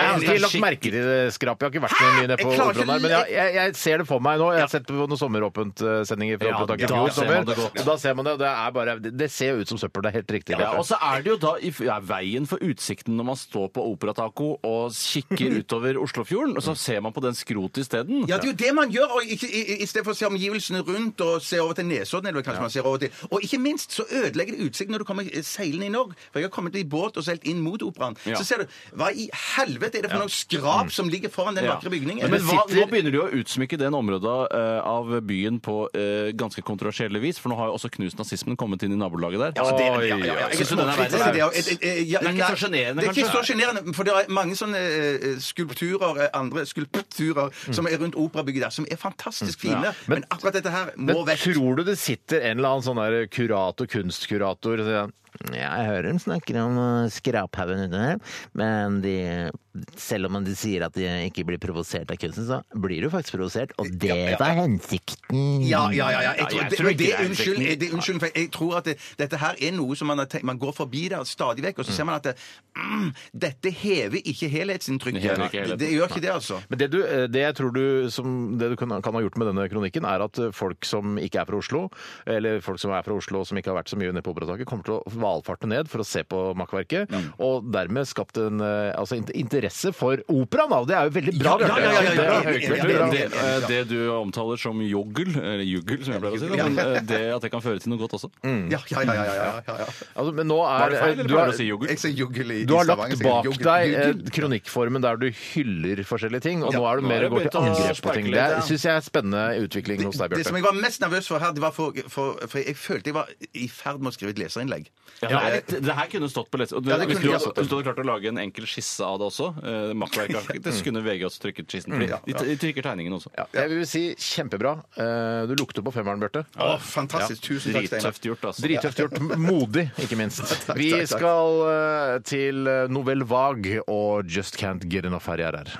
A: har
B: Det er
A: ikke lagt merke til det skrapet. Jeg har ikke vært noe mye nede på
B: Jeg klarer ikke
A: Operaen her, men jeg, jeg, jeg ser det for meg nå. Jeg har sett på noen sommeråpent-sendinger fra
C: Ja,
A: Operaen
C: da
A: i fjor
C: ser man det
A: sommer,
C: godt.
A: så da ser man det. og Det, er bare, det- det ser jo ut som søppel, det er helt riktig.
C: Ja, og
B: altså,
C: så er det jo da i ja, veien for utsikten når man står på Operataco og kikker utover Oslofjorden, og så ser man på den skrotet isteden.
B: Ja, det er jo det man gjør. Og ikke, i, i- i stedet for å se omgivelsene rundt og se over til Nesodden, eller kanskje man ser over til Og ikke minst så ødelegger det utsikten når du kommer eh, seilende i Norge. For jeg har kommet i båt og seilt inn mot operaen.
C: Ja. Mm.
B: Så ser du Hva i helvete er det for noe skrap som ligger foran den
C: Ja.
B: vakre bygningen?
C: Men, hva,
A: sitter-
C: nå begynner de å utsmykke den området eh, av byen på eh, ganske kontroversielle vis, for nå har jo også knust nazismen kommet inn i nabolaget der.
B: Ja, det er- ja,
A: Oi,
B: ja, ja.
A: oi, oi.
B: Jeg
C: Synes du den Sånn er
B: småkritisk
C: verre?
B: til og- et- et- et- ja,
C: Den er ikke
B: nei,
C: så sjenerende,
B: Det er ikke så
C: kanskje?
B: sjenerende, for det er mange sånne eh, skulpturer, eh, andre skulpturer,
C: Mm.
B: som er rundt operabygget der, som er fantastisk fine. Men, akkurat dette her
A: Men
B: må vekk.
A: tror du det sitter en eller annen sånn der kurator, kunstkurator og sier ja, jeg hører de snakker om eh, skraphaugen ute her, men de, selv om de sier at de ikke blir provosert av kunsten, så blir du faktisk provosert, og det
B: ja, ja.
A: er hensikten.
B: Ja, ja, ja. ja. Jeg tror,
C: jeg
B: det,
C: tror
B: det,
C: ikke det er
B: unnskyld,
C: hensikten.
B: det, unnskyld for jeg tror at det, dette her er noe som man har tenkt Man går forbi der stadig vekk, og så ser man at det, mm, dette hever ikke helhetsinntrykket.
C: Det hever ikke helheten.
B: Det gjør ikke det, altså.
A: Men det, du, det jeg tror du, som, det du kan, kan ha gjort med denne kronikken, er at folk som ikke er fra Oslo, eller folk som er fra Oslo og som ikke har vært så mye nede på Operataket, kommer til å valfarte ned for å se på makkverket, og dermed skapt en eh, altså, in- interesse for operaen. da. Det er jo veldig bra.
B: Ja, ja,
A: Bjarte.
B: ja, ja, ja,
A: Det
B: ja.
A: er høykultur,
B: Ja,
C: Det,
A: bra.
C: det, eh, det du omtaler som joggel, eller juggel som jeg pleier å si, da, men eh, det at det kan føre til noe godt også.
B: Ja, ja, ja. ja, ja, ja, ja, ja.
A: Altså, men nå
C: Er
A: er
C: det feil, eller
A: du
C: pleier
A: er-
C: du å si joggel?
B: Jeg sier juggel i
A: Du har
B: i
A: lagt
B: Stavanger, sier
A: bak
B: juggel.
A: deg eh,
B: Juggel.
A: kronikkformen der du hyller forskjellige ting, og
B: Ja.
A: nå er du
C: Nå
A: mer
C: er det
A: går til
C: begynt å
A: angrep på
C: sparke
A: ting.
C: litt,
A: Det
C: ja.
A: syns jeg er spennende utvikling hos deg,
B: Det som
A: Bjarte.
B: jeg var mest nervøs for her, det var for, for, for jeg følte jeg var i ferd med å skrive et leserinnlegg.
C: Ja, det, er litt, det her kunne stått på lett. og
B: Ja, det
C: hvis,
B: kunne
C: du
B: stått
C: hadde,
B: på.
C: hvis du hadde klart å lage en enkel skisse av det også, eh, makkverket, så kunne VG også trykket skissen.
B: Mm.
C: Fordi
B: ja.
C: de, de trykker tegningen også.
A: Ja, jeg vil si kjempebra. Eh, Du lukter på femmeren, Bjarte.
B: Å, fantastisk. Tusen takk, Steinar.
C: Drittøft gjort, altså.
A: Drittøft gjort. Modig, ikke minst. Vi
B: takk, takk.
A: skal eh, til eh, Nouvelle Vague og Just Can't Get Enough her i RR.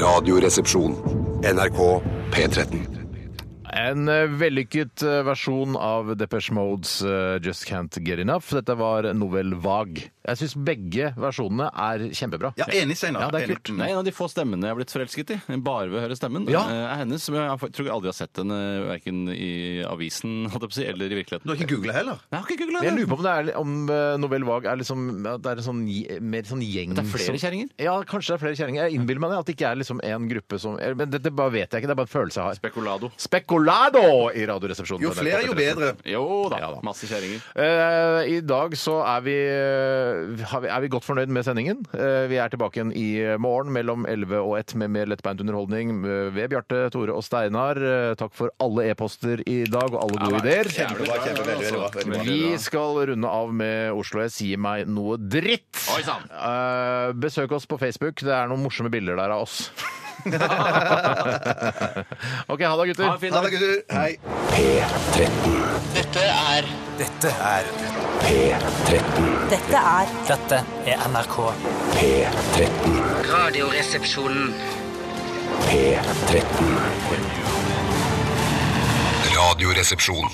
D: Radioresepsjon. NRK P13.
A: En eh, vellykket eh, versjon av Depeche Modes eh, Just Can't Get Enough. Dette var Nouvelle Vague. Jeg syns begge versjonene er kjempebra.
B: Ja, enig, Steinar.
A: Ja, det er
B: Enig.
A: kult.
B: Mm.
C: Det er en av de få stemmene jeg har blitt forelsket i. Bare ved å høre stemmen.
A: Ja.
C: eh, er hennes, men Jeg tror jeg aldri har sett henne verken i avisen holdt jeg på å si, eller i virkeligheten.
B: Du har ikke googla heller?
C: Jeg har ikke googlet
A: Jeg
C: det.
A: lurer på om, det er, om eh, Novell Vag er, liksom, at det er en sånn, gje- mer sånn gjeng
C: Det er flere
A: som-
C: kjerringer?
A: Ja, kanskje det er flere kjerringer. Jeg innbiller meg det, at det ikke er liksom en gruppe som eller, Men dette bare vet jeg ikke, det er bare en følelse jeg har.
C: Spekulado.
A: Spekulado i Radioresepsjonen.
B: Jo
A: på
B: flere,
A: NRK
B: jo
A: P13.
B: bedre.
C: Jo da,
A: Ja da.
C: masse kjerringer.
A: Eh, I dag så er vi, eh, har vi, er vi godt fornøyd med sendingen. Eh, vi er tilbake igjen i morgen mellom 11 og 1 med mer lettbeint underholdning eh, ved Bjarte, Tore og Steinar. Eh, takk for alle e-poster i dag og alle gode ideer.
B: Kjempebra. kjempebra, veldig bra, veldig bra.
A: Vi skal runde av med Oslo S. Gi meg noe dritt.
C: Oi, sann.
A: Eh, besøk oss på Facebook. Det er noen morsomme bilder der av oss. OK, ha det, gutter.
C: Ha en fin
B: Ha det, gutter. Hei.
E: Dette er Dette er
D: P13.
L: Dette er
E: Dette er NRK.
D: P13.
L: Radioresepsjonen.
D: P13. Radioresepsjon.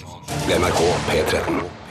D: NRK P13.